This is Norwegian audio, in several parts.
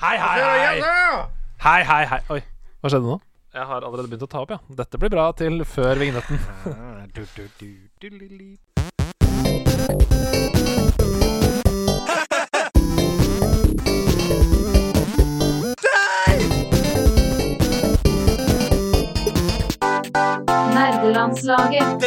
Hei, hei, hei! Hei, hei, hei. Oi, hva skjedde nå? Jeg har allerede begynt å ta opp, ja. Dette blir bra til før vignetten. Nerdelandslaget.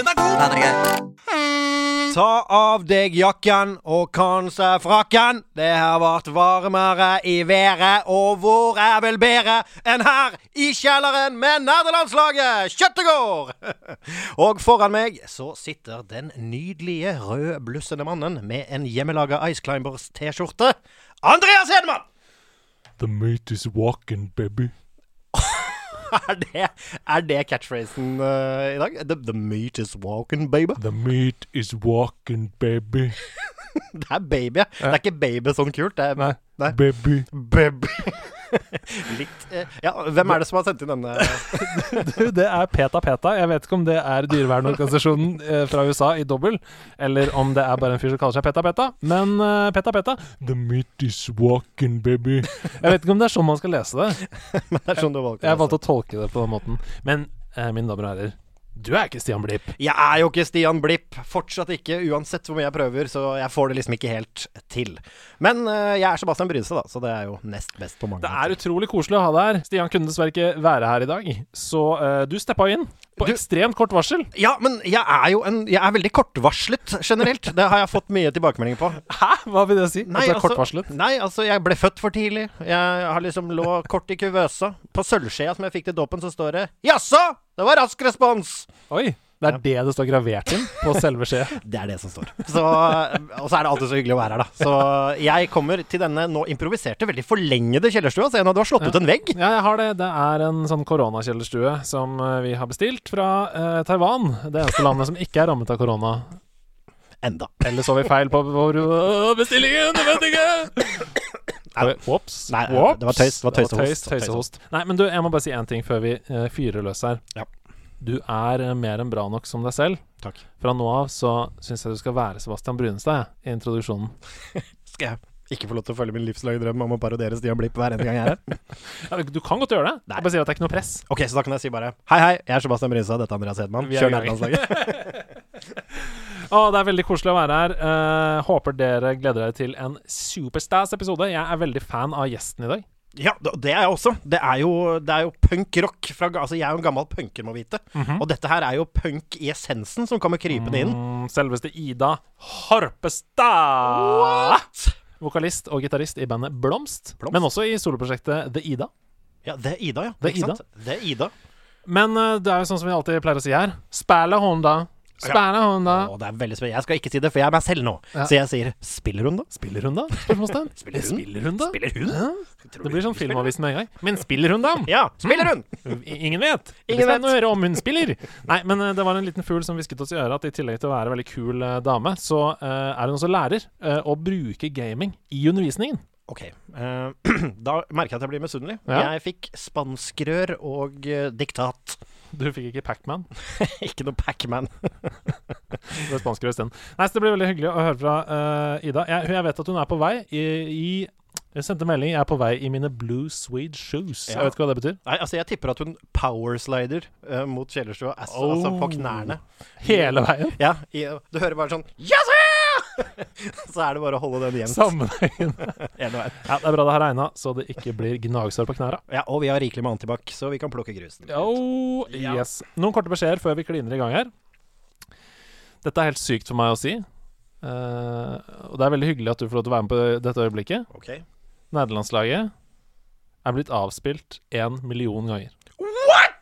Ta av deg jakken og kanskje frakken. Det har vært varmere i været, og hvor er vel bedre enn her i kjelleren med nerdelandslaget Kjøttegård! og foran meg så sitter den nydelige rødblussende mannen med en hjemmelaga Ice Climbers T-skjorte. Andreas Hedman! The mate is walking, baby. Er det, er det catchphrasen eh, i dag? The, the meat is walking, baby. The mate is walking, baby. Det er baby. ja. Det er ikke baby sånn kult. Det er Nei, Nei. baby. Baby. Litt eh, Ja, hvem er det som har sendt inn denne? Du, det er PETA PETA. Jeg vet ikke om det er dyrevernorganisasjonen eh, fra USA i dobbel, eller om det er bare en fyr som kaller seg PETA PETA. Men eh, PETA PETA The mate is walking, baby. Jeg vet ikke om det er sånn man skal lese det. Det er sånn du valgte. Jeg valgte å tolke det på den måten. Men eh, mine damer og herrer, du er ikke Stian Blipp. Jeg er jo ikke Stian Blipp. Fortsatt ikke, uansett hvor mye jeg prøver. Så jeg får det liksom ikke helt til. Men eh, jeg er Sebastian Brynse, da, så det er jo nest best på mange Det er måter. utrolig koselig å ha deg her. Stian kunne dessverre ikke være her i dag, så eh, du steppa inn på Du- ekstremt kort varsel. Ja, men jeg er jo en Jeg er veldig kortvarslet generelt. Det har jeg fått mye tilbakemeldinger på. Hæ? Hva vil Altså, det si? At du er kortvarslet? nei, altså, jeg ble født for tidlig. Jeg har liksom lå kort i kuvøsa. På sølvskjea som jeg fikk til dåpen, så står det 'Jaså, det var rask respons'! Oi, det er det det står gravert inn på selve skjeet. Det er det som står. Så, og så er det alltid så hyggelig å være her, da. Så jeg kommer til denne nå improviserte, veldig forlengede kjellerstua. Se nå, du har slått ut en vegg. Ja, jeg har det. Det er en sånn koronakjellerstue som eh, vi har bestilt fra eh, Taiwan. Det eneste landet som ikke er rammet av korona. Enda. Eller så vi feil på vår Åh, bestillingen? Jeg vet ikke! øh, Nei. Ops. Nei, det var tøys- det var tøysehost. tøysehost. Nei, men du, jeg må bare si én ting før vi eh, fyrer løs her. Ja. Du er eh, mer enn bra nok som deg selv. Takk. Fra nå av så syns jeg du skal være Sebastian Brunestad jeg, i introduksjonen. Skal jeg ikke få lov til å følge min livslange drøm om å parodiere Stian Blipp hver eneste gang jeg er her? Ja, du kan godt gjøre det. Nei. Jeg bare sier at det er ikke noe press. Ok, så da kan jeg si bare Hei, hei, jeg er Sebastian Brynstad, dette er Andreas Hedman. Vi er Kjør i gang. nærlandslaget. Å, det er veldig koselig å være her. Eh, håper dere gleder dere til en superstas-episode. Jeg er veldig fan av gjesten i dag. Ja, det er jeg også. Det er jo, det er jo punk-rock. fra ga- Altså, jeg er jo en gammel punker, må vite. Og dette her er jo punk i essensen som kommer krypende inn. Mm, Selveste Ida Harpestad! Ah! Vokalist og gitarist i bandet Blomst, Blomst? men også i soloprosjektet The Ida. Ja, det er Ida, ja. Det er Ikke sant? Det er Ida. Men eh, det er jo sånn som vi alltid pleier å si her. Spæle Honda. Spæle Honda. Å, det er veldig spennende. Jeg skal ikke si det, for jeg er meg selv nå. Ja. Så jeg sier spiller hun, da? Spiller hun, da? Spørsmålstegn. Spiller Spiller hun, hun? da? Spiller hun? Det blir sånn filmavisen med en gang. Men spiller hun, da? Ja, spiller hun! I- Ingen vet. Ingen Ingen vet. vet. å høre om hun spiller. Nei, men eh, det var en liten fugl som hvisket oss i øret at i tillegg til å være en veldig kul eh, dame, så eh, er hun også lærer eh, å bruke gaming i undervisningen. Ok, eh, da merker jeg at jeg blir misunnelig. Ja. Jeg fikk spanskrør og eh, diktat. Du fikk ikke Pacman. ikke noe Pacman. Det ble spansk isteden. Nei, så det blir veldig hyggelig å høre fra eh, Ida. Jeg, jeg vet at hun er på vei i, i jeg sendte melding. Jeg er på vei i mine blue suede shoes. Ja. Jeg vet ikke hva det betyr. Nei, altså, jeg tipper at hun powerslider eh, mot kjellerstua. ass- Oh. Altså på knærne. Hele veien. Ja, i, du hører bare sånn Yes! sir!" Så er det bare å holde den jevnt. Sammenhengen. Ene veien. Ja, det er bra det har regna, så det ikke blir gnagsår på knæra. Ja, og vi har rikelig med antibac, så vi kan plukke grusen. Oh, yes. Noen korte beskjeder før vi kliner i gang her. Dette er helt sykt for meg å si. Eh, og det er veldig hyggelig at du får lov til å være med på dette øyeblikket. Ok. Nederlandslaget er blitt avspilt én million ganger. What?!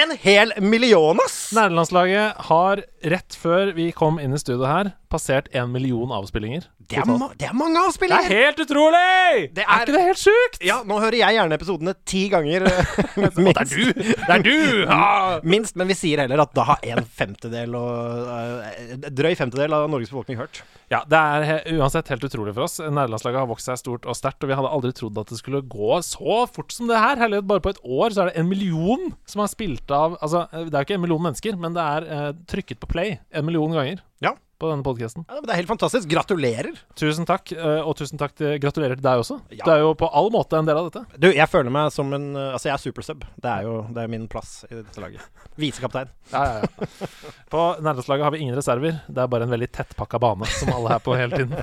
En hel million, ass! Nederlandslaget har rett før vi kom inn i studio her, passert én million avspillinger. Det er, totalt. ma det er mange det er avspillinger! helt utrolig! Det Det er- er, ikke det helt sjukt? Ja, nå hører jeg gjerne episodene ti ganger. eh, minst. Det er du! Det er du! Ja. Minst, men vi sier heller at da har en femtedel og eh, drøy femtedel av Norges befolkning hørt. Ja, det er he uansett helt utrolig for oss. Nederlandslaget har vokst seg stort og sterkt, og vi hadde aldri trodd at det skulle gå så fort som det her. Herlighet, bare på et år så er det en million som har spilt av Altså, eh, det er jo ikke en million mennesker, men det er eh, trykket på play en million ganger. Ja. på denne podkasten. Ja, men det er helt fantastisk. Gratulerer. Tusen takk, eh, og tusen takk til, gratulerer til deg også. Ja. Du er jo på all måte en del av dette. Du, jeg føler meg som en eh, Altså, jeg er supersub. Det er jo det er min plass i dette laget. Visekaptein. Ja, ja, ja. På nærlandslaget har vi ingen reserver. Det er bare en veldig tettpakka bane som alle er på hele tiden.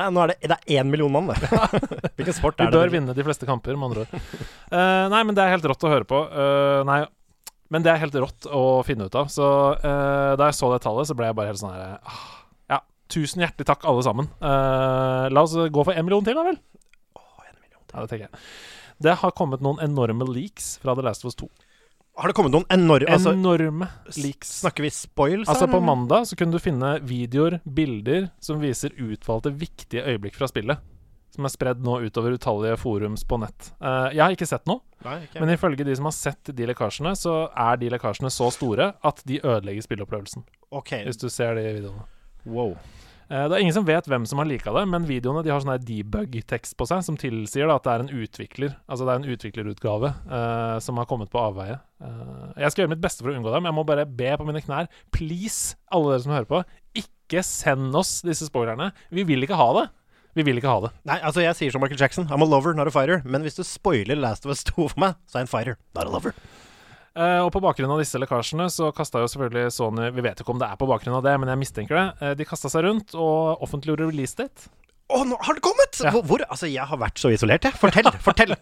Nei, nå er det, det er én million mann, det. Hvilken sport Vi er det? bør vinne de fleste kamper, med andre ord. Eh, nei, men det er helt rått å høre på. Eh, nei, men det er helt rått å finne ut av. Så eh, da jeg så det tallet, så ble jeg bare helt sånn her eh, ah, Ja, tusen hjertelig takk, alle sammen. Eh, la oss gå for én million til, da vel? Å, en million. Ja, det tenker jeg. Det har kommet noen enorme leaks fra The Last of Us 2. Har det kommet noen enorme altså, enorme leaks. Snakker vi spoils? Altså her, På eller? mandag så kunne du finne videoer, bilder, som viser utvalgte viktige øyeblikk fra spillet. Som er spredd nå utover utallige forums på nett. Eh, jeg har ikke sett noe, Nei, ikke. men ifølge de som har sett de lekkasjene, så er de lekkasjene så store at de ødelegger spilleopplevelsen. OK. Hvis du ser de videoene. Wow. Eh, det er ingen som vet hvem som har lika det, men videoene de har sånn her debug-tekst på seg som tilsier da, at det er en utvikler. Altså det er en utviklerutgave eh, som har kommet på avveie. Eh, jeg skal gjøre mitt beste for å unngå det, men jeg må bare be på mine knær. Please, alle dere som hører på, ikke send oss disse spoilerne. Vi vil ikke ha det. Vi vil ikke ha det. Nei, altså, jeg sier som Michael Jackson. I'm a lover, not a fighter. Men hvis du spoiler Last of Us 2 for meg, så er jeg en fighter, not a lover. Eh, og på bakgrunn av disse lekkasjene så kasta jo selvfølgelig Sony Vi vet jo ikke om det er på bakgrunn av det, men jeg mistenker det. Eh, de kasta seg rundt og offentliggjorde release date. Å, nå har det kommet! Ja. Hvor, hvor? Altså, jeg har vært så isolert, jeg. Fortell, fortell.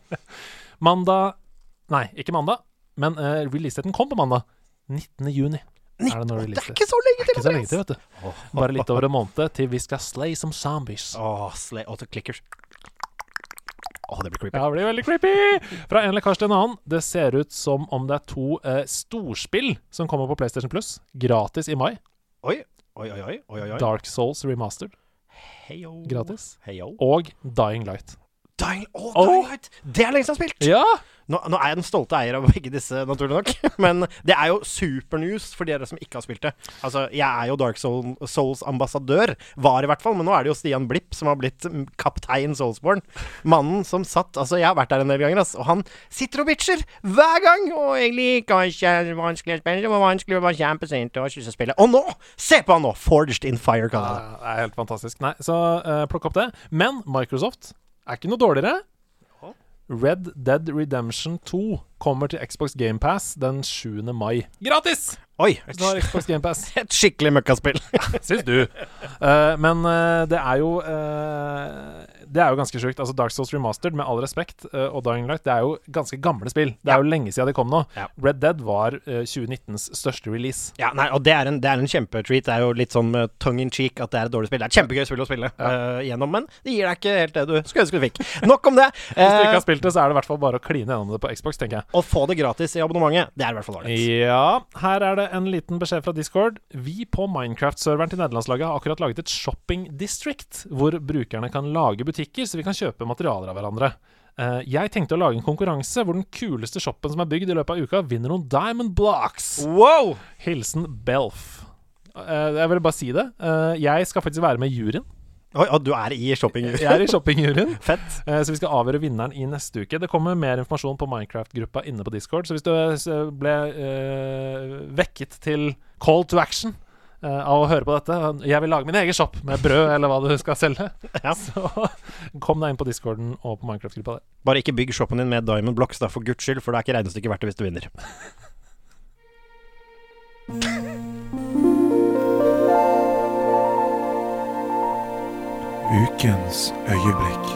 Mandag Nei, ikke mandag, men uh, releasedaten kom på mandag. 19. juni er det når Det er releasedaten ikke så lenge til, Ikke så lenge til, vet du. Åh. Bare litt over en måned til vi skal slay som zombies. Å, slay Og så clickers. Å, det blir creepy. Ja, det blir veldig creepy! Fra en lekkasje til en annen. Det ser ut som om det er to eh, storspill som kommer på PlayStation Plus gratis i mai. Oi, oi, oi, oi, oi, oi. Dark Souls Remastered Heyo. gratis. Heyo. Og Dying Light. Dying, oh, Oh. Dying Light! Det er lenge siden jeg har spilt! Ja! Nå, nå er jeg den stolte eier av begge disse, naturlig nok. Men det er jo supernews for dere som ikke har spilt det. Altså, jeg er jo Dark Soul, Souls ambassadør, var i hvert fall, men nå er det jo Stian Blipp som har blitt mm, kaptein Soulsborne. Mannen som satt Altså, jeg har vært der en del ganger, ass, og han sitter og bitcher hver gang! Og egentlig kanskje vanskelig å spille, det var vanskelig å være kjempesint og synes å spille. Og nå! Se på han nå! Forged in Ja, fire, kaller jeg det. Det er helt fantastisk. Nei, så eh, plukk opp det. Men Microsoft er ikke noe dårligere. Red Dead Redemption 2 kommer til Xbox GamePass den 7. mai. Gratis! Oi! Så du har Et, Xbox GamePass. et skikkelig møkkaspill. Syns du. Eh, men eh, det er jo eh, Det er jo ganske sjukt. Altså Dark Souls Remastered, med all respekt, eh, og Dying Light, det er jo ganske gamle spill. Det er jo lenge siden de kom nå. Ja. Red Dead var eh, 2019s største release. Ja, nei, og det er en, det er en kjempetreat. Det er jo litt sånn med tongue in cheek at det er et dårlig spill. Det er et kjempegøy spill å spille eh, gjennom, men det gir deg ikke helt det du skulle ønske du fikk. Nok om det. Hvis du Eh, ikke har spilt det, så er det i hvert fall bare å kline gjennom det på Xbox, tenker jeg. å få det gratis i abonnementet, det er i hvert fall ålreit. Ja, her er det en liten beskjed fra Discord. Vi på Minecraft-serveren til nederlandslaget har akkurat laget et shopping district, hvor brukerne kan lage butikker, så vi kan kjøpe materialer av hverandre. Eh, jeg tenkte å lage en konkurranse hvor den kuleste shoppen som er bygd i løpet av uka, vinner noen Diamond Blocks. Wow! Hilsen Belf. Eh, jeg ville bare si det. Eh, jeg skal faktisk være med i juryen. Oi, og du er i shopping. Jeg er i shoppingjuryen. Fett. Eh, Så vi skal avgjøre vinneren i neste uke. Det kommer mer informasjon på Minecraft-gruppa inne på Discord. Så hvis du eh, s- ble eh, vekket til call to action eh, av å høre på dette eh, Jeg vil lage min egen shop med brød eller hva du skal selge. Ja. Så kom deg inn på Discorden og på Minecraft-gruppa der. Bare ikke bygg shoppen din med Diamond Blocks, da, for guds skyld, for det er ikke regnestykket verdt det hvis du vinner. Ukens øyeblikk.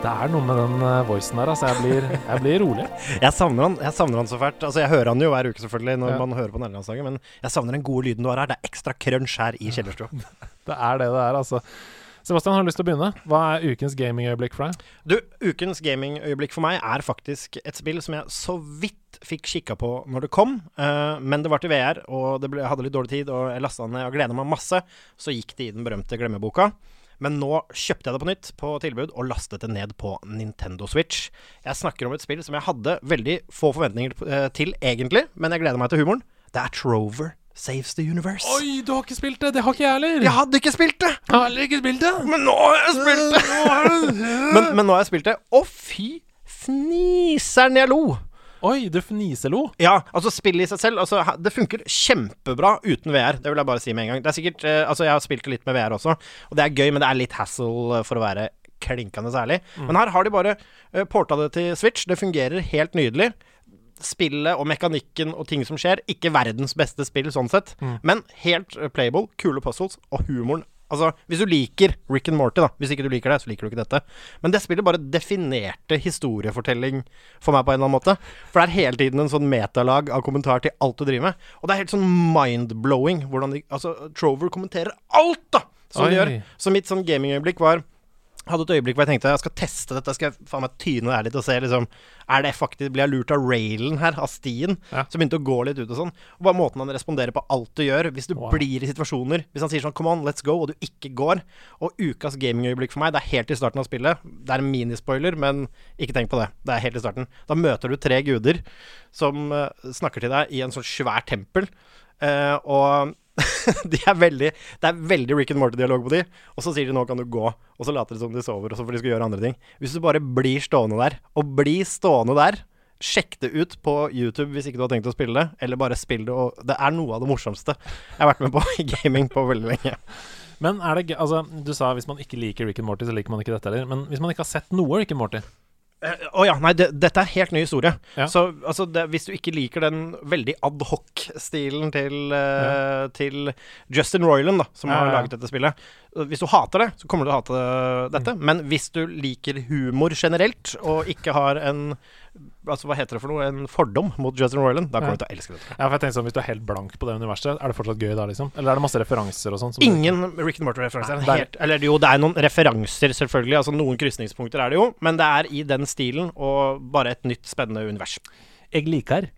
Det er noe med den eh, voicen der, altså. Jeg blir, jeg blir rolig. Jeg savner han jeg savner han så fælt. Altså, Jeg hører han jo hver uke, selvfølgelig, når Ja. man hører på nederlandslaget, men jeg savner den gode lyden du har her. Det er ekstra crunch her i kjellerstua. Det er det det er, altså. Sebastian, har du lyst til å begynne? Hva er ukens gamingøyeblikk for deg? Du, ukens gamingøyeblikk for meg er faktisk et spill som jeg så vidt fikk kikka på når det kom, eh, men det var til VR, og det ble, jeg hadde litt dårlig tid, og jeg lasta den ned og gleda meg masse. Så gikk det i den berømte glemmeboka. Men nå kjøpte jeg det på nytt på tilbud, og lastet det ned på Nintendo Switch. Jeg snakker om et spill som jeg hadde veldig få forventninger eh, til, egentlig, men jeg gleder meg til humoren. Det er Trover Saves the Universe. Oi, du har ikke spilt det! Det har ikke jeg heller! Jeg hadde ikke spilt det! Jeg har heller ikke spilt det! Men nå har jeg spilt det! men, men nå har jeg spilt det. Å, fy fniseren jeg lo! Oi, du fniselo! Ja, altså spillet i seg selv altså, ha- Det funker kjempebra uten VR, det vil jeg bare si med en gang. Det er sikkert, eh, altså Jeg har spilt det litt med VR også, og det er gøy, men det er litt hassle eh, for å være klinkende særlig. Men her har de bare eh, porta det til Switch, det fungerer helt nydelig. Spillet og mekanikken og ting som skjer, ikke verdens beste spill sånn sett, men helt eh, playable, kule puzzles og humoren. Altså, Hvis du liker Rick and Morty, da Hvis ikke du liker det, så liker du ikke dette. Men det spillet bare definerte historiefortelling for meg på en eller annen måte. For det er hele tiden en sånn metalag av kommentar til alt du driver med. Og det er helt sånn mind-blowing hvordan de Altså, Trover kommenterer alt, da! Som de Oi. gjør. Så mitt sånn gamingøyeblikk var hadde et øyeblikk hvor jeg tenkte jeg skal teste dette, skal jeg faen meg tyne det her litt og se liksom Er det faktisk Blir jeg lurt av railen her, av stien? Ja. Som begynte å gå litt ut og sånn. Og bare måten han responderer på alt du gjør. Hvis du Wow. blir i situasjoner Hvis han sier sånn 'come on, let's go', og du ikke går. Og ukas gamingøyeblikk for meg, det er helt i starten av spillet. Det er en minispoiler, men ikke tenk på det. Det er helt i starten. Da møter du tre guder som eh, snakker til deg i en sånn svær tempel, eh, og de er veldig Det er veldig Rick and Morty-dialog på de. Og så sier de 'nå kan du gå', og så later de som de sover, og så får de skal gjøre andre ting. Hvis du bare blir stående der, og bli stående der Sjekk det ut på YouTube hvis ikke du har tenkt å spille det, eller bare spill det. Og det er noe av det morsomste jeg har vært med på i gaming på veldig lenge. Men er det gøy Altså, du sa hvis man ikke liker Rick and Morty, så liker man ikke dette heller. Men hvis man ikke har sett noe Rick and Morty Eh, Å ja, nei, det, dette er helt ny historie. Ja. Så altså, det, hvis du ikke liker den veldig adhoc-stilen til, eh, til Justin Royland, da, som Ja, har ja. laget dette spillet eh, Hvis du hater det, så kommer du til å hate dette. Men hvis du liker humor generelt, og ikke har en Altså, hva heter det for noe? En fordom mot Justin Royland, da kommer Ja. du til å elske dette. Ja, for jeg tenkte sånn, Hvis du er helt blank på det universet, er det fortsatt gøy da, liksom? Eller er det masse referanser og sånn? som du- Ingen Rick and Morty-referanser. Nei, Det er det er- helt- Eller jo, det er noen referanser, selvfølgelig. Altså Noen krysningspunkter er det jo, men det er i den stilen, og bare et nytt, spennende univers. Jeg liker.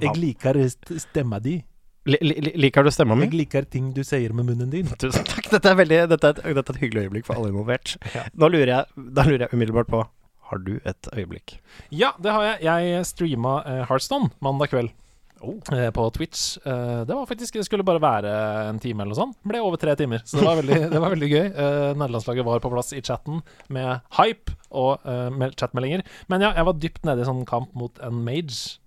Jeg liker stemma di. Li- li- Liker du stemma mi? liker ting du sier med munnen din. Tusen takk. Dette er, veldig, dette, er et, dette er et hyggelig øyeblikk for alle involvert. Nå lurer jeg, da lurer jeg umiddelbart på Har du et øyeblikk? Ja, det har jeg. Jeg streama eh, Heartstone mandag kveld. Eh, På Twitch. Eh, det var faktisk Det skulle bare være en time eller noe sånt. Ble over tre timer, så det var veldig, det var veldig gøy. Eh, Nederlandslaget var på plass i chatten med hype og eh, mel- chatmeldinger. Men ja, jeg var dypt nede i sånn kamp mot en mage,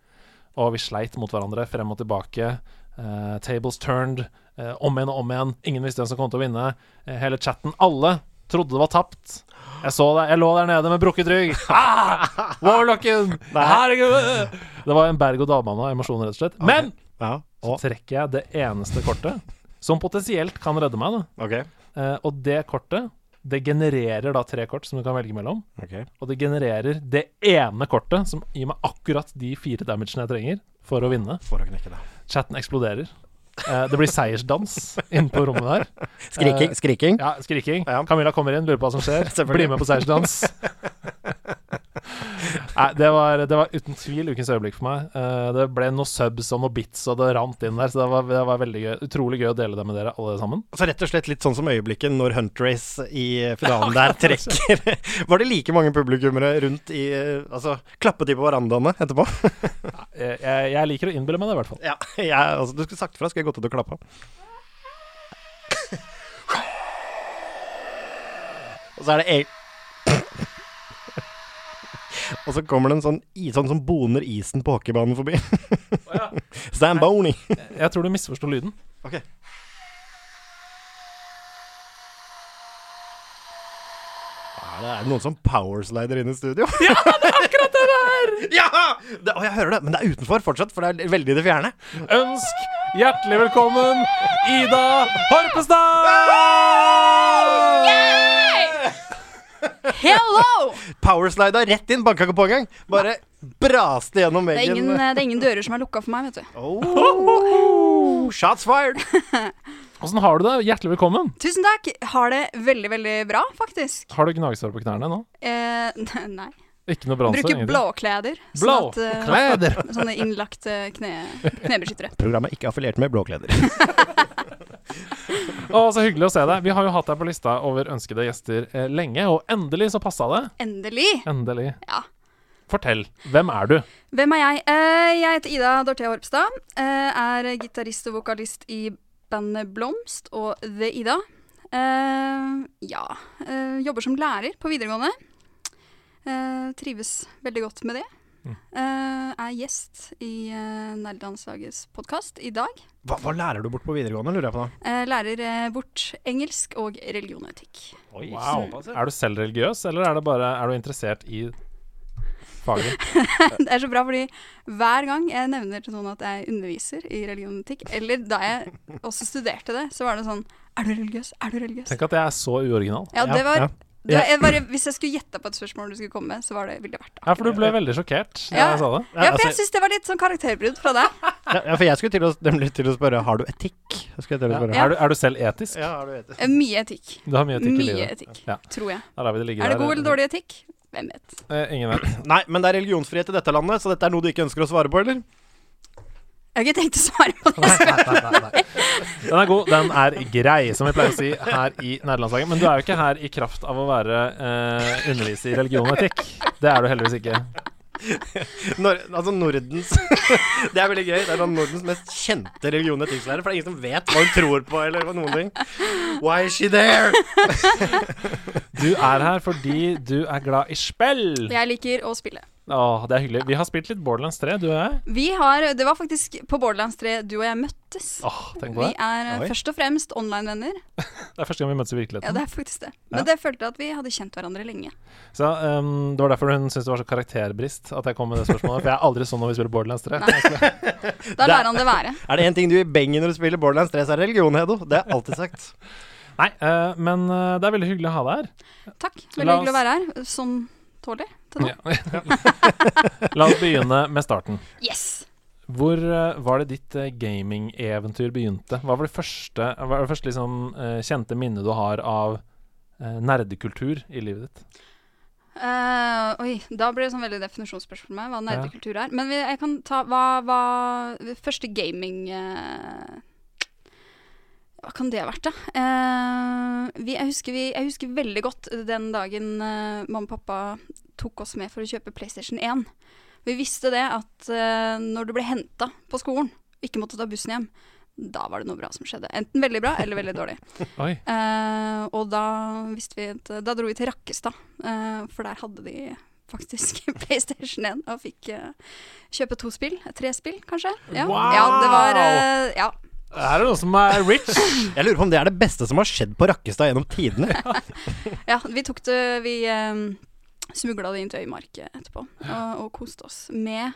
og vi sleit mot hverandre frem og tilbake. Eh, tables turned. eh, om igjen og om igjen. Ingen visste hvem som kom til å vinne. Eh, hele chatten, alle trodde det var tapt. Jeg så det, jeg lå der nede med brukket rygg. Ah! Warlocken! Herregud! Det var en berg-og-dal-bane av emosjoner, rett og slett. Men Ja. så trekker jeg det eneste kortet som potensielt kan redde meg. Da. Ok. Eh, og det kortet det genererer da tre kort som du kan velge mellom. Og det genererer det ene kortet som gir meg akkurat de fire damagene jeg trenger for å vinne. For å knekke det. Chatten eksploderer. Eh, det blir seiersdans inne på rommet der. Skriking. Eh, skriking. Ja, skriking. Ja. Camilla kommer inn, lurer på hva som skjer. Selvfølgelig. Blir med på seiersdans. Nei, det var, det var uten tvil ukens øyeblikk for meg. Eh, det ble noe subs og noe bits, og det rant inn der, så det var, det var veldig gøy. Utrolig gøy å dele det med dere alle sammen. Så rett og slett litt sånn som øyeblikket når Huntrace i finalen der trekker Var det like mange publikummere rundt i eh, Altså, klappet de på verandaene etterpå? Eh, jeg, jeg liker å innbille meg det, i hvert fall. Ja, jeg, altså, du skulle sagt fra, skulle jeg gått ut og klappa. Og så er det eg... Og så kommer det en sånn i- sånn som boner isen på hockeybanen forbi. Zamboni. Jeg tror du misforsto lyden. Ok. Er det er det noen som powerslider inn i studio? Ja, det er akkurat det der! ja! Det, og jeg hører det, men det er utenfor fortsatt, for det er veldig i det fjerne. Ønsk hjertelig velkommen Ida Horpestad! Hello! Powerslida rett inn, banka ikke på engang. Bare braste gjennom Det er, veggen. ingen, eh, det er ingen dører som er lukka for meg, vet du. Oh, shots fired. Åssen har du det? Hjertelig velkommen. Tusen takk. Har det veldig, veldig bra, faktisk. Har du gnagsår på knærne nå? Eh, nei. Ikke noe bronse? Bruker ingenting? blåkleder. Blå sånn at, eh, kleder. Sånne innlagte kne, knebeskyttere. Programmet er ikke affiliert med blåkleder. Å, så hyggelig å se deg. Vi har jo hatt deg på lista over ønskede gjester eh, lenge, og endelig så passa det. Endelig. Endelig. Ja. Fortell. Hvem er du? Hvem er jeg? Eh, jeg heter Ida Dorthea Horpstad. eh, er gitarist og vokalist i bandet Blomst og The Ida. Eh, ja. eh, jobber som lærer på videregående. Eh, trives veldig godt med det. Mm. eh, er gjest i uh, Nerdelandslagets podkast i dag. Hva, hva lærer du bort på videregående, lurer jeg på da? Eh, lærer eh, bort engelsk og religion og etikk. Wow. Er du selv religiøs, eller er, det bare, er du interessert i faget? Det er så bra, fordi hver gang jeg nevner til noen at jeg underviser i religion og etikk, eller da jeg også studerte det, så var det sånn Er du religiøs? Er du religiøs? Tenk at jeg er så uoriginal. Ja, det var ja. det var, jeg bare, Hvis jeg skulle gjette på et spørsmål du skulle komme med, så var det, ville det vært det. Ja, for du ble veldig sjokkert da Ja. jeg sa det. Ja, for jeg altså, syns det var litt sånn karakterbrudd fra deg. ja, ja, for jeg skulle til å, nemlig til å spørre Har du etikk? Jeg skulle til å spørre Er, du, er du selv etisk? Ja, har du etikk? Eh, Mye etikk. Du har mye etikk i Mye livet. etikk, Ja. tror jeg. Da lar vi det ligge Er det der. god eller dårlig etikk? Hvem vet. Eh, ingen vet. Nei, men det er religionsfrihet i dette landet, så dette er noe du ikke ønsker å svare på, eller? Jeg har ikke tenkt å svare på det. Den er god, den er grei, som vi pleier å si her i Nederlandslaget. Men du er jo ikke her i kraft av å være eh, underviser i religion og etikk. Det er du heldigvis ikke. Nor altså Nordens Det er veldig gøy. Det er sånn Nordens mest kjente religion- og etikkslærer, for det er ingen som vet hva hun tror på, eller hva noen ting. Why is she there? Du er her fordi du er glad i spill. Jeg liker å spille. Åh, det er hyggelig. Vi har spilt litt Borderlands 3, du og jeg. Vi har, Det var faktisk på Borderlands 3 du og jeg møttes. Åh, tenk på Vi det. er eh, Oi. først og fremst online-venner. Det er første gang vi møtes i virkeligheten. Ja, det er faktisk det. Men det følte jeg at vi hadde kjent hverandre lenge. Så ehm, Det var derfor hun syntes det var så karakterbrist at jeg kom med det spørsmålet. For jeg er aldri sånn når vi spiller Borderlands 3. Da lar han det være. Er det én ting du gir beng i når du spiller Borderlands 3, så er det religion, Hedo. Det har jeg alltid sagt. Nei, eh, men eh, det er veldig hyggelig å ha deg her. Takk. Veldig La oss- hyggelig å være her. Som tåler til nå. La oss begynne med starten. Yes! Hvor eh, var det ditt eh, gamingeventyr begynte? Hva var det første, hva var det første liksom, eh, kjente minnet du har av eh, nerdekultur i livet ditt? Eh, oi, da blir det sånn veldig definisjonsspørsmål for meg, hva Ja. nerdekultur er. Men vi- jeg kan ta hva, hva Første gaming eh, Hva kan det ha vært, da? Eh, vi, jeg, husker vi, jeg husker veldig godt den dagen eh, mamma og pappa tok oss med for å kjøpe PlayStation 1. Vi visste det at eh, når du ble henta på skolen, ikke måtte ta bussen hjem, da var det noe bra som skjedde. Enten veldig bra eller veldig dårlig. Oi. Eh, og da visste vi at Da dro vi til Rakkestad, eh, for der hadde de faktisk PlayStation 1 og fikk eh, kjøpe to spill. eh, Tre spill, kanskje. Ja, Wow! ja det var eh, Ja. Er det noen som er rich? Jeg lurer på om det er det beste som har skjedd på Rakkestad gjennom tidene. ja vi tok det Vi um, smugla det inn til Øymark etterpå og, og koste oss med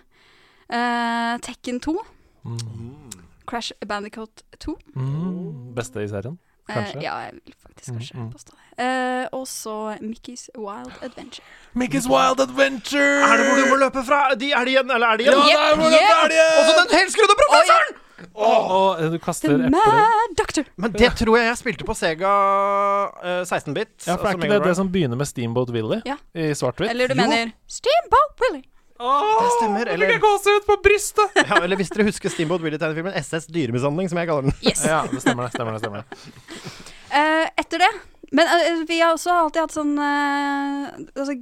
eh, Tekken 2, Mm. Crash Bandicoat 2. Mm. Beste i serien? eh, Kanskje. ja, jeg vil faktisk kanskje Mm, mm. påstå det. Eh, og så Mickey's Wild Adventure. Mickey's Wild Adventure! Er det hvor du må løpe fra? De, er de igjen, eller er de Ja, Jepp, der hvor du jepp. er det! den helskrudde professoren! Og eh, du kaster The epler. Mad Doctor. Men det tror jeg jeg spilte på Sega eh, 16-bit. Ja, for er ikke altså det Mega det Drive. som begynner med Steamboat Willy Ja. i svart-hvitt? Eller du Jo. mener Steamboat Willy. det stemmer, eller- Fikk jeg gåsehud på brystet! ja, Eller hvis dere husker Steamboat Willy-tegnefilmen SS Dyremishandling, som jeg kaller den. Yes. ja, det stemmer det. stemmer det, stemmer det. Eh, etter det Men eh, vi har også alltid hatt sånn eh, altså,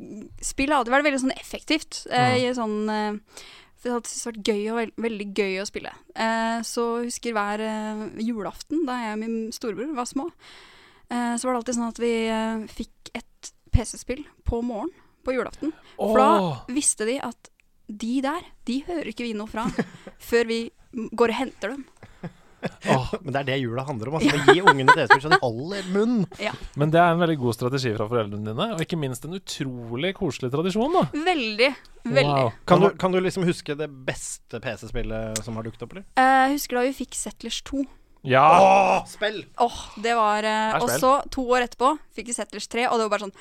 Spill har alltid vært veldig sånn effektivt. eh, Mm. i sånn, eh, for det har alltid syntes vært gøy og veld, veldig gøy å spille. Eh, så jeg husker hver eh, julaften da jeg og min storebror var små, eh, så var det alltid sånn at vi eh, fikk et PC-spill på morgen på julaften. For Åh. da visste de at de der, de hører ikke vi noe fra før vi går og henter dem. Åh, Men det er det jula handler om. Altså, å gi ungene TV-spill så de holder munn. men det er en veldig god strategi fra foreldrene dine, og ikke minst en utrolig koselig tradisjon. da Veldig, veldig. Wow. Kan du, kan du liksom huske det beste PC-spillet som har dukket opp, eller? Eh, husker da vi fikk Settlers 2. Ja! Spill! Åh, det var eh, Det er Og spill. så, to år etterpå, fikk vi Settlers 3, og det var bare sånn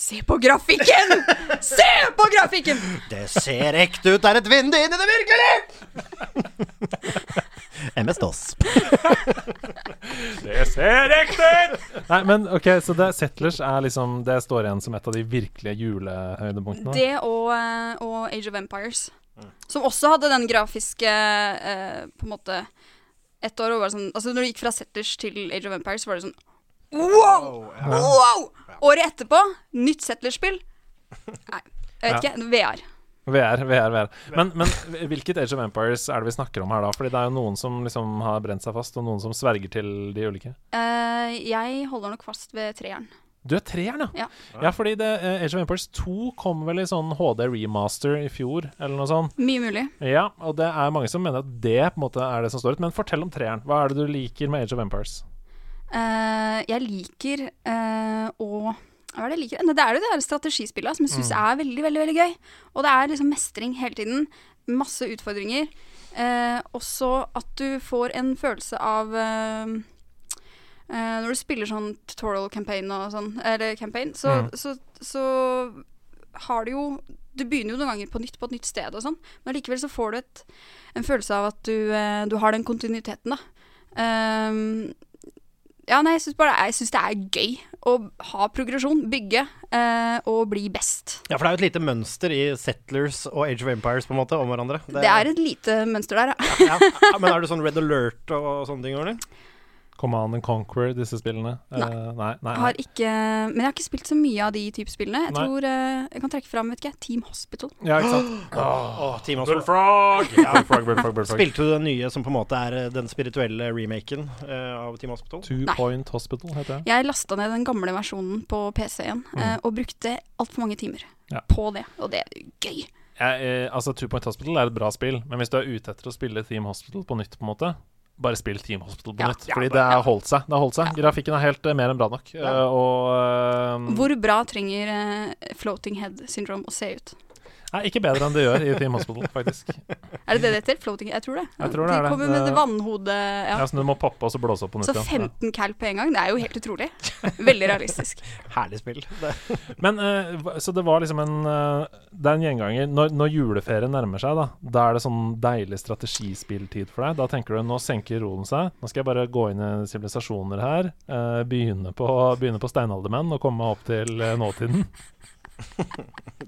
Se på grafikken! Se på grafikken! Det ser ekte ut, det er et vindu inn i det virkelige! MS-DOS. Det ser ekte ut! Nei, men ok, så det, Settlers er liksom Det står igjen som et av de virkelige julehøydepunktene. Det og, eh, og Age of Empires. Som også hadde den grafiske eh, På en måte Et år og var det sånn Altså, når du gikk fra Settlers til Age of Empires, så var det sånn Wow! Wow! Året etterpå, nytt Settlers-spill. Nei, jeg vet ikke. VR. VR, VR, VR. Men, men hvilket Age of Empires er det vi snakker om her, da? Fordi det er jo noen som liksom har brent seg fast, og noen som sverger til de ulike. Eh, jeg holder nok fast ved treeren. Du er treeren, Ja. Ja, fordi det, eh, Age of Empires 2 kom vel i sånn HD remaster i fjor, eller noe sånt. Mye mulig. Ja, og det er mange som mener at det på en måte er det som står ut. Men fortell om treeren. Hva er det du liker med Age of Empires? Eh, jeg liker eh, å hva er det jeg liker? Nei, Det er jo det der strategispillet som jeg syns er veldig, veldig veldig gøy. Og det er liksom mestring hele tiden. Masse utfordringer. Eh, også at du får en følelse av eh, eh, Når du spiller sånn tutorial campaign og sånn, eller campaign, så, Mm. så, så har du jo Du begynner jo noen ganger på nytt på et nytt sted og sånn, men likevel så får du et, en følelse av at du, eh, du har den kontinuiteten, da. Ehm, ja, nei, jeg syns bare det er- jeg synes det er gøy å ha progresjon, bygge eh, og bli best. Ja, for det er jo et lite mønster i Settlers og Age of Empires på en måte, om hverandre. Det er et lite mønster der, ja. ja. Ja, Men er du sånn Red Alert og sånne ting, eller? Command and Conquer, disse spillene? Eh, Nei. nei, nei, Jeg nei. Har ikke, men jeg har ikke spilt så mye av de type spillene. Jeg Nei. tror eh, jeg kan trekke fram vet ikke, jeg, Team Hospital. Ja, ikke sant? Åh, Team Hospital. Bullfrog! Ja, bullfrog, bullfrog, bullfrog. Spilte du den nye som på en måte er eh, den spirituelle remaken eh, av Team Hospital? Two Nei. Point Hospital heter det. Jeg lasta ned den gamle versjonen på PC-en eh, og brukte altfor mange timer Mm. Ja. på det, og det er gøy. Jeg, eh, altså, Two Point Hospital er et bra spill, men hvis du er ute etter å spille Team Hospital på nytt, på en måte bare spill Team Hospital på Ja, nytt, ja, fordi bare- det ja. har holdt seg. Det har holdt seg. Grafikken er helt eh, mer enn bra nok. Eh, og eh, Hvor bra trenger eh, floating head syndrome å se ut? Nei, ikke bedre enn det gjør i Team Hospital, faktisk. Er det det det heter? Floating Jeg tror det. Jeg tror det er De det. kommer med Det- det vannhodet Ja, ja. Så Altså, du må poppe og så blåse opp på nytt Så igjen. 15 cal på en gang, det er jo helt utrolig. Veldig realistisk. Herlig spill. Det. Ja. Men eh, hva- Så det var liksom en eh, Det er en gjenganger. Når, når juleferien nærmer seg, da Da er det sånn deilig strategispilltid for deg. Da tenker du nå senker roen seg. Nå skal jeg bare gå inn i sivilisasjoner her. eh, begynne, på, begynne på steinaldermenn og komme meg opp til eh, nåtiden.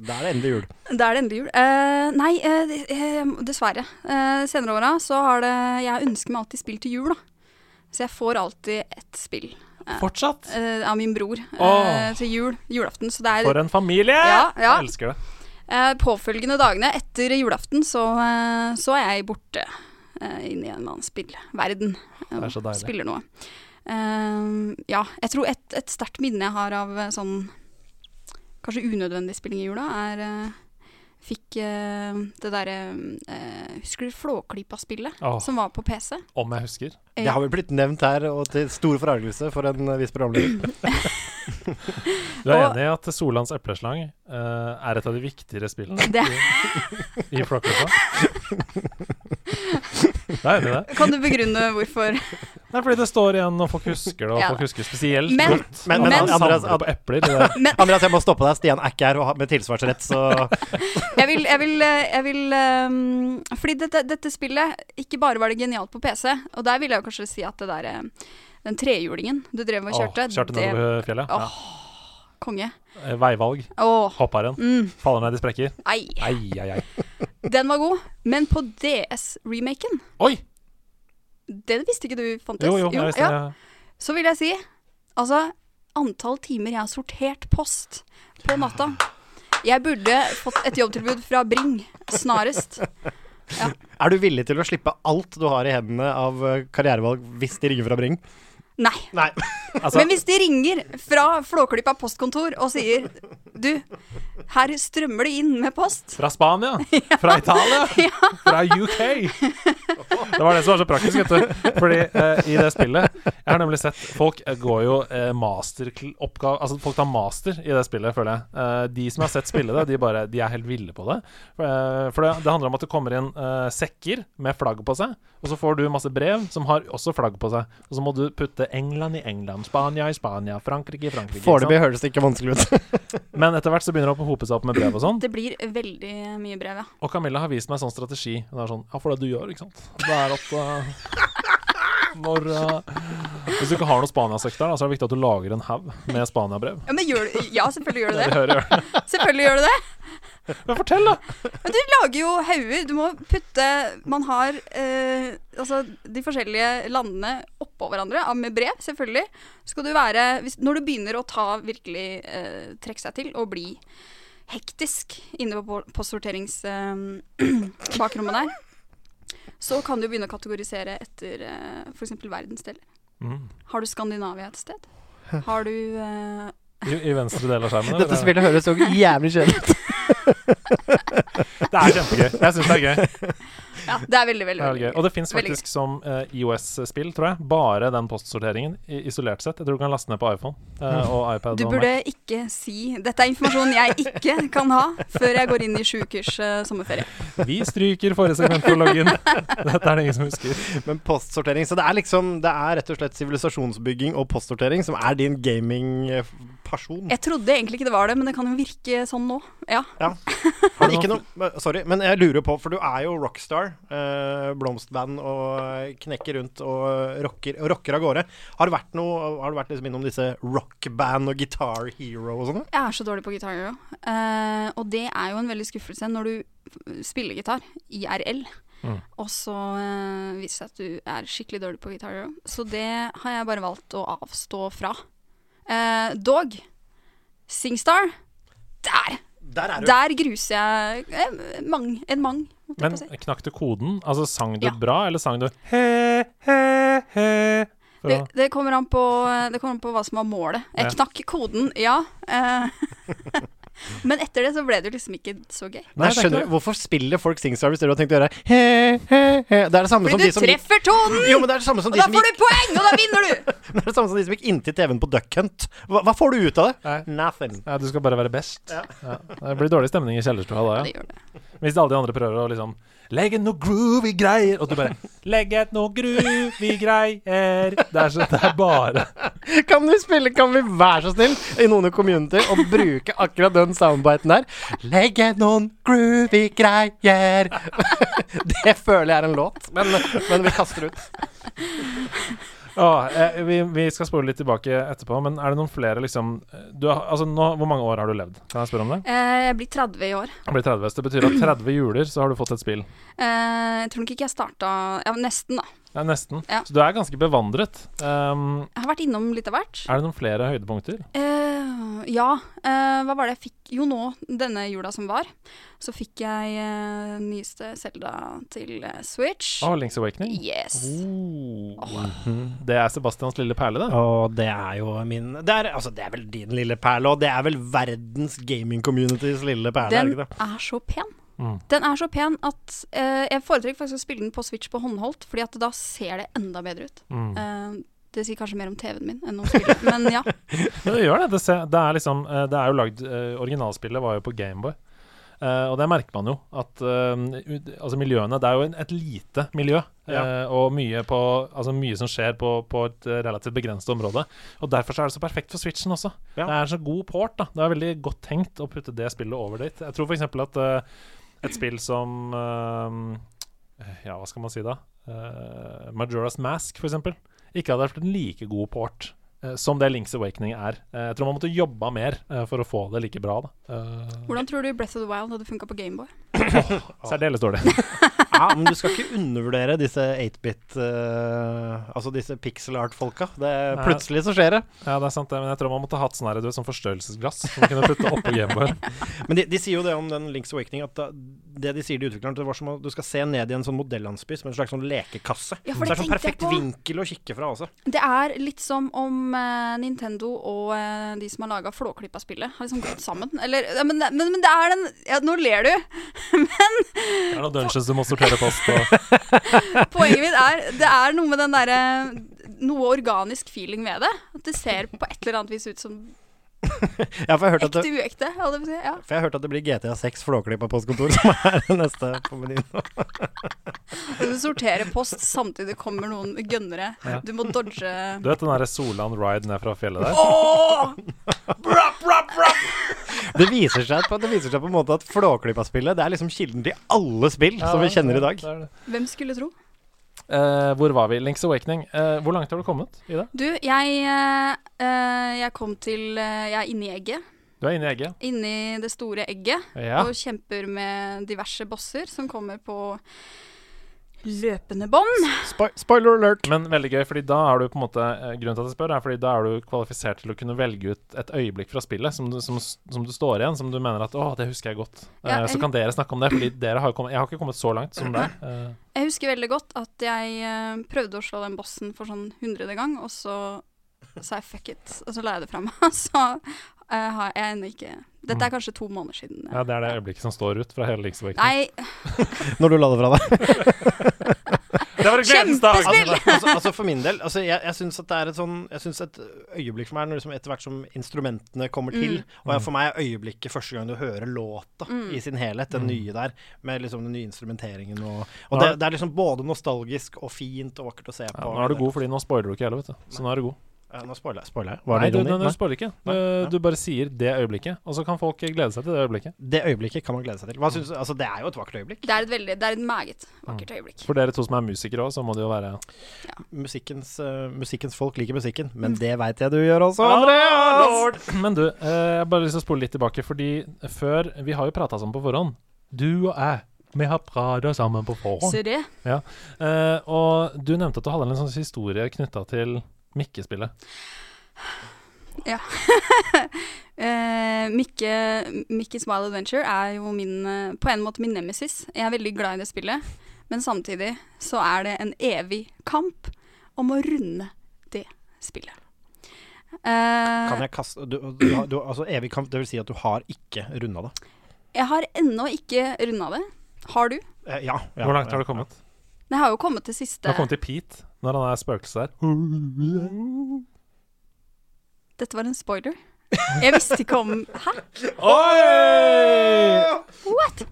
Da er det endelig jul. Da er det endelig jul. Eh, nei, eh, det- eh, dessverre. Eh, senere åra så har det Jeg ønsker meg alltid spill til jul, da. Så jeg får alltid ett spill Fortsatt! eh, av min bror eh, Åh. til jul. Julaften. Så det er For en familie! Ja, ja. Jeg elsker det. eh, påfølgende dagene etter julaften så, eh, så er jeg borte eh, inn i en eller annen spillverden. Det er så deilig. spiller noe. Eh, ja, jeg tror et, et sterkt minne jeg har av eh, sånn kanskje unødvendig spilling i jula, er eh, Fikk eh, det derre eh, Husker du Flåklypa-spillet Åh, som var på PC? om jeg husker. Ja. Det har vel blitt nevnt her, og til stor forargelse for en eh, viss programleder. Du er Og- enig i at Solands epleslang eh, er et av de viktigere spillene Det, i Flåklypa? Jeg er enig i det. kan du begrunne hvorfor? Nei, fordi det står igjen, og folk husker det, og Ja. folk husker spesielt Men- godt. at men- men- man Andreas, samler på epler. Det er Men Andreas, jeg må stoppe deg. Stian er ikke her og har- med tilsvarsrett, så jeg vil, jeg vil, eh, jeg vil ehm, Fordi dette, dette spillet, ikke bare var det genialt på PC, og der vil jeg jo kanskje si at det der eh, Den trehjulingen du drev og Åh, kjørte, kjørte det var nedover fjellet. Ja. konge. Eh, Veivalg. Åh, Hopper igjen. mm, Faller ned i sprekker. nei. Ai, ai, ai. Den var god, men på DS-remaken Oi! Det visste ikke du fantes? Jo, jo. Jeg visste ja. det. Så vil jeg si Altså, antall timer jeg har sortert post på natta Jeg burde fått et jobbtilbud fra Bring snarest. er du villig til å slippe alt du har i hendene av eh, karrierevalg hvis de ringer fra Bring? Nei. Nei. Altså- Men hvis de ringer fra Flåklypa postkontor og sier Du, her strømmer det inn med post. Fra Spania. Fra Italia. Fra UK. Det var det som var så praktisk, vet du. Fordi eh, i det spillet Jeg har nemlig sett folk eh, går jo eh, masteroppgave Altså folk tar master i det spillet, føler jeg. Eh, de som har sett spille det, de bare De er helt ville på det. Eh, for det, det handler om at det kommer inn eh, sekker med flagg på seg, og så får du masse brev som har også flagg på seg. Og så må du putte England i England, Spania i Spania, Frankrike i Frankrike. ikke Foreløpig høres det ikke vanskelig ut. sant? Men etter hvert så begynner det å hope seg opp med brev og sånn. Det blir veldig mye brev, ja. Og Camilla har vist meg sånn strategi. Hun er sånn Ja, for det du gjør, ikke sant. Det er at eh, når eh, Hvis du ikke har noe Spania-søkt der, da, så er det viktig at du lager en haug med Spania-brev. Ja, men gjør, du- ja selvfølgelig gjør du Det det. hører jeg. Selvfølgelig gjør du det. Men fortell, da! Men du lager jo hauger. Du må putte Man har eh, altså de forskjellige landene oppå hverandre av- med brev, selvfølgelig. Skal du være hvis, Når du begynner å ta virkelig eh, trekke seg til og bli hektisk inne på postsorteringsbakrommet der, så kan du begynne å kategorisere etter eh, for f.eks. verdensdeler. Mm. Har du Skandinavia et sted? Har du eh, i, i venstre del av skjermen. eller? Dette spillet høres så jævlig kjedelig ut. Det er kjempegøy. Jeg syns det er gøy. Ja, det er veldig, Det veldig, er veldig gøy. Og det fins Veldig faktisk som eh, IOS-spill, tror jeg. Bare den postsorteringen, i- isolert sett. Jeg tror du kan laste ned på iPhone eh, og iPad. Du og Mac. burde ikke si Dette er informasjon jeg ikke kan ha før jeg går inn i sju ukers eh, sommerferie. Vi stryker forrige segment for loggen. Dette er det ingen som husker. Men postsortering Så det er liksom Det er rett og slett sivilisasjonsbygging og postsortering som er din eh, gaming-person. Jeg trodde egentlig ikke det var det, men det kan jo virke sånn nå. Ja. Har du ikke noe Sorry, men jeg lurer på, for du er jo rockstar. Eh, blomstband og eh, knekker rundt og rocker, og rocker av gårde. Har det vært noe Har du vært liksom innom disse rockband og Guitar Hero og sånn? sånne? Jeg er så dårlig på gitar hero. Eh, og det er jo en veldig skuffelse når du f- spiller gitar, IRL, Mm. og så eh, viser det seg at du er skikkelig dårlig på gitar hero. Så det har jeg bare valgt å avstå fra. Eh, dog, Singstar Der! Der er du. Der gruser jeg eh, mang, en mang. holdt jeg Men på å si. knakk du koden? Altså, sang du Ja. bra, eller sang du he, he, he? For Det, å- det, kommer an på, det kommer an på hva som var målet. Jeg Ja. knakk koden, ja. eh, Men etter det så ble det jo liksom ikke så gøy. Nei, Nei, det er skjønner ikke du, Hvorfor spiller folk Singstar hvis dere har tenkt å gjøre he, he, he? Det er det samme som de Fordi du som gikk- treffer tonen! Jo, men det er det samme som Og de da som får gikk du poeng, og da vinner du! Det er det samme som de som gikk inntil TV-en på Duck Hunt. Hva, hva får du ut av det? Nei. Nothing. Ja, du skal bare være best. Ja. Ja. Det blir dårlig stemning i kjellerstua da, Ja, ja. det gjør det. Hvis alle de andre prøver å liksom Legge noe groovy greier Og du bare Legge noe groovy greier Det er, så, det er bare Kan vi spille, kan vi være så snill, i noen community og bruke akkurat den soundbiten der? Legge noen groovy greier. Det føler jeg er en låt, men, men vi kaster ut. Åh, eh, vi, vi skal spole litt tilbake etterpå Men er det noen flere liksom du, har- Altså nå, hvor mange år har du levd? Kan jeg spørre om det? Eh, Jeg blir 30 i år. Det blir 30 hvis Det betyr at 30 juler så har du fått et spill Eh, Jeg tror nok ikke jeg starta Ja, nesten, da. Ja, nesten Ja. Så du er ganske bevandret um, Jeg har vært innom litt av hvert. Er det noen flere høydepunkter? Eh, ja, eh, hva var det jeg fikk Jo, nå, denne jula som var, så fikk jeg eh, nyeste Selda til eh, Switch. Åh, Link's Awakening Oh. Mhm. Yes. Oh. Det er Sebastians lille perle det Og det er jo min det er, altså, det er vel din lille perle, og det er vel verdens gaming-communities lille perle, er det Den ikke det? er så pen. Mm. Den er så pen at eh, jeg foretrekker faktisk å spille den på Switch på håndholdt, fordi at da ser det enda bedre ut. mm. Eh, det sier kanskje mer om TV-en min enn om spillet, men ja. Ja, det gjør det. Det, ser, det er liksom eh, Det er jo lagd eh, Originalspillet var jo på Gameboy. Eh, og det merker man jo. At eh, ut, altså miljøene Det er jo en, et lite miljø. eh, Ja. og mye, på, altså mye som skjer på, på et eh, relativt begrenset område. Og derfor så er det så perfekt for Switchen også. Ja. Det er så god port. da Det er veldig godt tenkt å putte det spillet over dit. Jeg tror f.eks. at eh, et spill som eh, Ja, hva skal man si da? Eh, Majora's Mask, for eksempel ikke hadde vært en like god port eh, som det Links Awakening er. Eh, jeg tror man måtte jobba mer eh, for å få det like bra. Da. Eh, Hvordan tror du Breath of the Wild hadde funka på Gameboy? særdeles dårlig. Ja, men du skal ikke undervurdere disse 8-bit eh, Altså disse pixel art-folka. Det, Nei. plutselig så skjer det. ja, det er sant, det, men jeg tror man måtte hatt sånn her, du vet, sånn forstørrelsesglass som man kunne putte oppå Gameboy. Men de, de sier jo det om den Links Awakening, at da, det de sier til utvikleren, at det var som om du skal se ned i en sånn modellandsby, som en slags sånn lekekasse. Ja, for så det det er sånn tenkte jeg perfekt på. vinkel å kikke fra også. Det er litt som om eh, Nintendo og eh, de som har laga Flåklypa-spillet, har liksom gått sammen. Eller ja, men, men, men det er den ja, Nå ler du. Det er noen dungeons du må sortere post og Poenget mitt er det er noe med den derre Noe organisk feeling ved det. At det ser på et eller annet vis ut som Ja, for jeg har hørt at ekte det, uekte. holdt jeg på å si, Ja. for jeg har hørt at det blir GTA 6 Flåklypa postkontor som er det neste på menyen. Og Du sorterer post, samtidig kommer noen gønnere. Ja. Du må dodge Du vet den derre Solan Ride ned fra fjellet der? Åh! Det viser seg på, det viser seg på en måte at Flåklypa-spillet det er liksom kilden til alle spill Ja, som vi det er- kjenner i dag. det er det. Hvem skulle tro? Eh, hvor var vi? Links Awakening. Eh, hvor langt har du kommet i det? Du, jeg, eh, eh, jeg kom til eh, Jeg er inni egget. Du er inne i egget. Inni det store egget. Ja. og kjemper med diverse bosser som kommer på løpende bånd. Spoil- spoiler alert! Men veldig gøy, fordi da er du på en måte eh, Grunnen til at jeg spør, er fordi da er du kvalifisert til å kunne velge ut et øyeblikk fra spillet som du, som, som du står igjen, som du mener at 'Å, det husker jeg godt'. Ja, Eh, så jeg- kan dere snakke om det, fordi dere har jo kommet Jeg har ikke kommet så langt som deg. Eh, Jeg husker veldig godt at jeg eh, prøvde å slå den bossen for sånn hundrede gang, og så sa jeg fuck it, og så la jeg det fra meg. Så eh, har jeg ennå ikke Dette er kanskje to måneder siden. eh. Mm. Ja, det er det øyeblikket som står ut fra hele likesvekten. Nei, Når du la det fra deg. Det var en gledesdag! Altså, altså, altså For min del altså Jeg, jeg syns at det er et sånn Jeg synes et øyeblikk for meg er når liksom etter hvert som instrumentene kommer til Og jeg, for meg er øyeblikket første gang du hører låta i sin helhet, den nye der, med liksom den nye instrumenteringen og, og Mm. det, Nå er- det er liksom både nostalgisk og fint og vakkert å se Ja, på. nå er du god, fordi nå spoiler du ikke hele, vet du. Så nå er du god. Ja, nå spoiler jeg. Spoiler jeg. Var Nei, det du, ironi? du, du Nei. spoiler ikke. Du, Nei. du bare sier 'det øyeblikket', og så kan folk glede seg til det øyeblikket. Det øyeblikket kan man glede seg til. Hva synes, du- altså, det er jo et vakkert øyeblikk. det er et veldig Det er et meget vakkert øyeblikk. Mm. For dere to som er musikere òg, så må det jo være Musikkens, eh, musikkens folk liker musikken, men det veit jeg du gjør også, Ah, Andreas! Lord! Men du, eh, jeg har bare lyst til å spole litt tilbake, fordi før Vi har jo prata sammen på forhånd. Du og jeg. Vi har prata sammen på forhånd. Se det. Eh, og du nevnte at du hadde en sånn historie knytta til mikkespillet. Eh, Mikke, Mikkes Wild Adventure er jo min, eh, på en måte min nemesis. Jeg er veldig glad i det spillet, men samtidig så er det en evig kamp om å runde det spillet. Eh, Kan jeg kaste du, du, har- du, Altså evig kamp, det vil si at du har ikke runda det. jeg har ennå ikke runda det. Har du? Eh, ja, ja. Hvor langt har du kommet? Det har jo kommet til Du siste har kommet til Pete, når han er spøkelset der. Dette var en spoiler. Jeg visste ikke om Hæ? Oi! What?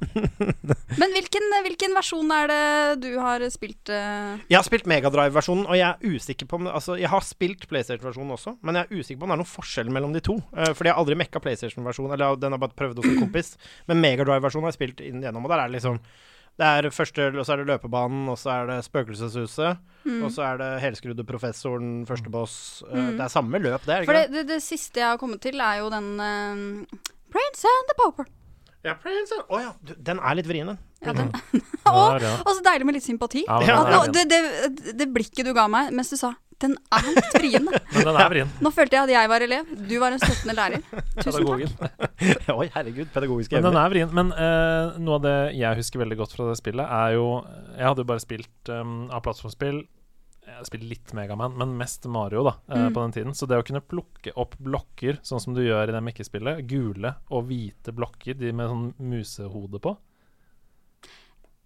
Men hvilken, hvilken versjon er det du har spilt? eh? Jeg har spilt Megadrive-versjonen, og jeg er usikker på om det- Altså, jeg har spilt PlayStation-versjonen også, men jeg er usikker på om det er noen forskjell mellom de to. Eh, fordi jeg har aldri mekka PlayStation-versjonen, eller den har bare prøvd hos en kompis. Men Megadrive-versjonen har jeg spilt inn gjennom, og der er det liksom det er første, og så er det løpebanen, og så er det Spøkelseshuset. Mm. Og så er det Helskrudde professoren, første boss. Eh, Det er samme løp, det, er det For ikke det, det? det, det siste jeg har kommet til, er jo den eh, Prince and the Poper. Ja, Prince Å ja. sånn- du, Den er litt vrien, den. Ja, den. Ja, og, det er det. og så deilig med litt sympati. Ja, men Ja, At nå, den er vrien. det, det, det blikket du ga meg mens du sa 'den er litt vriende'. Men den er vrien. Nå følte jeg at jeg var elev, du var en støttende lærer. Tusen takk. Pedagogen. Oi, herregud. Pedagogiske Men den evner. er vrien. Men eh, noe av det jeg husker veldig godt fra det spillet, er jo Jeg hadde jo bare spilt um, av plattformspill. Jeg hadde spilt litt Megaman, men mest Mario da eh, på den tiden. Så det å kunne plukke opp blokker, sånn som du gjør i det mikkespillet, gule og hvite blokker de med sånn musehode på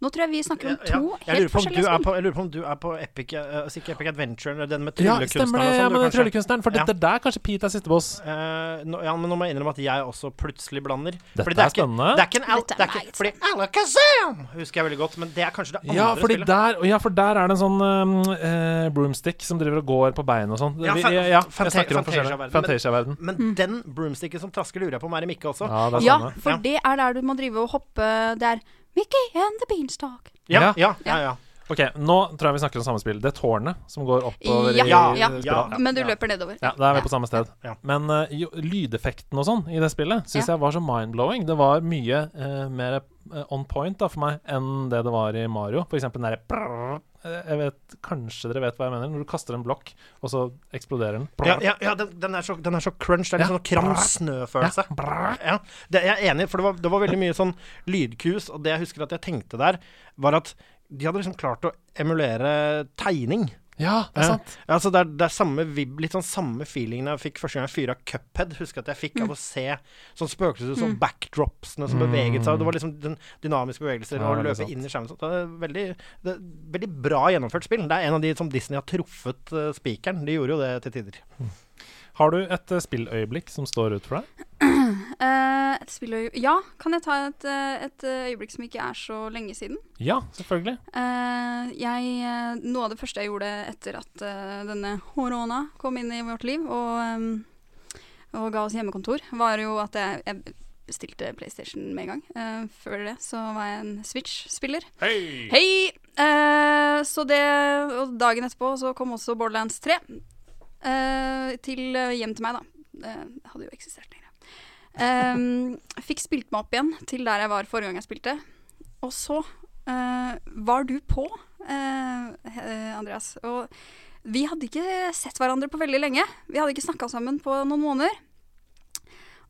Nå tror jeg vi snakker om Ja, to ja. jeg, lurer helt på om du forskjellige er spill. på, jeg lurer på om du er på Epic, eh, altså ikke Epic Adventure, eller den Ja, med tryllekunstneren stemmer det! og Ja, sånn, du men kanskje- Tryllekunstneren. For Ja. dette der kanskje Pete er siste boss. Eh, nå- ja, men nå må jeg innrømme at jeg også plutselig blander. Dette Fordi det er ikke- spennende. Det er ikke en out, Dette det er er ikke, meget fordi Alakazam husker jeg veldig godt, men det er kanskje det andre Ja for, spillet. der, ja, for der er det en sånn um, eh, broomstick som driver og går på bein og sånn. Ja, Vi- fa- ja, fanta- jeg snakker om forskjellige Fantasia-verden. Fantasia-verden. Men Mm. den broomsticken som trasker, lurer jeg på om er i Mikke også. Ja, det er Ja, samme. for Ja. det er der du må drive og hoppe. Det er Mickey and the Beanstalk. Ja, ja, ja. ja, Ok, nå tror jeg vi snakker om samme spill. Det er tårnet som går oppover Ja, i Ja, ja, ja. Men du Ja. løper nedover. Ja, da er vi på samme sted. Ja. Men eh, jo, lydeffekten og sånn i det spillet syns jeg var så mind-blowing. Det var mye eh, mer eh, on point da, for meg enn det det var i Mario. For eksempel den derre prrrr, eh, Jeg vet kanskje dere vet hva jeg mener. Når du kaster en blokk, og så eksploderer den. ja, ja, ja den, den, er så, den er så crunch. Det er litt sånn kram snø-følelse. Brrr. Ja, det, jeg er enig, for det var, det var veldig mye sånn lydkus, og det jeg husker at jeg tenkte der, var at de hadde liksom klart å emulere tegning. Ja, det er sant. Ja, altså det er, det er samme vib, litt sånn samme feelingen jeg fikk første gang jeg fyra Cuphead. Husker at jeg fikk av å se sånn spøkelseshus og backdropsene som beveget seg. og Det var liksom den dynamiske bevegelser Ja, og det er løpe sant. inn i skjermen. Så det er veldig, det er veldig bra gjennomført spill. Det er en av de som Disney har truffet eh, spikeren. De gjorde jo det til tider. Har du et eh, spilløyeblikk som står ut for deg? Eh, et spilløy- ja, kan jeg ta et, eh, et eh, øyeblikk som ikke er så lenge siden? Ja, selvfølgelig. Eh, jeg, eh, noe av det første jeg gjorde etter at eh, denne korona kom inn i vårt liv og, ehm, og ga oss hjemmekontor, var jo at jeg, jeg bestilte PlayStation med en gang. Eh, før det så var jeg en Switch-spiller. Hei! Eh, så det, og dagen etterpå så kom også Borderlands 3 eh, til, eh, hjem til meg, da. Det hadde jo eksistert lenger. Ehm, fikk spilt meg opp igjen til der jeg var forrige gang jeg spilte. Og så eh, var du på, eh, eh, Andreas. Og vi hadde ikke sett hverandre på veldig lenge. Vi hadde ikke snakka sammen på noen måneder.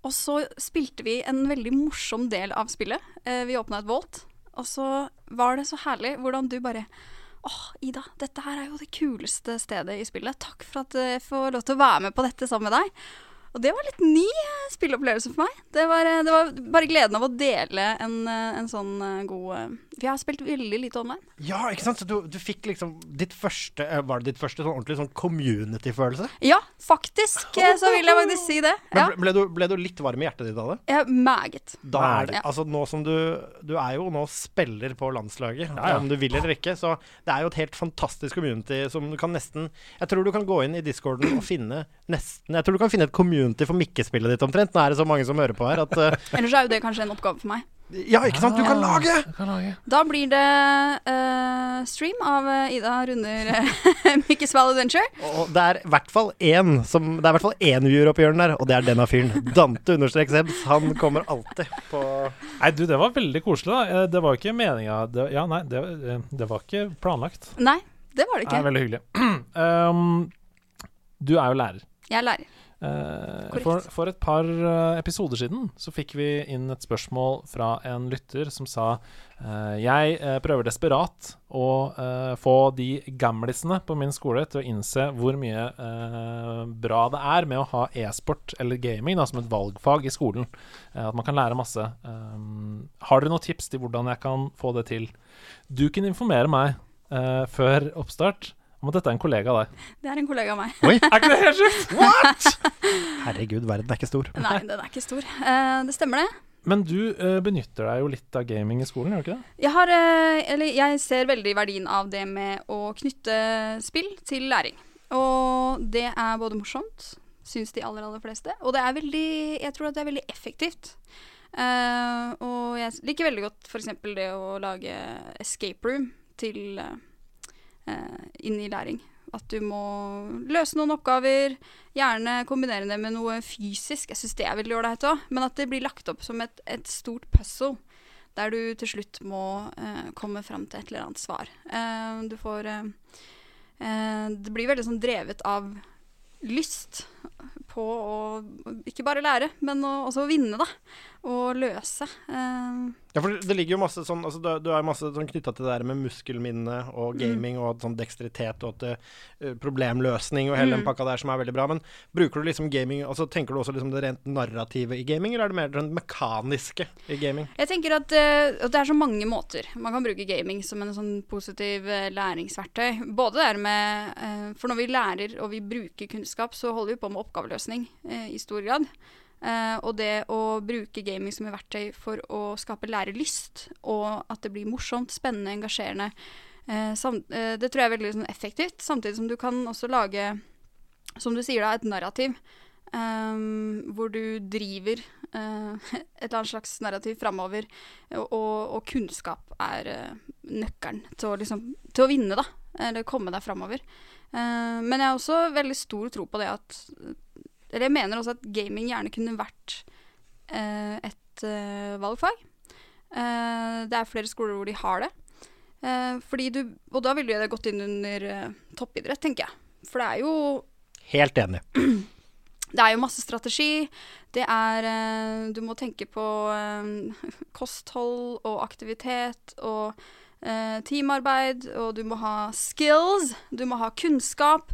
Og så spilte vi en veldig morsom del av spillet. Eh, vi åpna et volt, og så var det så herlig hvordan du bare Åh, Ida, dette her er jo det kuleste stedet i spillet. Takk for at eh, jeg får lov til å være med på dette sammen med deg. Og det var litt ny eh, spilleopplevelse for meg. Det var, eh, det var bare gleden av å dele en, eh, en sånn eh, god eh, For jeg har spilt veldig lite online. Ja, ikke sant? Så du, du fikk liksom ditt første eh, Var det ditt første sånn ordentlig sånn community-følelse? Ja, faktisk, eh, så vil jeg faktisk si det. Men Ja, ble, ble, du, ble du litt varm i hjertet ditt av det? jeg er meget. Da er det, Ja. altså nå som du Du er jo nå spiller på landslaget, ja. om du vil eller ikke. Så det er jo et helt fantastisk community som du kan nesten Jeg tror du kan gå inn i discorden og finne nesten Jeg tror du kan finne et community for mikkespillet ditt omtrent. Nå er det så mange som hører på her at eh, Ellers er jo det kanskje en oppgave for meg. Ja, ikke sant? Du kan lage! Da blir det eh, stream av eh, Ida runder eh, Mickey's Valley Adventure. Og det er i hvert fall én som Det er i hvert fall én viewer oppi hjørnet der, og det er denne fyren. Dante understrek Sebs. Han kommer alltid på Nei, du, det var veldig koselig, da. Eh, Det var jo ikke meninga det- Ja, nei, det, eh, det var ikke planlagt. Nei, det var det Det er ikke. veldig hyggelig. um, du er jo lærer. Jeg er lærer. Eh, Korrekt. for, for et par eh, episoder siden så fikk vi inn et spørsmål fra en lytter som sa eh, Jeg eh, prøver desperat å eh, få de gamlisene på min skole til å innse hvor mye eh, bra det er med å ha e-sport eller gaming da, som et valgfag i skolen. Eh, at man kan lære masse. Um, har dere noen tips til hvordan jeg kan få det til? Du kunne informere meg eh, før oppstart om at dette er en kollega av deg. Det er en kollega av meg. Er ikke det helt sjukt? Herregud, verden er ikke stor. Nei, den er ikke stor. Eh, det stemmer, det. Men du eh, benytter deg jo litt av gaming i skolen, gjør du ikke det? Jeg, har, eh, eller jeg ser veldig verdien av det med å knytte spill til læring. Og det er både morsomt, syns de aller, aller fleste, og det er veldig, jeg tror at det er veldig effektivt. Eh, og jeg liker veldig godt f.eks. det å lage escape room til eh, eh, inn i læring. At du må løse noen oppgaver, gjerne kombinere det med noe fysisk. Jeg syns det er veldig ålreit òg, men at det blir lagt opp som et, et stort puzzle der du til slutt må eh, komme fram til et eller annet svar. Eh, du får eh, eh, Det blir veldig sånn drevet av lyst på å ikke bare lære, men å, også vinne, da. Og løse. Eh, Ja, for det ligger jo masse sånn altså, Du, du er masse sånn knytta til det der med muskelminne og gaming og sånn dekstritet og at, eh, problemløsning og hele den pakka der som er veldig bra. Men bruker du liksom gaming altså, Tenker du også liksom det rent narrativet i gaming, eller er det mer det mekaniske i gaming? Jeg tenker at, eh, at det er så mange måter. Man kan bruke gaming som en sånn positiv eh, læringsverktøy. Både det her med eh, For når vi lærer og vi bruker kunnskap, så holder vi på med oppgaveløsning eh, i stor grad. Eh, og det å bruke gaming som et verktøy for å skape lærelyst, og at det blir morsomt, spennende, engasjerende, eh, sam, eh, det tror jeg er veldig sånn, effektivt. Samtidig som du kan også lage, som du sier da, et narrativ. eh, hvor du driver eh, et eller annet slags narrativ framover. Og, og, og kunnskap er eh, nøkkelen til å, liksom, til å vinne, da. Eller komme deg framover. Eh, men jeg har også veldig stor tro på det at Eller jeg mener også at gaming gjerne kunne vært eh, et eh, valgfag. Eh, det er flere skoler hvor de har det. Eh, fordi du, og da ville jo det gått inn under eh, toppidrett, tenker jeg. For det er jo Helt enig. det er jo masse strategi. Det er eh, Du må tenke på eh, kosthold og aktivitet og eh, teamarbeid, og du må ha skills, du må ha kunnskap,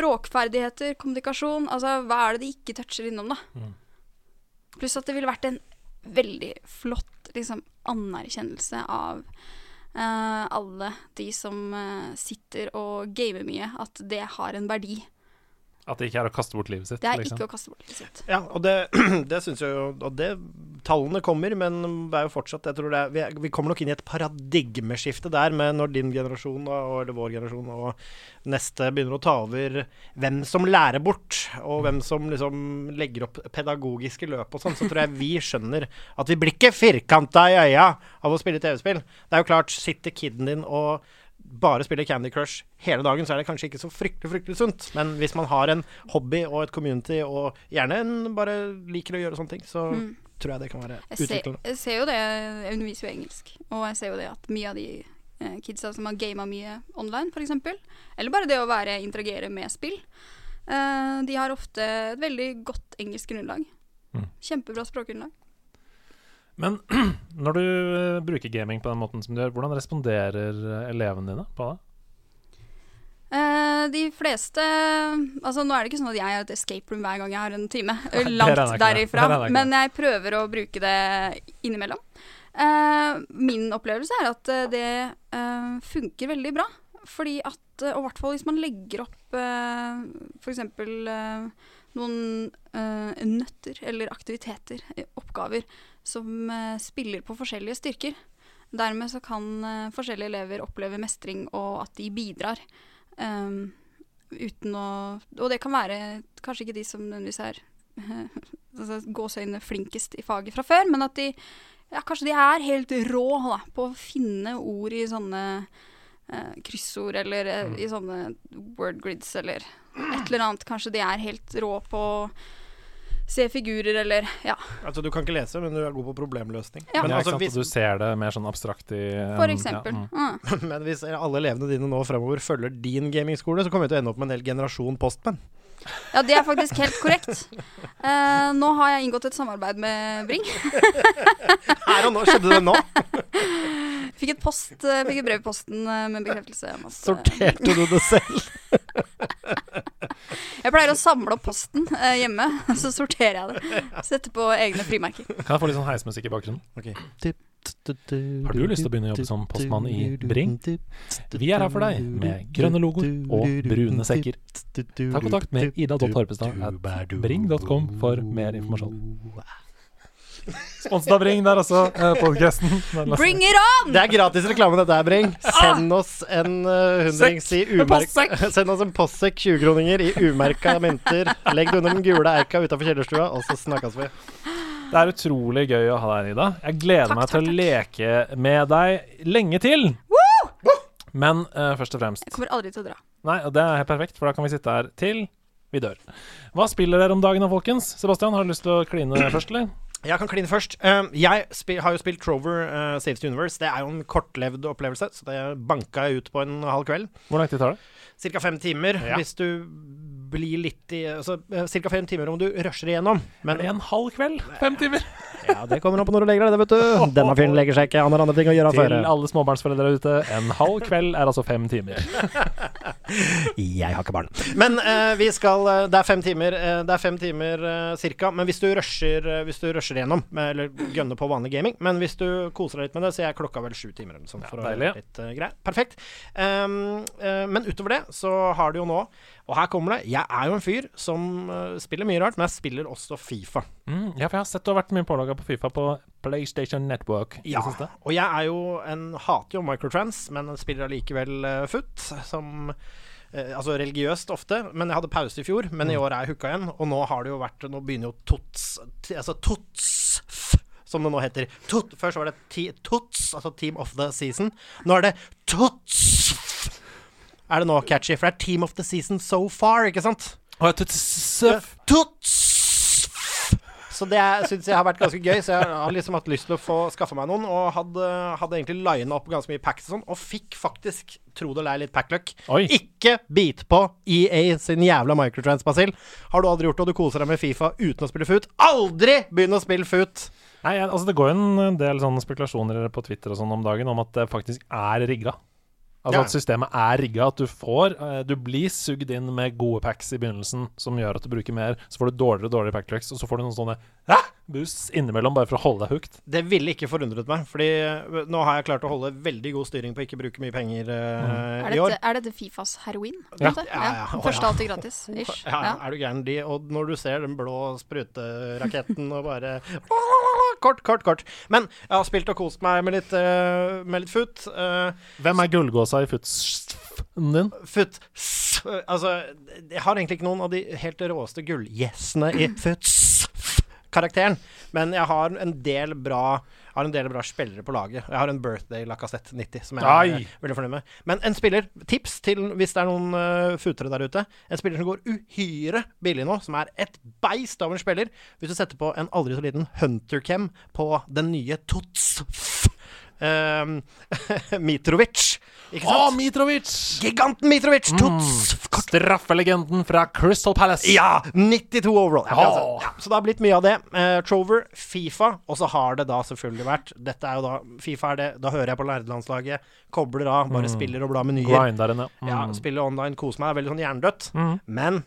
språkferdigheter, kommunikasjon. Altså, hva er det de ikke toucher innom, da? Pluss at det ville vært en veldig flott liksom, anerkjennelse av eh, alle de som eh, sitter og gamer mye, at det har en verdi. At det ikke er å kaste bort livet sitt. Det er liksom. ikke å kaste bort livet sitt. Ja, og det, det syns jeg jo Og det Tallene kommer, men det er jo fortsatt Jeg tror det er, vi, er, vi kommer nok inn i et paradigmeskifte der med når din generasjon, da, og, eller vår generasjon, og neste begynner å ta over hvem som lærer bort, og hvem som liksom legger opp pedagogiske løp og sånn, så tror jeg vi skjønner at vi blir ikke firkanta i øya av å spille TV-spill. Det er jo klart, sitter kiden din og bare spiller Candy Crush hele dagen, så er det kanskje ikke så fryktelig fryktelig sunt. Men hvis man har en hobby og et community, og gjerne en bare liker å gjøre sånne ting, så tror jeg det kan være Jeg ser, utviklende. jeg ser jo det, jeg underviser jo engelsk, og jeg ser jo det at mye av de eh, kidsa som har gama mye online, f.eks., eller bare det å være, interagere med spill, eh, de har ofte et veldig godt engelsk grunnlag. Mm. Kjempebra språkgrunnlag. Men når du eh, bruker gaming på den måten som du gjør, hvordan responderer eh, elevene dine på det? Eh, de fleste Altså Nå er det ikke sånn at jeg har et escape room hver gang jeg har en time. det Langt er det ikke. derifra. Det er det ikke. Men jeg prøver å bruke det innimellom. Eh, min opplevelse er at eh, det eh, funker veldig bra. Fordi at eh, Og i hvert fall hvis man legger opp eh, f.eks. Eh, noen eh, nøtter eller aktiviteter, eh, oppgaver, som eh, spiller på forskjellige styrker. Dermed så kan eh, forskjellige elever oppleve mestring og at de bidrar. ehm, uten å Og det kan være kanskje ikke de som nødvendigvis er altså, gåseøyne flinkest i faget fra før, men at de ja, kanskje de er helt rå da, på å finne ord i sånne eh, kryssord eller eh, Mm. i sånne word grids eller et eller annet. Kanskje de er helt rå på å se figurer eller ja, Altså, du kan ikke lese, men du er god på problemløsning. Ja. Men, ja, ikke altså, sant? hvis, Og du ser det mer sånn abstrakt i um, for eksempel. Ja, mm. Mm. men hvis alle elevene dine nå fremover følger din gamingskole, så kommer vi til å ende opp med en hel generasjon postmenn. Ja, det er faktisk helt korrekt. Eh, nå har jeg inngått et samarbeid med Bring. Her og nå skjedde det nå! Fikk et, post, eh, fikk et brev i posten eh, med bekreftelse. om at, eh, Sorterte du det selv? Jeg pleier å samle opp posten eh, hjemme, så sorterer jeg det. Setter på egne frimerker. Kan jeg få litt sånn heismusikk i bakgrunnen? Har du lyst til å begynne å jobbe som postmann i Bring? Vi er her for deg med grønne logoer og brune sekker. Ta kontakt med ida.torpestad at bring.com for mer informasjon. Sponset av Bring der også, eh, podcasten. Den laster- Bring it on! Det er gratis reklame, dette her, Bring. Send oss en eh, hundrings i umerk... Send oss en postsekk, 20-kroninger, i umerka mynter. Legg det under den gule eika utafor kjellerstua, og så snakkes vi. Det er utrolig gøy å ha deg her, Ida. Jeg gleder Takk, meg til takk, å leke med deg lenge til. Men eh, først og fremst Jeg kommer aldri til å dra. Nei, og det er helt perfekt, for da kan vi sitte her til vi dør. Hva spiller dere om dagen da, folkens? Sebastian, har du lyst til å kline først, eller? Jeg kan kline først. Um, jeg spi har jo spilt Trover eh, Saves the Universe. Det er jo en kortlevd opplevelse, så det banka jeg ut på en halv kveld. Hvor lang tid tar det? Cirka fem timer Ja. hvis du blir litt i Altså eh, cirka fem timer om du rusher igjennom. Men En halv kveld? Fem timer? ja, det kommer an på når du legger deg, det, vet du. Denne fyren legger seg ikke, han har andre ting å gjøre. Til for. alle småbarnsforeldre ute, en halv kveld er altså fem timer. Jeg har ikke barn. Men eh, vi skal eh, Det er fem timer, eh, det er fem timer eh, cirka. Men hvis du rusher, eh, hvis du rusher gjennom, eh, eller gønner på vanlig gaming Men hvis du koser deg litt med det, så er klokka vel sju timer eller noe sånt. for å deilig. være litt eh, grei. Perfekt. Um, eh, men utover det så har du jo nå Og her kommer det. Jeg er jo en fyr som eh, spiller mye rart, men jeg spiller også Fifa. Mm, ja, for jeg har sett du har vært mye pålogga på Fifa på PlayStation Network. i det Ja, siste. og jeg er jo en hater jo microtrans, men spiller allikevel uh, foot, som eh, Altså religiøst ofte, men jeg hadde pause i fjor, men i år er jeg hooka igjen. Og nå har det jo vært Nå begynner jo tots t- Altså tots som det nå heter. Tot, først var det ti, tots, altså Team of the Season. Nå er det tots Er det nå catchy? For det er Team of the Season so far, ikke sant? Og jeg tøff. Tots! Så det syns jeg har vært ganske gøy, så jeg har liksom hatt lyst til å få skaffa meg noen. Og hadde, hadde egentlig lina opp ganske mye packs og sånn, og fikk faktisk, tro det eller ei, litt packluck. Oi. Ikke bit på EA sin jævla microtrans, Basil. Har du aldri gjort det, og du koser deg med Fifa uten å spille foot? Aldri begynn å spille foot! Nei, jeg- altså Det går jo en del sånne spekulasjoner på Twitter og sånn om dagen om at det faktisk er rigga. Altså Ja. At systemet er rigga. At du får eh, Du blir sugd inn med gode packs i begynnelsen som gjør at du bruker mer. Så får du dårligere og dårligere packlucks, og så får du noen sånne Hæ? boosts innimellom bare for å holde deg hooked. Det ville ikke forundret meg, Fordi eh, nå har jeg klart å holde veldig god styring på ikke bruke mye penger eh, Er i år. dette, er dette Fifas heroin? Ja. Dette? Ja, ja, å, Første ja. alltid gratis. Ish. Ja, Ja. er du gæren de Og når du ser den blå spruteraketten og bare Kort, kort, kort. Men jeg har spilt og kost meg med litt, eh, med litt foot. eh, Hvem er gullgåsa i footsfen din? foot s- eh, Altså, jeg har egentlig ikke noen av de helt råeste gullgjessene i foot s- karakteren, men jeg har en del bra jeg har en del bra spillere på laget. Jeg har en birthday Lacassette 90 som jeg er Ai. eh, veldig fornøyd med. Men en spiller, tips til hvis det er noen eh, futere der ute En spiller som går uhyre billig nå, som er et beist av en spiller Hvis du setter på en aldri så liten Huntercam på den nye Tots eh, Mitrovic. Ikke Å, sant? Mitrovic! Giganten Mitrovic! Tots! Mm. Straffelegenden fra Crystal Palace. Ja! 92 overall. Ja, men altså, Åh. ja, så det har blitt mye av det. Eh, Trover, Fifa, og så har det da selvfølgelig vært Dette er jo da Fifa er det Da hører jeg på nerdelandslaget, kobler av, bare spiller og blar menyer. Grinder henne. Mm. Ja, spiller online, koser meg. er Veldig sånn jerndødt. Mm. Men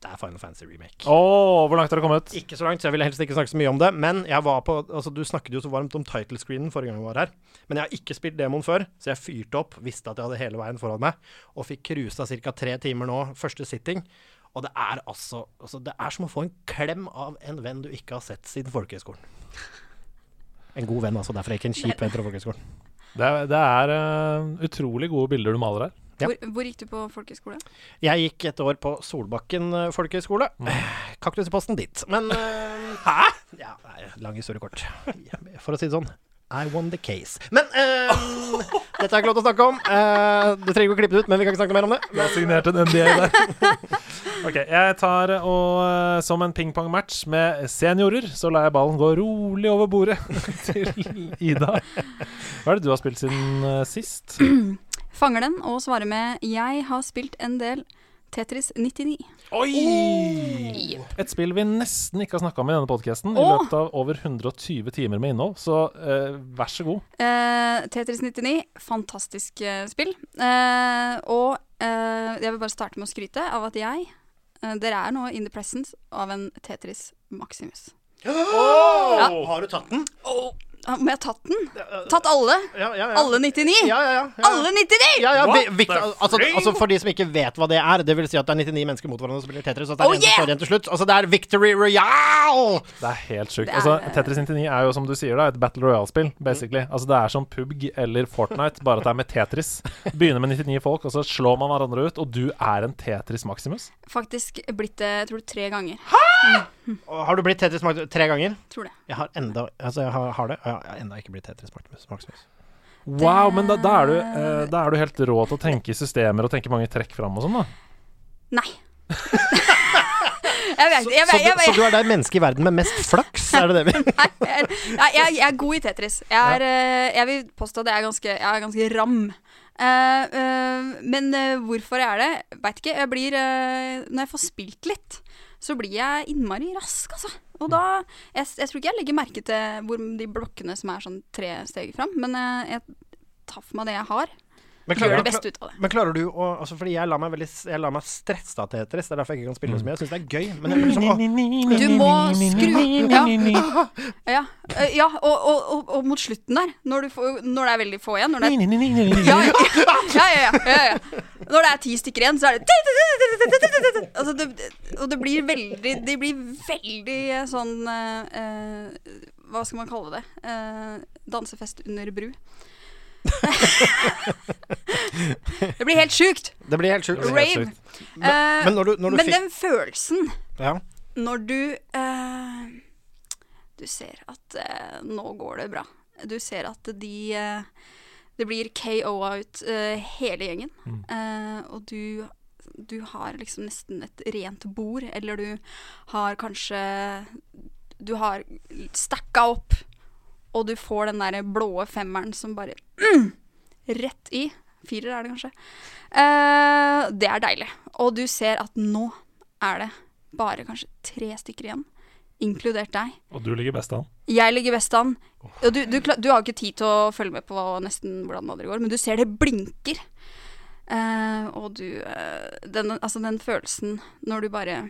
det er Final Fantasy Remake. Åh, hvor langt har det kommet? Ikke så langt, så jeg ville helst ikke snakke så mye om det. Men jeg var på Altså, du snakket jo så varmt om title screenen forrige gang jeg var her. Men jeg har ikke spilt demoen før, så jeg fyrte opp, visste at jeg hadde hele veien foran meg, og fikk cruisa ca. tre timer nå, første sitting. Og det er altså, altså Det er som å få en klem av en venn du ikke har sett siden folkehøyskolen. En god venn, altså. Derfor er jeg ikke en kjip venn fra folkehøyskolen. Det er, det er eh, utrolig gode bilder du maler her. Ja. Hvor, hvor gikk du på folkehøyskole? Jeg gikk et år på Solbakken eh, folkehøgskole. Kaktus i posten dit. Men Hæ?! Ja, nei, lang historie kort. For å si det sånn. I won the case. Men eh, dette har jeg ikke lov til å snakke om. Eh, du trenger ikke å klippe det ut, men vi kan ikke snakke mer om det. Jeg har signert en NDA der. Ok, jeg tar eh, og eh, som en pingpongmatch med seniorer, så lar jeg ballen gå rolig over bordet til Ida. Hva er det du har spilt siden eh, sist? Fanger den og svarer med 'Jeg har spilt en del Tetris 99'. Oi! Et spill vi nesten ikke har snakka om i denne podkasten, i Åh! løpet av over 120 timer med innhold, så eh, vær så god. Eh, Tetris 99, fantastisk eh, spill. Eh, og eh, jeg vil bare starte med å skryte av at jeg eh, Dere er nå in the presence av en Tetris Maximus. Ja. Har du tatt den? Ah, Om jeg har tatt den? Tatt alle? Ja, ja, ja. Alle 99? Ja, ja, ja. ja. Alle 99! ja, ja, What vi- vi- the altså, freak? altså For de som ikke vet hva det er, det vil si at det er 99 mennesker mot hverandre som spiller Tetris, og at det er Oh, en som yeah! står igjen til slutt. Altså, det er Victory Royale! Det er helt sjukt. Det er- eh, Mm. Altså, Tetris 99 er jo, som du sier, da, et Battle Royale-spill, basically. Altså, det er som PubG eller Fortnite, bare at det er med Tetris. Begynner med 99 folk, og så slår man hverandre ut, og du er en Tetris Maximus. Faktisk blitt det jeg tror tre ganger. Og Har du blitt Tetris Max- tre ganger? Tror det. Jeg har enda Altså, jeg har, har det, og jeg har enda ikke blitt Tetris Maximus- Maximus. Wow, men da, da, er du, eh, da er du helt rå til å tenke i systemer og tenke mange trekk fram og sånn, da. Nei. jeg vet Så, ikke. Jeg, så, vet- jeg, du, så vet- du er det mennesket i verden med mest flaks, er det det vi Nei, jeg, jeg, jeg, jeg er god i Tetris. Jeg, er, eh, jeg vil påstå at jeg er ganske, jeg er ganske ram. Eh, eh, men eh, hvorfor jeg er det, veit ikke. Jeg blir, eh, når jeg får spilt litt, så blir jeg innmari rask, altså. Og da jeg, s- jeg tror ikke jeg legger merke til hvor de blokkene som er sånn tre steg fram, men eh, jeg tar for meg det jeg har. men Gjør klarer, det beste ut av det. men klarer du å altså Fordi jeg lar meg veldig s- Jeg lar meg stresse av Tetris, det er derfor jeg ikke kan spille så mye. Jeg syns det er gøy, men jeg blir sånn, åh, Du må skru Ja, ja, eh, ja og, og, og, og mot slutten der, når, du får, når det er veldig få igjen, når det er ja, ja, ja, ja, ja, ja, ja. Når det er ti stykker igjen, så er det altså, det, Og det blir veldig Det blir veldig eh, sånn eh, eh, Hva skal man kalle det? Eh, dansefest under bru. det blir helt sjukt! det blir helt sjukt. Helt Rave. sjukt. Eh, Men når du, når du men fikk den følelsen ja. når du eh, Du ser at eh, nå går det bra. Du ser at de eh, Det blir KO-a ut eh, hele gjengen. Eh, og du, du har liksom nesten et rent bord, eller du har kanskje Du har stacka opp, og du får den der blå femmeren som bare Rett i. Firer er det kanskje. Eh, det er deilig. Og du ser at nå er det bare kanskje tre stykker igjen, inkludert deg. Og du ligger best an. Jeg ligger best an. Og du, du, kla- du har ikke tid til å følge med på hva- nesten hvordan det andre går, men du ser det blinker. Eh, og du eh, den, Altså, den følelsen når du bare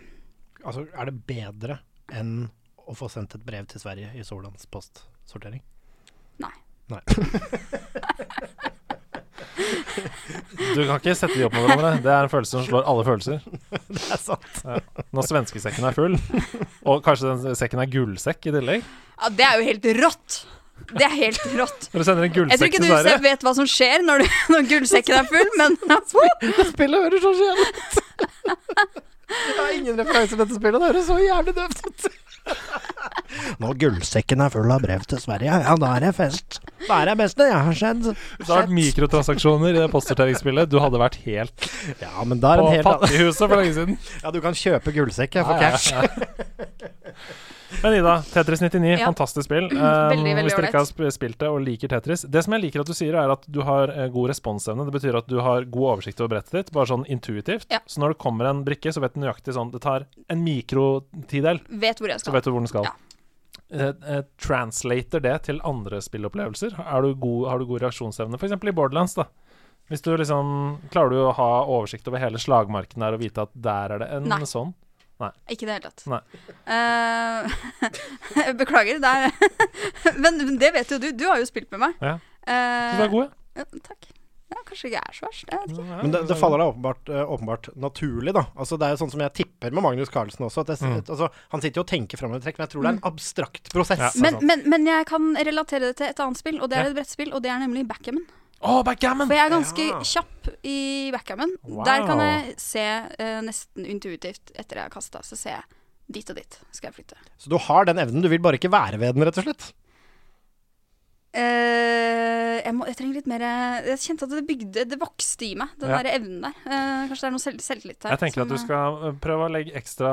Altså, er det bedre enn å få sendt et brev til Sverige i Solands postsortering? Nei. Nei. Du kan ikke sette de opp mot hverandre. Det er en følelse som slår alle følelser. Det er sant. Når svenskesekken er full, og kanskje den sekken er gullsekk i tillegg Ja, det er jo helt rått! Det er helt rått. Når du sender en Jeg tror gullsekk ikke til du se- Sverige vet hva som skjer når, du, når gullsekken er full, men altså, Spillet høres så skjevt ut. Jeg har ingen referanse til dette spillet. Det høres så jævlig døvt ut. Når gullsekken er full av brev til Sverige, ja, da er det fest. Da er det beste jeg har skjedd. Hvis det hadde vært mikrotransaksjoner i det postsorteringsspillet, du hadde vært helt Ja, men da er på det en helt annen fattighuset for lenge siden. Ja, du kan kjøpe gullsekk jeg, for Ja, ja, cash. ja. Men Ida, Tetris 99, Ja. fantastisk spill. Um, Veldig, veldig hvis dere ikke har sp- spilt det og liker Tetris Det som jeg liker at du sier, er at du har eh, god responsevne. Det betyr at du har god oversikt over brettet ditt, bare sånn intuitivt. Ja. Så når det kommer en brikke, så vet du nøyaktig sånn Det tar en mikrotidel, Vet hvor jeg så skal. vet du hvor den skal. Ja. Eh, eh, translater det til andre spillopplevelser? Er du god, har du god reaksjonsevne, f.eks. i Borderlands? da Hvis du liksom Klarer du å ha oversikt over hele slagmarken der og vite at der er det en Nei. sånn? Ikke i det hele tatt. Nei. Eh, beklager, det er Men men det vet jo du. Du har jo spilt med meg. Ja. Eh, Så du er god, ja. ja, takk. Ja, kanskje ikke jeg er så verst. Jeg vet ikke. Ja, Men det, så det er faller da åpenbart, eh, åpenbart naturlig, da. Altså, det er jo sånn som jeg tipper med Magnus Carlsen også. At jeg, s- Mm. altså, han sitter jo og tenker framover i trekk, men jeg tror det er en abstrakt prosess. Ja. altså. Men, men, men jeg kan relatere det til et annet spill, og det er sånn. Ja. et brettspill, og det er nemlig backgammon. Å, backgammon! For jeg er ganske Ja. kjapp i backgammon. Wow. Der kan jeg se eh, nesten intuitivt etter jeg har kasta, så ser jeg dit og dit skal jeg flytte. Så du har den evnen, du vil bare ikke være ved den, rett og slett. Eh, jeg, må, jeg trenger litt mer eh, Jeg kjente at det bygde Det vokste i meg, den Ja. der evnen der. Eh, kanskje det er noe selv, selvtillit der. Jeg tenker som, at du eh, skal eh, prøve å legge ekstra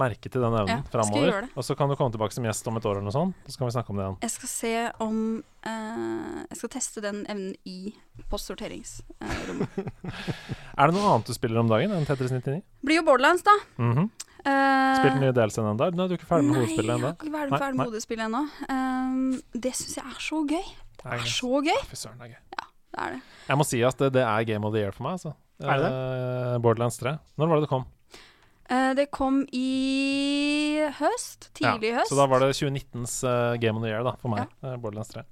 merke til den Ja, evnen skal framover. gjøre det. Og så kan du komme tilbake som gjest om et år eller noe sånt, så kan vi snakke om det igjen. eh, Jeg skal se om eh, Jeg skal teste den evnen i eh, postsorteringsrommet. Er det noe annet du spiller om dagen enn Tetris 99? Blir jo Borderlands, da. Mhm. Eh, Spilt mye dels enn ennå? Nå er du ikke ferdig med hovedspillet ennå? Nei, jeg har ikke Nei, vært nei. ferdig med hodespillet ennå. Eh, det syns jeg er så gøy. Det er så gøy. Fy søren, det er gøy. Det er det. Jeg må si at det, det er game of the year for meg, altså. Er det Eh, Borderlands 3. Når var det det kom? Eh, det kom i høst. Tidlig i Ja, høst. Så da var det 2019s eh, game of the year da, for meg. eh, Borderlands 3.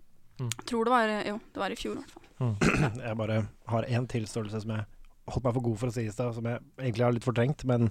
Tror det var Jo, det var i fjor, i hvert fall. Jeg bare har én tilståelse som jeg holdt meg for god for å si i stad, som jeg egentlig har litt fortrengt, men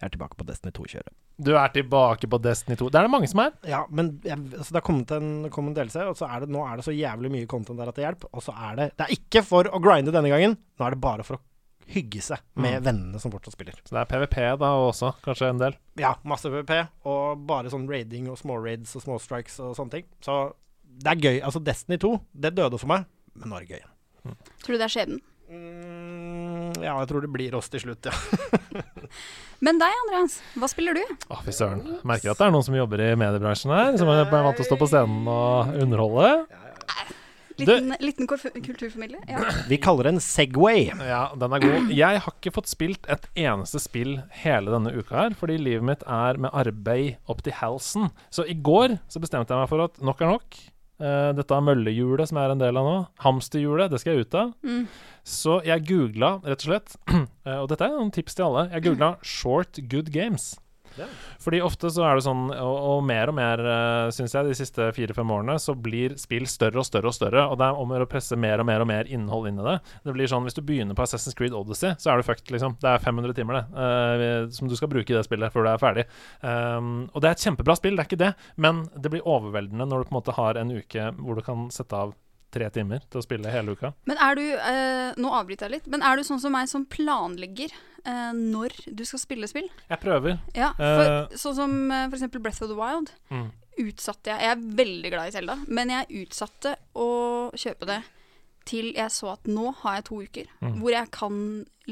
jeg er tilbake på Destiny 2-kjøret. Du er tilbake på Destiny 2. Det er det mange som er. Ja, men jeg, altså det har kommet en, kom en delelse, og så er det, nå er det så jævlig mye content der at det hjelper. Og så er det Det er ikke for å grinde denne gangen, nå er det bare for å hygge seg med Mm. vennene som fortsatt spiller. Så det er PVP da også, kanskje en del. Ja, masse PVP, og bare sånn raiding og små raids og små strikes og sånne ting. Så det er gøy. Altså, Destiny 2, det døde for meg, men nå er det gøy. Tror du det er skjebnen? Mm, ja, jeg tror det blir oss til slutt, ja. Men deg, Andreas, hva spiller du? Å, fy søren. Merker at det er noen som jobber i mediebransjen her, som er vant til å stå på scenen og underholde. Liten, liten korf- kulturformidler? Ja. Vi kaller det en Segway. Ja, den er god. Jeg har ikke fått spilt et eneste spill hele denne uka her, fordi livet mitt er med arbeid opp til halsen. Så i går så bestemte jeg meg for at nok er nok. Eh, dette møllehjulet som jeg er en del av nå, hamsterhjulet, det skal jeg ut av. Mm. Så jeg googla rett og slett, eh, og dette er noen tips til alle, jeg googla 'short good games'. Ja. Fordi ofte så er det sånn, og, og mer og mer uh, syns jeg de siste fire-fem årene, så blir spill større og større og større, og det er om å gjøre å presse mer og mer og mer innhold inn i det. Det blir sånn, Hvis du begynner på Assassin's Creed Odyssey, så er du fucked, liksom. Det er 500 timer det, eh, som du skal bruke i det spillet før du er ferdig. Um, og det er et kjempebra spill, det er ikke det, men det blir overveldende når du på en måte har en uke hvor du kan sette av tre timer til å spille hele uka. Men er du eh, Nå avbryter jeg litt, men er du sånn som meg som planlegger eh, når du skal spille spill? Jeg prøver. Ja, for, Eh. Sånn som eh, for eksempel Breath of the Wild. Mm. Utsatte jeg Jeg er veldig glad i Selda, men jeg utsatte å kjøpe det til jeg så at nå har jeg to uker Mm. hvor jeg kan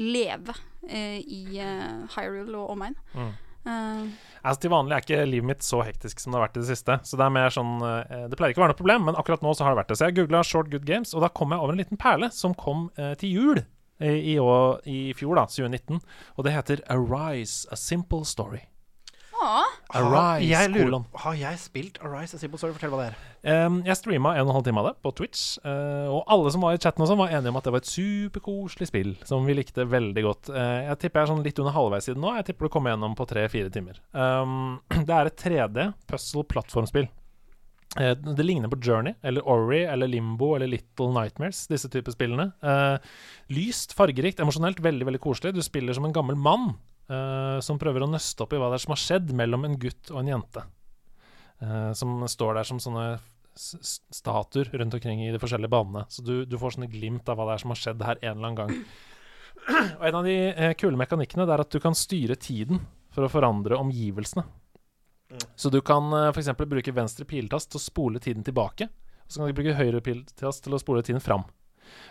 leve eh, i eh, Hyrule og omegn. Mm. Eh, Altså Til vanlig er ikke livet mitt så hektisk som det har vært i det siste. Så Det er mer sånn eh, Det pleier ikke å være noe problem, men akkurat nå så har det vært det. Så jeg googla Short Good Games, og da kom jeg over en liten perle som kom eh, til jul eh, i, år, i fjor, da, 2019. Og det heter Arise, A Simple Story. ja, Arise, jeg lurer- kolon. Har jeg spilt Arise? Jeg sier på sorry, fortell hva det er. Em, Ehm, jeg streama en og en halv time av det på Twitch, eh, og alle som var i chatten, og sånn var enige om at det var et superkoselig spill som vi likte veldig godt. Eh, jeg tipper jeg er sånn litt under halvveis i det nå. Jeg tipper du kommer gjennom på tre-fire timer. Em, det er et 3D puzzle-plattformspill. Eh, det ligner på Journey eller Ori eller Limbo eller Little Nightmares, disse typer spillene. Eh, lyst, fargerikt, emosjonelt, veldig, veldig koselig. Du spiller som en gammel mann eh, som prøver å nøste opp i hva det er som har skjedd mellom en gutt og en jente. Eh, som står der som sånne s- s- statuer rundt omkring i de forskjellige banene. Så du, du får sånne glimt av hva det er som har skjedd her en eller annen gang. Og en av de eh, kule mekanikkene det er at du kan styre tiden for å forandre omgivelsene. Så du kan eh, for eksempel bruke venstre piltast til å spole tiden tilbake. Og så kan du bruke høyre piltast til å spole tiden fram.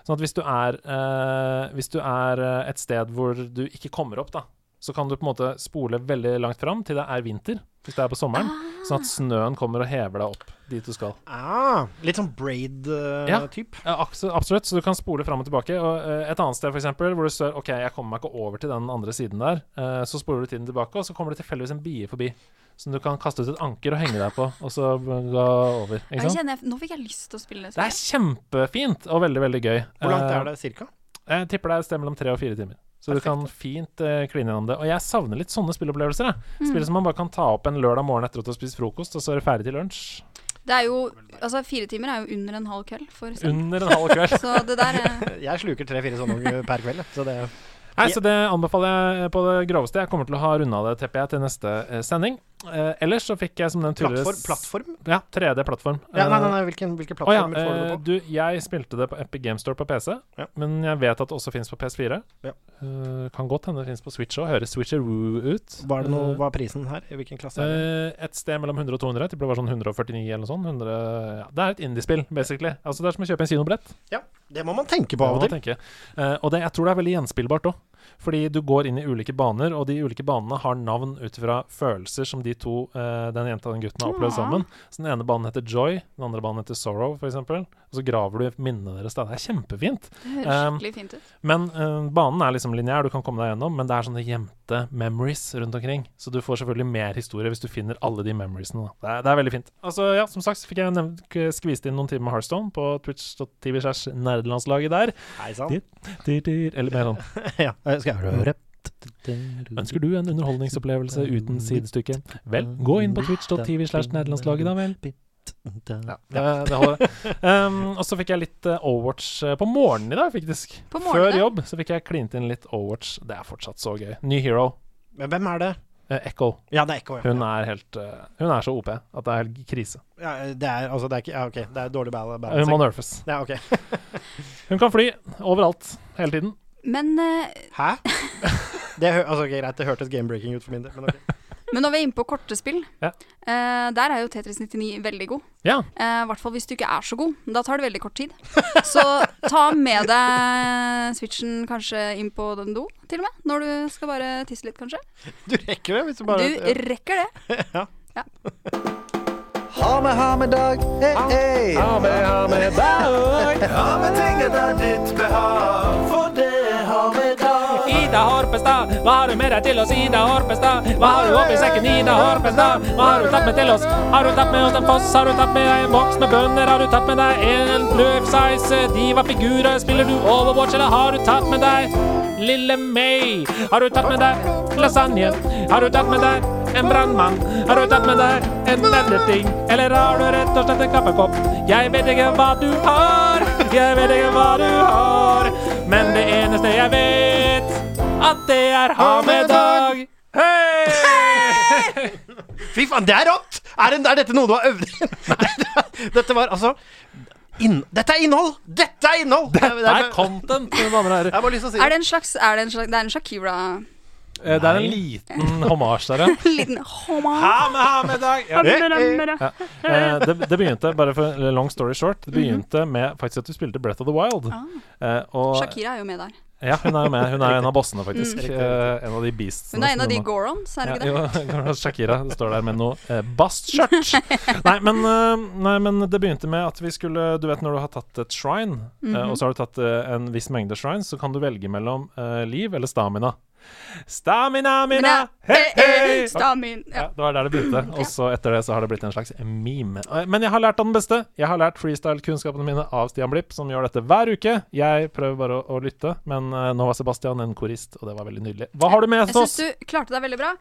Sånn at hvis du er, eh, hvis du er eh, et sted hvor du ikke kommer opp, da, så kan du på en måte spole veldig langt fram til det er vinter, hvis det er på sommeren. Ah, Sånn at snøen kommer og hever deg opp dit du skal. Ah, litt sånn braid-type. Ja. Ja, abso- absolutt, så du kan spole fram og tilbake. Og eh, et annet sted, for eksempel, hvor du står OK, jeg kommer meg ikke over til den andre siden der. eh, så spoler du tiden tilbake, og så kommer det tilfeldigvis en bie forbi. Som du kan kaste ut et anker og henge deg på, og så gå over. Ikke Jeg sant? kjenner, jeg- nå fikk jeg lyst til å spille det Det er spillet. kjempefint og veldig, veldig gøy. Eh, Hvor langt er det cirka? Jeg tipper det er et sted mellom tre og fire timer. Så du kan fint eh, kline gjennom det. Og jeg savner litt sånne spillopplevelser. Jeg. Spill som man bare kan ta opp en lørdag morgen etter at du har spist frokost, og så er det ferdig til lunsj. Det er jo, altså Fire timer er jo under en halv kveld for Sven. Under en halv kveld. Så det der eh, er Jeg sluker tre-fire sånne per kveld. jeg. Så det, Nei, så det anbefaler jeg på det groveste. Jeg kommer til å ha runda det teppet jeg til neste eh, sending. Eh, ellers så fikk jeg som den tidligere plattform? plattform? Ja, 3D-plattform. Ja, nei, nei, nei, hvilken, hvilke Å ja, plattformer får du eh, det på? du, jeg spilte det på Epic Game Store på PC, Ja. men jeg vet at det også fins på PS4. Ja. Eh, kan godt hende det fins på Switch òg. Høres Switcheroo ut. Var det noe, Eh, hva er prisen her? I hvilken klasse? er det? Eh, et sted mellom 100 og 200. Det ble bare sånn 149 eller noe sånt. 100, ja. Det er et indiespill, basically. Altså, det er som å kjøpe en kinobillett. Ja, det må man tenke Det på av må og man til. tenke. Eh, og det, jeg tror det er veldig gjenspillbart òg. Fordi du går inn i ulike baner, og de ulike banene har navn ut fra følelser som de to, eh, den jenta og den gutten, har opplevd Ja. sammen. Så den ene banen heter Joy, den andre banen heter Sorrow, f.eks. Og så graver du i minnene deres. da. Det er kjempefint. Um. Det høres skikkelig fint ut. Men eh, banen er liksom lineær, du kan komme deg gjennom, men det er sånne gjemte memories rundt omkring. Så du får selvfølgelig mer historie hvis du finner alle de memoriesene. Da. Det, er, det er veldig fint. Altså, ja, som sagt så fikk jeg nevnt, k- skvist inn noen timer med Hearthstone på twitch.tv slash nerdelandslaget der. Nei sann. Det- Eller mer sånn Ja, eh, skal jeg høre. Ønsker du en underholdningsopplevelse uten sidestykke? Vel, gå inn på twitch.tv slash nerdelandslaget, da vel. Ja, det, det holder. Um, og så fikk jeg litt eh, Overwatch eh, på morgenen i dag, faktisk. På morgenen? Før jobb så fikk jeg klint inn litt Overwatch. Det er fortsatt så gøy. Ny hero. Men hvem er det? Eh, Echo. Ja, det er Ekko. Ja. Hun er helt eh, Hun er så OP at det er helt krise. Ja, det er altså det er ikke Ja, OK. Det er dårlig bal- Hun må balancing. nerfes. Ja, OK. Hun kan fly overalt hele tiden. Men, eh, Hæ? Det, hø- altså, ok, greit, det hørtes game-breaking ut for min del, men ok. men når vi er inne på korte spill, Ja. eh, der er jo Tetris 99 veldig god. Ja. Eh, I hvert fall hvis du ikke er så god. Da tar det veldig kort tid. Så ta med deg switchen kanskje inn på den do, til og med. Når du skal bare tisse litt, kanskje. Du rekker det hvis du bare Du eh, rekker det. Ha med, ha med dag. Hey, hey. Ha med, ha med dag. Ha med ting etter ditt behag, for det har vi dag. Ida Horpestad, hva har du med deg til oss? Ida Horpestad, hva har du oppi sekken? Ida Horpestad, hva har du tatt med til oss? Har du tatt med oss en foss? Har du tatt med deg en boks med bønner? Har du tatt med deg en løvsize? Diva-figurer? Spiller du Overwatch, eller har du tatt med deg Lille May? Har du tatt med deg lasagne? Har du tatt med deg en brannmann? Har du tatt med deg en venneting? Eller har du rett og slett en kaffekopp? Jeg vet ikke hva du har, jeg vet ikke hva du har, men det eneste jeg vet at det er ha med dag. Hei! Fy faen, det er rått! Er, det, er dette noe du har øvd inn? dette var altså inn, Dette er innhold! Dette er innhold! Det er- det Det er- er content, mine damer og Jeg herrer. har bare lyst til å si Er det en slags, er det en slags Det er en Shakira Eh, Det er en liten hommage der, ja. Liten homa. Ha med, ha med dag. Ja, det- Eh, Det, det begynte, bare for long story short, det begynte med faktisk at du spilte Breath of the Wild. Eh, Og Shakira er jo med der. ja, hun er jo med. Hun er jo en av bossene, faktisk. Mm. Eh, En av de beasts. Hun er en av de Gorons, er hun ikke det? Ja, jo, Shakira står der med noe eh, bastskjørt. Nei, men, eh, nei, men det begynte med at vi skulle Du vet når du har tatt et shrine, Mhm. eh, og så har du tatt eh, en viss mengde shrines, så kan du velge mellom eh, liv eller stamina. Stamina Men ja, mina, hei hei! Stamin. Ja, Ja. det var der det begynte. Og så etter det så har det blitt en slags meme. Eh, Men jeg har lært av den beste. Jeg har lært freestyle-kunnskapene mine av Stian Blipp, som gjør dette hver uke. Jeg prøver bare å, å lytte, men eh, nå var Sebastian en korist, og det var veldig nydelig. Hva har du med Jeg til syns oss? du klarte deg veldig bra.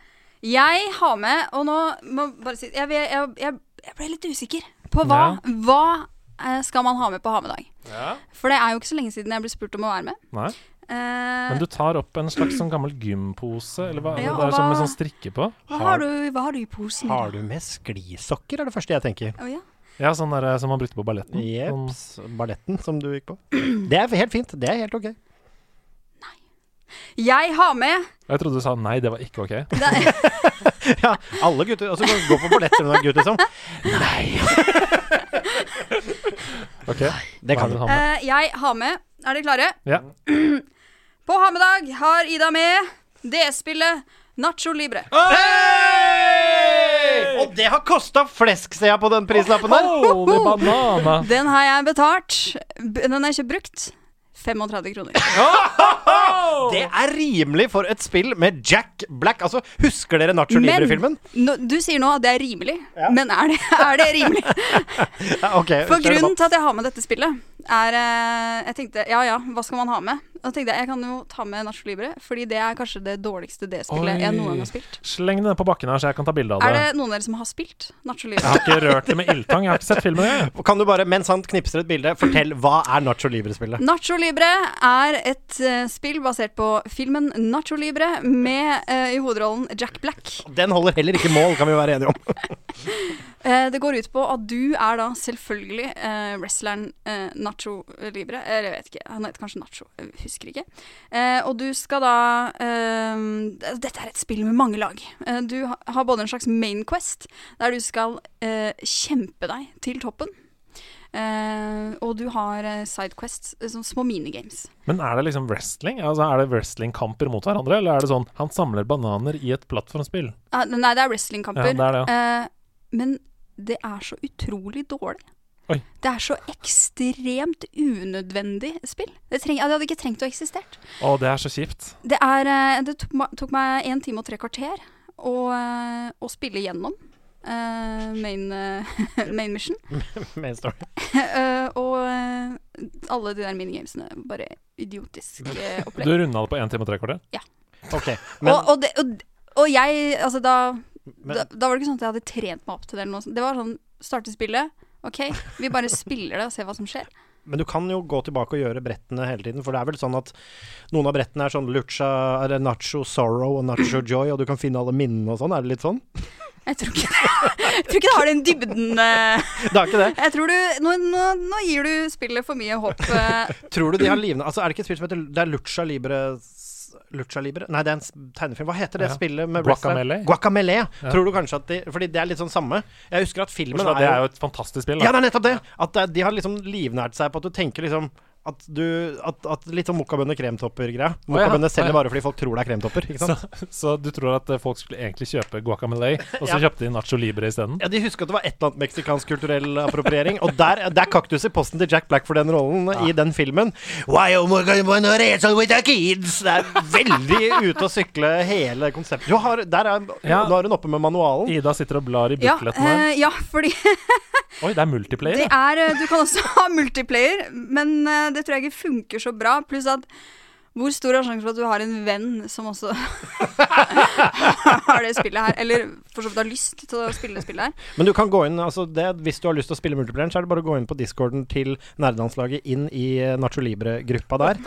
Jeg har med, og nå må jeg bare si Jeg, jeg, jeg- jeg, jeg ble litt usikker på hva, hva eh, skal man ha med på hamedag. Ja. For det er jo ikke så lenge siden jeg ble spurt om å være med. Nei? Eh, Men du tar opp en slags sånn gammel gympose, eller hva? Ja, det og er sånn med hva- sånn strikke på. hva, har du, hva har du i posen? Har du med sklisokker, er det første jeg tenker. Å ja. Ja, sånn der eh, som man brukte på balletten. Sånn- Jepps. Balletten som du gikk på. Det er helt fint. Det er helt ok. Jeg har med Jeg trodde du sa nei, det var ikke ok. det er, Ja, alle gutter altså, kan gå på ballett som en gutt, liksom. Nei. Ok, hva er Det kan du. det han har? eh, Jeg har med Er dere klare? Ja. På hamedag har Ida med det spillet Nacho Libre. Hey! Og det har kosta flesk, ser jeg på den prislappen der. Holy banana! Den har jeg betalt. B- Den er ikke brukt. 35 kroner. Det er rimelig for et spill med Jack Black. Altså, Husker dere Nacho Men- Libre-filmen? Nå, du sier nå at det er rimelig, men er det, er det rimelig? Ja, ok, For kjør grunnen debatt. til at jeg har med dette spillet, er eh, Jeg tenkte ja ja, hva skal man ha med? Og da tenkte jeg jeg kan jo ta med Nacho Libre, fordi det er kanskje det dårligste Oi. D-spillet jeg noen gang har spilt. Sleng den ned på bakken her, så jeg kan ta bilde av Er det. det noen av dere som har spilt Nacho Jeg Libre? har ikke rørt det med ildtang. Jeg har ikke sett filmen, jeg. Kan du bare, mens han knipser et bilde, fortell hva er Nacho Libre-spillet? Nacho Libre er et eh, spill basert på filmen Nacho Libre med eh, i hovedrollen Jack Black. Den holder heller ikke mål, kan vi være enige om. Eh, det går ut på at du er da selvfølgelig eh, wrestleren eh, Nacho Libre. Eller jeg vet ikke, han heter kanskje Nacho, jeg husker ikke. Eh, og du skal da eh, Dette er et spill med mange lag. Eh, du ha- har både en slags main quest, der du skal eh, kjempe deg til toppen. Eh, og du har eh, side quests, eh, sånne små minigames. Men er det liksom wrestling? Altså, er det wrestlingkamper mot hverandre, eller er det sånn han samler bananer i et plattformspill? Ah, nei, det er Ja, wrestlingkamper. det er det, ja. Eh, men det er så utrolig dårlig. Oi. Det er så ekstremt unødvendig spill. Det, treng, ja, det hadde ikke trengt å eksistert. Å, det er så kjipt. Det, er, eh, det tok, ma- tok meg én time og tre kvarter å, eh, å spille gjennom eh, main, eh, main mission. Main story. Eh, og eh, alle de der minigamesene. Bare idiotisk eh, Du opplegg. runda det på 1 time og tre kvarter? Ok, men, og, og, det, og, og jeg Altså, da da, men da var det ikke sånn at jeg hadde trent meg opp til det. Eller noe. sånt. Det var sånn starte spillet. OK, vi bare spiller det og ser hva som skjer. Men du kan jo gå tilbake og gjøre brettene hele tiden, for det er vel sånn at noen av brettene er sånn lucha, eller nacho sorrow og nacho joy, og du kan finne alle minnene og sånn. Er det litt sånn? Jeg tror ikke, jeg tror ikke det har den dybden eh. Det er ikke det. Jeg tror du Nå, nå, nå gir du spillet for mye håp. eh. Tror du de har livene Altså, er det ikke et spill som heter Det er Lucha Libre Lucha Libre? Nei, det er en s- tegnefilm. Hva heter det Ja. spillet med Guacamele? wrestler? Guacamele. Tror du kanskje at de Fordi det er litt sånn samme. Jeg husker at filmen Men det er jo et fantastisk spill. Ja, Da. det er nettopp det! At det er- de har liksom livnært seg på at du tenker liksom at du at, at Litt sånn mokkabønne kremtopper-greie. Mokkabønne Å, ja. selger bare fordi folk tror det er kremtopper, ikke sant? Så, så du tror at eh, folk skulle egentlig kjøpe guacamole, og så kjøpte de Nacho Libre isteden? Ja, De husker at det var et eller annet meksikansk kulturell appropriering. Og der, der kaktus i posten til Jack Black for den rollen i den filmen. Why oh am I gonna wrestle with the kids? Det er veldig ute å sykle, hele konseptet. Du har, der er, Ja. Nå er hun oppe med manualen. Ida sitter og blar i Ja, bukletten her. eh, ja, fordi Oi, det er multiplayer. det ja. er eh, Du kan også ha multiplayer, men eh, det tror jeg ikke funker så bra. Pluss at hvor stor er sjansen for at du har en venn som også har det spillet her? Eller for så vidt har lyst til å spille det spillet her. Men du kan gå inn, altså det, hvis du har lyst til å spille multiplayer, så er det bare å gå inn på discorden til nerdelandslaget inn i eh, Nacho Libre-gruppa der.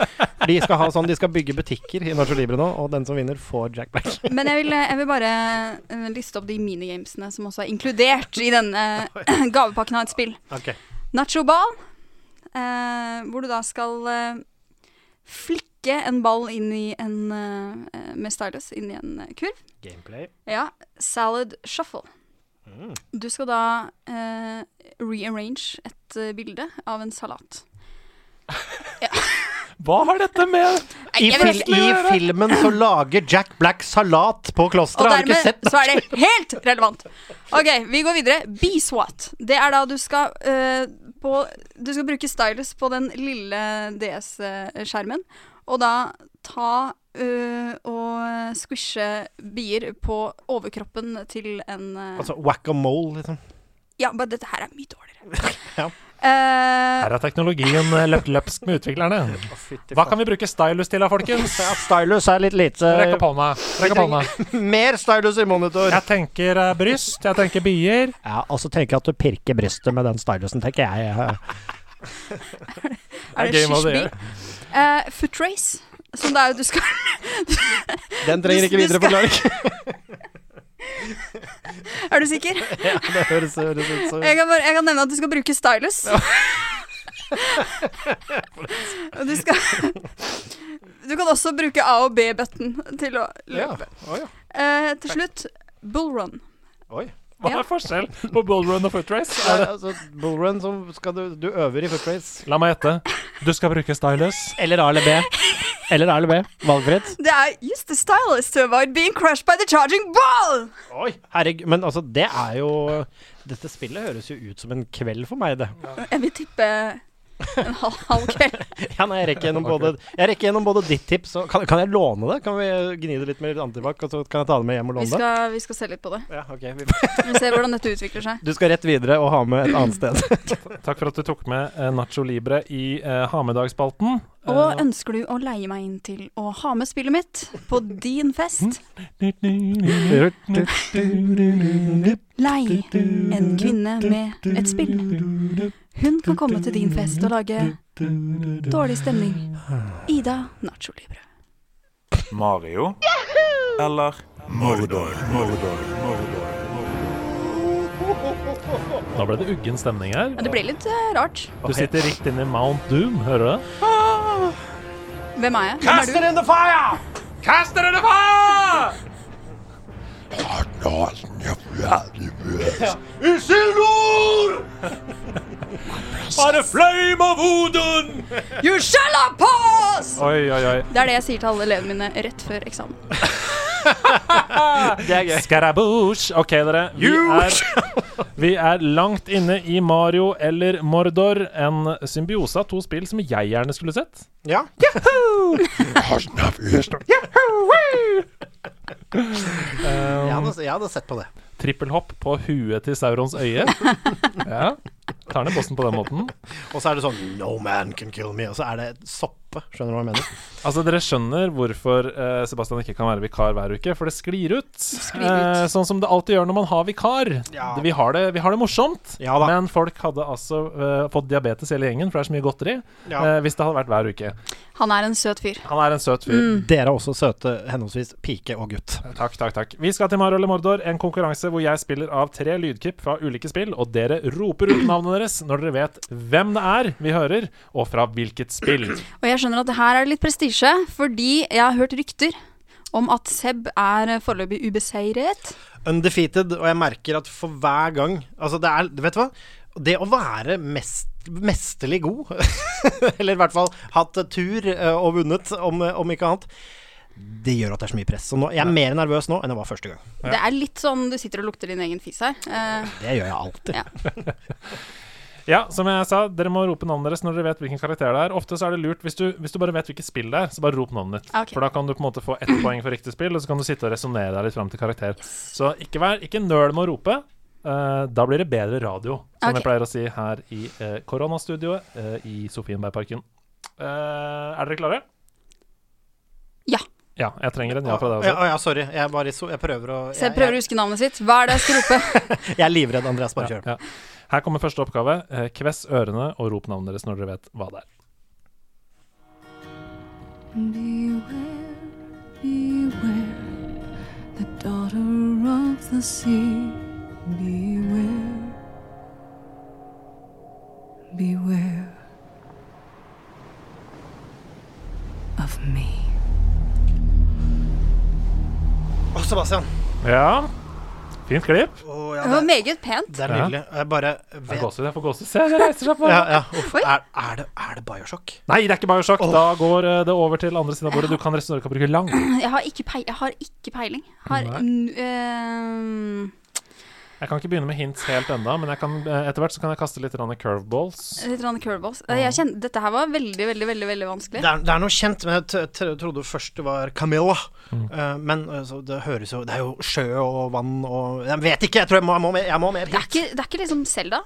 De skal, ha sånn, de skal bygge butikker i Nacho Libre nå, og den som vinner, får Jack Black. Men jeg vil, jeg vil bare eh, liste opp de minigamesene som også er inkludert i denne eh, gavepakken av et spill. Ok. Nacho ball, eh, hvor du da skal eh, flikke en ball inn i en, eh, eh, med stylus inn i en eh, kurv. Gameplay. Ja, salad shuffle. Du skal da eh, rearrange et eh, bilde av en salat. Hva har dette med I, Jeg fil, vet I ikke. filmen så lager Jack Black salat på Og klosteret. Har du ikke dermed sett det? så er det helt relevant. Ok, vi går videre. B-SWAT. Det er da du skal eh, på Du skal bruke stylus på den lille DS-skjermen, og da ta eh, og squishe bier på overkroppen til en eh, Altså whack-a-mole, liksom. Ja, men dette her er mye dårligere. Ja. Eh, Her er teknologien eh, løpt løpsk med utviklerne. Hva kan vi bruke stylus til da, folkens? Ja, Stylus er litt lite. Rekk opp hånda. Rekk opp hånda. Mer stylus i monitor. Jeg tenker eh, bryst, jeg tenker bier. Ja, og så tenker jeg at du pirker brystet med den stylusen, tenker jeg. er det game of the skisby? year. Uh, footrace, som det er at du skal Den trenger ikke Du- du videre skal- forklaring. Er du sikker? Ja, det høres, høres ut som Jeg kan, bare, jeg kan nevne at du skal bruke stylus. Og du skal Du kan også bruke A- og B-button til å ja. løpe. Å, ja. Eh, til slutt bullrun. Oi. Hva Ja. er forskjell på bullrun og footrace? Ja, altså, bullrun, så skal du Du øver i footrace. La meg gjette. Du skal bruke stylus. Eller A eller B. Eller A eller B. Valgfritt. Det er Use the stylus to avoid being crushed by the charging ball! Oi, herregud. Men altså, det er jo Dette spillet høres jo ut som en kveld for meg, det. Jeg vil tippe en halv, halv kveld. Ja, nei, jeg rekker gjennom både, jeg rekker gjennom både ditt tips og kan, kan jeg låne det? Kan vi gni det litt med litt antibac, og så kan jeg ta det med hjem og Vi låne det? skal, vi skal se litt på det. Ja, ok. Vi, Vi ser hvordan dette utvikler seg. Du skal rett videre og ha med et annet sted. Takk for at du tok med eh, Nacho Libre i eh, Hamedagsspalten. Eh, Og ønsker du å leie meg inn til å ha med spillet mitt på din fest? Lei en kvinne med et spill. Hun kan komme til din fest og lage dårlig stemning. Ida Nacho Libre. Mario eller Mordor. Mordor. Mordor. Da ble det uggen stemning her. Ja, det ble litt eh, rart. Du sitter rett inn i Mount Doom, hører du det? Hvem er jeg? Hvem er du? Bare flame of Odin! You shall not pass! Oi, oi, oi. Det er det jeg sier til alle elevene mine rett før eksamen. Det er gøy. Skarabouche. OK, dere. Vi er, vi er langt inne i Mario eller Mordor. En symbiose av to spill som jeg gjerne skulle sett. Ja. Jeg hadde, jeg hadde sett på det. Trippelhopp på huet til Saurons øye. Ja. Tar ned bossen på den måten. Og så er det sånn No man can kill me. Og så er det soppe. Skjønner du hva jeg mener? Altså, Dere skjønner hvorfor eh, Sebastian ikke kan være vikar hver uke, for det sklir ut. sklir ut. Eh, sånn som det alltid gjør når man har vikar. Ja. Vi, har det, vi har det morsomt, Ja da. men folk hadde altså eh, fått diabetes hele gjengen, for det er så mye godteri, Ja. eh, hvis det hadde vært hver uke. Han er en søt fyr. Han er en søt Mm. fyr. Dere er også søte, henholdsvis pike og gutt. Takk, takk, takk. Vi skal til Mario eller Mordor, en konkurranse hvor jeg spiller av tre lydklipp fra ulike spill, og dere roper ut navnet deres når dere vet hvem det er vi hører, og fra hvilket spill. Og jeg skjønner at det her er det litt prestisje, fordi jeg har hørt rykter om at Seb er eh, foreløpig ubeseiret. Undefeated, og jeg merker at for hver gang Altså, det er Vet du hva? Det å være mest, mesterlig god, eller i hvert fall hatt tur eh, og vunnet, om, om ikke annet, det gjør at det er så mye press. Så nå, jeg er mer nervøs nå enn jeg var første gang. Det er litt sånn du sitter og lukter din egen fis her. Eh, Det gjør jeg alltid. Ja. Ja, som jeg sa, dere må rope navnet deres når dere vet hvilken karakter det er. Ofte så er det lurt, hvis du, hvis du bare vet hvilket spill det er, så bare rop navnet ditt. Ok. For da kan du på en måte få ett poeng for riktig spill, og så kan du sitte og resonnere deg litt fram til karakter. Så ikke, vær, ikke nøl med å rope. eh, da blir det bedre radio, som Ok. jeg pleier å si her i eh, koronastudioet eh, i Sofienbergparken. Eh, er dere klare? Ja. Ja, jeg trenger en ja fra deg Ja, også. ja, sorry. Jeg, bare, so- jeg prøver å jeg, Seb prøver å jeg, huske navnet sitt. Hva er det jeg skal rope? jeg er livredd, Andreas. Bare kjør. Ja, ja. Her kommer første oppgave. Eh, Kvess ørene og rop navnet deres når dere vet hva det er. Å, Sebastian. Ja. Fint klipp. Å, ja, Det var det, meget pent. det er nydelig. Jeg bare Jeg vet, får gåsehud. Jeg får gåsehud. Se, det reiser seg på. ja, ja. Uff, Oi. er, er, det, er det Bioshock? Nei, det er ikke Bioshock. Åh. Da går eh, det over til andre siden av bordet. Du kan resonnere kan bruke lang. Jeg har ikke, pei jeg har ikke peiling. Har, Nei. n- ehm, Jeg kan ikke begynne med hints helt enda, men jeg kan, eh, etter hvert så kan jeg kaste litt grann curveballs. litt rann curveballs. Eh, Ah. Jeg kjenner, dette her var veldig, veldig, veldig, veldig vanskelig. Det er, det er noe kjent, men jeg t t trodde først det var Camilla. Mm. Eh, men eh, så det høres jo Det er jo sjø og vann og Jeg vet ikke! Jeg tror jeg må, jeg må mer. Jeg må mer. Det er ikke, det er ikke liksom Selda.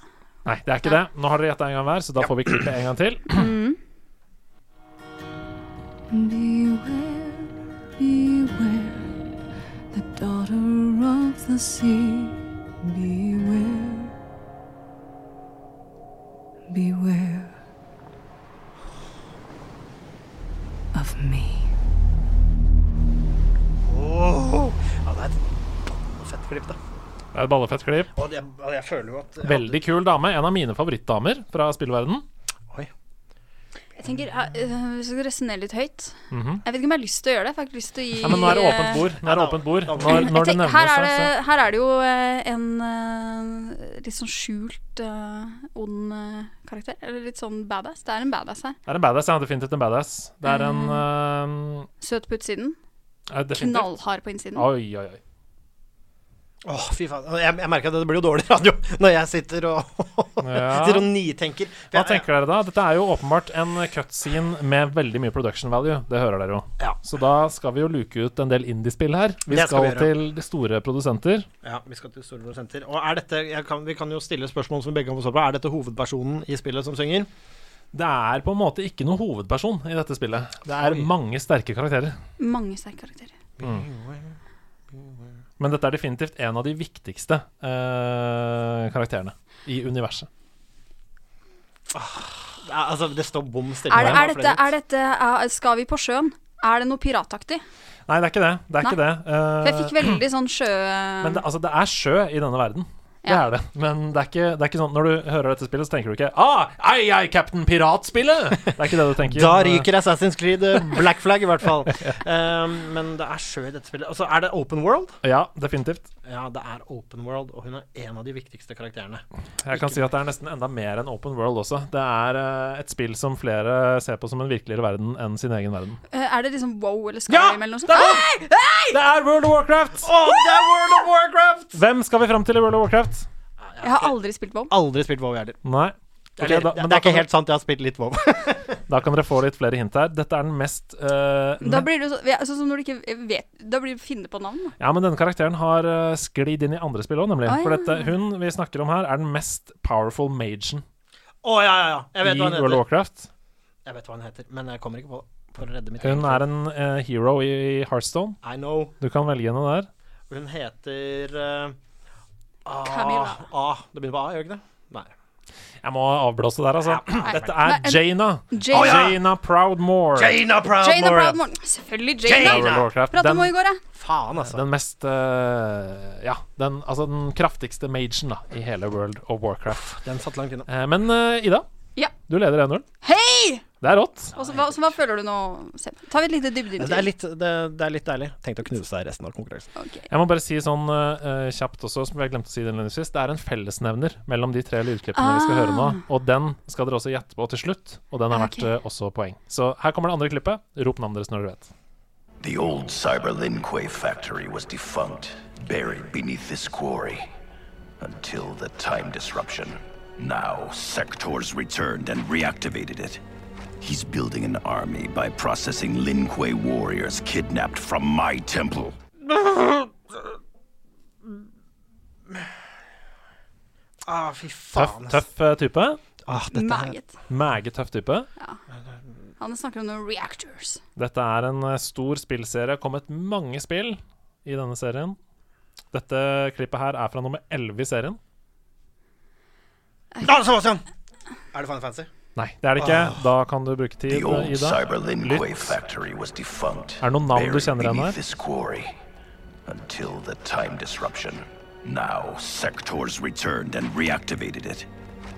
Nei, det er ikke det. Nå har dere gjetta en gang hver, så da får vi klippet en gang til. Åh. Ja, det er et fett klipp, da. Det er et ballefett klipp. Og jeg, og jeg føler jo at Veldig kul dame. En av mine favorittdamer fra spillverden. Oi. Jeg tenker, ja, øh, Hvis jeg skal resonnere litt høyt Mm. Mhm. Jeg vet ikke om jeg har lyst til å gjøre det. for Jeg har ikke lyst til å gi eh, Ja, men nå er det åpent bord. Nå er det åpent bord. Når, Jeg når det tenker, nevnes, her, er det, så- her er det jo eh, en eh, litt sånn skjult eh, ond eh, karakter. Eller litt sånn badass. Det er en badass her. Det er en badass. Jeg har definitivt en badass. Det er en Søt på utsiden, eh, er det definitivt? knallhard på innsiden. Oi, oi, oi. Åh, fy faen. Jeg, jeg merker at det blir jo dårlig radio når jeg sitter og, Ja. sitter og nitenker. For Hva jeg- tenker dere da? Dette er jo åpenbart en cutscene med veldig mye production value. Det hører dere jo. Ja. Så da skal vi jo luke ut en del indiespill her. Vi Det skal skal, vi gjøre. til de store produsenter. Ja, vi skal til store produsenter. Og er dette, jeg kan, vi kan jo stille spørsmål som vi begge kan få svar på. Er dette hovedpersonen i spillet som synger? Det er på en måte ikke noen hovedperson i dette spillet. Det er Oi. mange sterke karakterer. Mange sterke karakterer. Men dette er definitivt en av de viktigste eh, karakterene i universet. Ja, altså, det står bom stille. Er, det, her er nå, dette, flere- er dette er- Skal vi på sjøen? Er det noe pirataktig? Nei, det er ikke det. Det er ikke det. For jeg fikk Eh, veldig sånn sjø... Men det, altså, det er sjø i denne verden. Det Ja. er det. Men det er, ikke, det er ikke sånn når du hører dette spillet, så tenker du ikke ah, Ei, ei, Captain Pirat-spillet! Det er ikke det du tenker. Da Men, eh, ryker Assassin's Creed eh, Black Flag, i hvert fall. Ehm, men det er sjø i dette spillet. Altså, er det open world? Ja, definitivt. Ja, det er open world, og hun er en av de viktigste karakterene. Jeg kan si at det er nesten enda mer enn Open World også. Det er eh, et spill som flere ser på som en virkeligere verden enn sin egen verden. Eh, er det liksom wow eller Skyrim Ja! eller noe sånt? Det Ah! er, det er World of Warcraft! Å, det er World of Warcraft! Hvem skal vi fram til i World of Warcraft? Jeg har aldri spilt wow. Aldri spilt WoW, jeg heller. Nei. Ok, Eller, da, det, men det da er ikke kan, helt sant, jeg har spilt litt WoW. da kan dere få litt flere hint her. Dette er den mest eh, Da blir det jo så, ja, sånn som når du ikke vet Da blir du finne på navn. da. Ja, men denne karakteren har uh, sklidd inn i andre spill òg, nemlig. Å, For ja. dette, hun vi snakker om her, er den mest powerful magen Å, ja, ja, ja. Jeg i vet hva han World of heter. Warcraft. Jeg vet hva han heter, men jeg kommer ikke på det. For å redde mitt Hun er en eh, hero i, i Heartstone. I know. Du kan velge henne der. Hun heter eh, ah, Camilla. Ah, det begynner på A, gjør det ikke det? Nei. Jeg må avblåse der, altså. Dette Nei, er en- Jaina. Jaina. Å, ja. Jaina Proudmore. Jana Jane of Proudmore. Selvfølgelig Jane. i World of da. Warcraft. Prata Den, om henne i går, jeg. Faen, altså. den mest eh, Ja, den, altså den kraftigste magen da, i hele World of Warcraft. Den satt langt inne. Eh, men eh, Ida, Ja. du leder 1-0. Hei! Det er rått. Og så- Hva, så hva føler du nå? Seb? Ta et lite Det er dybdeintervju. litt, det, det er litt deilig. Tenkte å knuse deg resten av konkurransen. Ok. Jeg må bare si sånn eh, eh, kjapt også, som jeg glemte å si det innledningsvis, det er en fellesnevner mellom de tre lydklippene vi skal Ah. høre nå, og den skal dere også gjette på til slutt, og den er verdt Ok. eh, også poeng. Så her kommer det andre klippet. Rop navnet deres når dere vet. The old Cyberlinque factory was defunct, buried beneath this quarry. Until the time disruption. Now, Sector's returned and reactivated it. He's building an army by processing Linque warriors kidnapped from my temple. Ah, fy Tøff, faen. tøff eh, type. Ah, dette her. Meget. Meget tøff type. Han snakker om noen reactors. Dette er en eh, stor spillserie. Kommet mange spill i denne serien. Dette klippet her er fra nummer 11 i serien. Ah, Sebastian! Er det Final Fantasy? Nei, det er det ikke. Ah. Da kan du bruke tid, The old eh, Ida. Cyberlinque Lytt. factory was defunct, Er det noen navn du buried kjenner igjen her? beneath this quarry. Until the time disruption. Now, Sector's returned and reactivated it.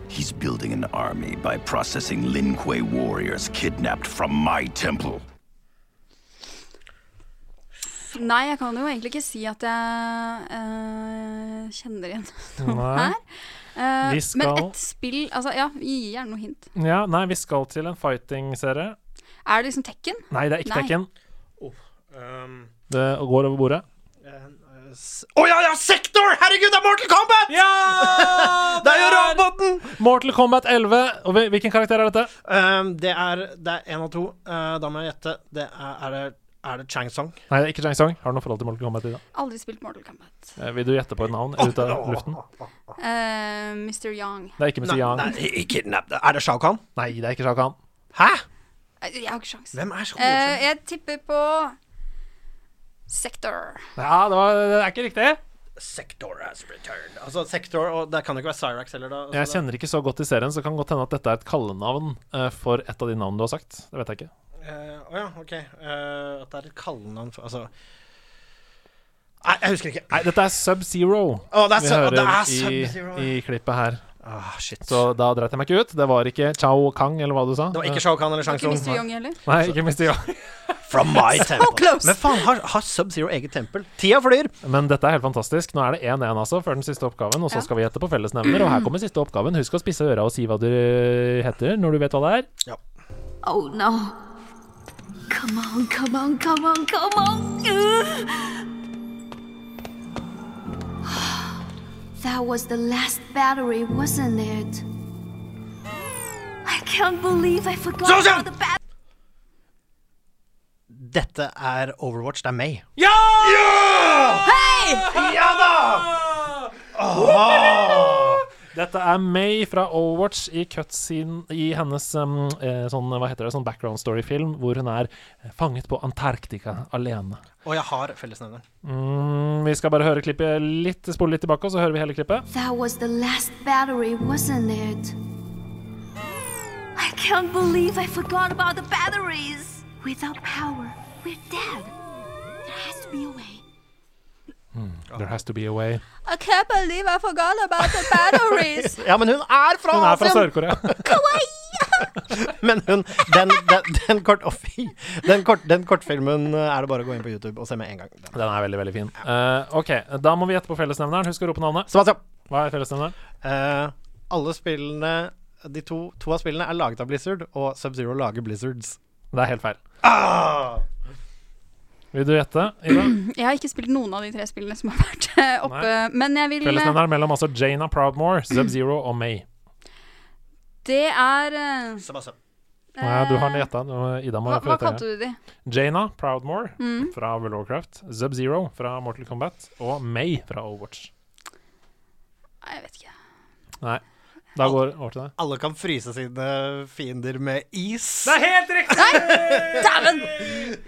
He's building an army by processing Linque warriors kidnapped from my temple. Nei, jeg kan jo egentlig ikke si at jeg eh, kjenner igjen noe Nei. her. Eh, Vi Men skal- et spill Altså, ja, gi gjerne noe hint. Ja, nei, vi skal til en fighting-serie. Er det liksom Tekken? Nei, det er ikke Nei. Tekken. Um, Det går over bordet. Å ja, ja! Sektor! Herregud, det er Mortal Kombat! Ja! Det er jo roboten! Mortal Kombat 11. Og hvil- hvilken karakter er dette? Um, det er Det er én av to. Uh, da må jeg gjette. Det er, er det er det Chang Song? Nei, det er ikke Chang Song. Har du noe forhold til Mortal Kombat? Ida? Aldri spilt Mortal Kombat. Eh, Vil du gjette på et navn ut av luften? Eh, Mr. Young. Det er ikke Mr. Yang. Nei, nei, kidnapp. Er det Shao Kahn? Nei, det er ikke Shao Kahn. Hæ? Eh, Jeg har ikke sjans. Hvem er Shao Eh, Kahn? jeg tipper på Sector. Ja, det, var, det er ikke riktig. Altså, Sector has returned. Altså Sector, og det kan jo ikke være Cyrax heller, da. Altså, Jeg det- kjenner ikke så godt til serien, så det kan godt hende at dette er et kallenavn eh, for et av de navnene du har sagt. Det vet jeg ikke. Eh, Å ja, OK. Eh, at det er et kallenavn for Altså Nei, jeg husker ikke. Nei, dette er Sub-Zero Å, det er, vi Sub- hører det er i, Sub-Zero. i klippet her. Ah, shit. Så da dreit jeg meg ikke ut. Det var ikke Chao Kang, eller hva du sa. Det var ikke Shao Kahn eller Shang Ikke Tsung. Mr. Young heller. Nei, ikke Mr. Young. From my So temple. close. Men faen, har, har Sub-Zero eget tempel? Tida flyr. Men dette er helt fantastisk. Nå er det 1-1 altså, før den siste oppgaven, og så Ja. skal vi gjette på fellesnevner. Og her kommer siste oppgaven. Husk å spisse øra og si hva du heter når du vet hva det er. Oh no. Come on, come on, come on, come on. That was the last battery, wasn't it? I can't believe I forgot Zozo! about the battery. Dette er Overwatch. Det er May. Dette er May fra Overwatch i cutscene i hennes um, eh, sånn, hva heter det, sånn background story-film, hvor hun er fanget på Antarktika alene. Og jeg har fellesnevneren. Mm, vi skal bare høre klippet litt, spole litt tilbake, og så hører vi hele klippet. That was the last battery, wasn't it? I can't believe I forgot about the batteries. Without power, we're dead. There has to be a way. There has to be a way. I can't believe I forgot about the batteries. Ja, men hun er fra Hun er fra Asien! Sør-Korea. Men hun, den, den, den, kort, å, fy. den, kort, den kortfilmen eh, er det bare å gå inn på YouTube og se med en gang. Den. Den er veldig, veldig fin. Eh, OK, da må vi gjette på fellesnevneren. Husk å rope navnet. Sebastian, Hva er fellesnevneren? eh, alle spillene De to, to av spillene er laget av Blizzard, og Sub-Zero lager Blizzards. Det er helt feil. Ah! Vil du gjette, Ida? Jeg har ikke spilt noen av de tre spillene som har vært eh, oppe, men jeg vil eh, Fellesnevneren mellom altså Jana Proudmore, Sub-Zero og May. Det er eh, Sebastian. Nei, Eh, du har gjetta. Ida må hva, få hva gjette. kalte du Mm. de? Jaina Proudmore fra World of Warcraft, Sub-Zero fra Mortal Kombat og May fra Overwatch. Nei, jeg vet ikke. Nei. Da går over til deg. Alle kan fryse sine fiender med is. helt riktig! Eh, Dæven!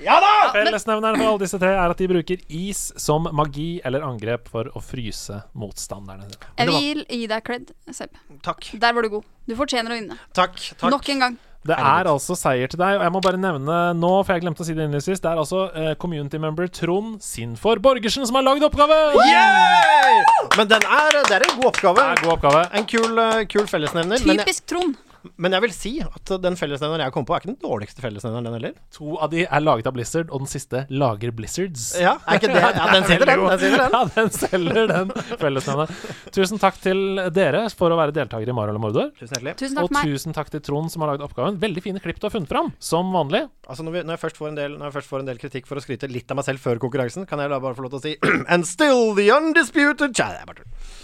Fellesnevneren for alle disse tre er at de bruker is som magi eller angrep for å fryse motstanderne. Jeg vil gi deg cred, Seb. Takk. Der var du god. Du fortjener å vinne. Takk. takk. Nok en gang. Det er altså seier til deg, og jeg må bare nevne nå, for jeg glemte å si det innledningsvis, det er altså eh, community member Trond Sinfor Borgersen som har lagd oppgave! Yay! Men den er, det er en god oppgave. Det er en god oppgave. En kul, eh, kul fellesnevner. Men jeg, Typisk Trond. men jeg vil si at den fellesnevneren jeg kom på, er ikke den dårligste fellesnevneren, den heller. To av de er laget av Blizzard, og den siste lager Blizzards. Ja, er ikke det? Ja, den sitter, den. den sitter, den. Ja, den selger den fellesnevneren. Tusen takk til dere for å være deltakere i Mario eller Mordor. Tusen hjertelig. Tusen takk Og for meg. tusen takk til Trond som har laget oppgaven. Veldig fine klipp du har funnet fram, som vanlig. Altså når, vi, når, jeg først får en del, når jeg først får en del kritikk for å skryte litt av meg selv før konkurransen, kan jeg da bare få lov til å si And still the undisputed Tja, det er bare tull.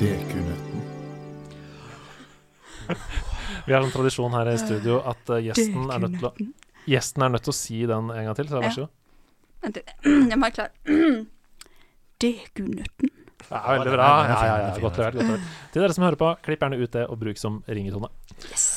DQ-netten. Vi har en tradisjon her i studio at eh, gjesten er nødt til å Gjesten er nødt til å si den en gang til, så vær så god. Vent litt. Jeg må være klar. DQ-nøtten. Ja, veldig bra. Ja, ja, ja, godt levert. godt levert. Til dere som hører på, klipp gjerne ut det og bruk som ringetone. Yes.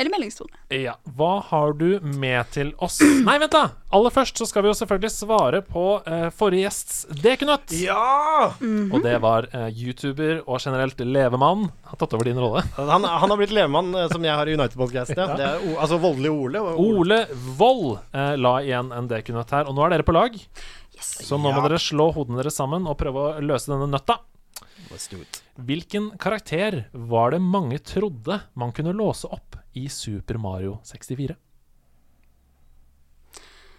Eller meldingstone. Ja, Hva har du med til oss? Nei, vent, da! Aller først så skal vi jo selvfølgelig svare på eh, forrige gjests dekenøtt. Ja! Og det var eh, YouTuber og generelt levemann. Har tatt over din rolle. Han, han har blitt levemann eh, som jeg har i United-podkasten. Ja. Det er O- Altså voldelig Ole. og Ole. Ole Wold eh, la igjen en dekunøtt her, og nå er dere på lag. Så nå må Ja. dere slå hodene deres sammen og prøve å løse denne nøtta. Let's do it. Hvilken karakter var det mange trodde man kunne låse opp i Super Mario 64?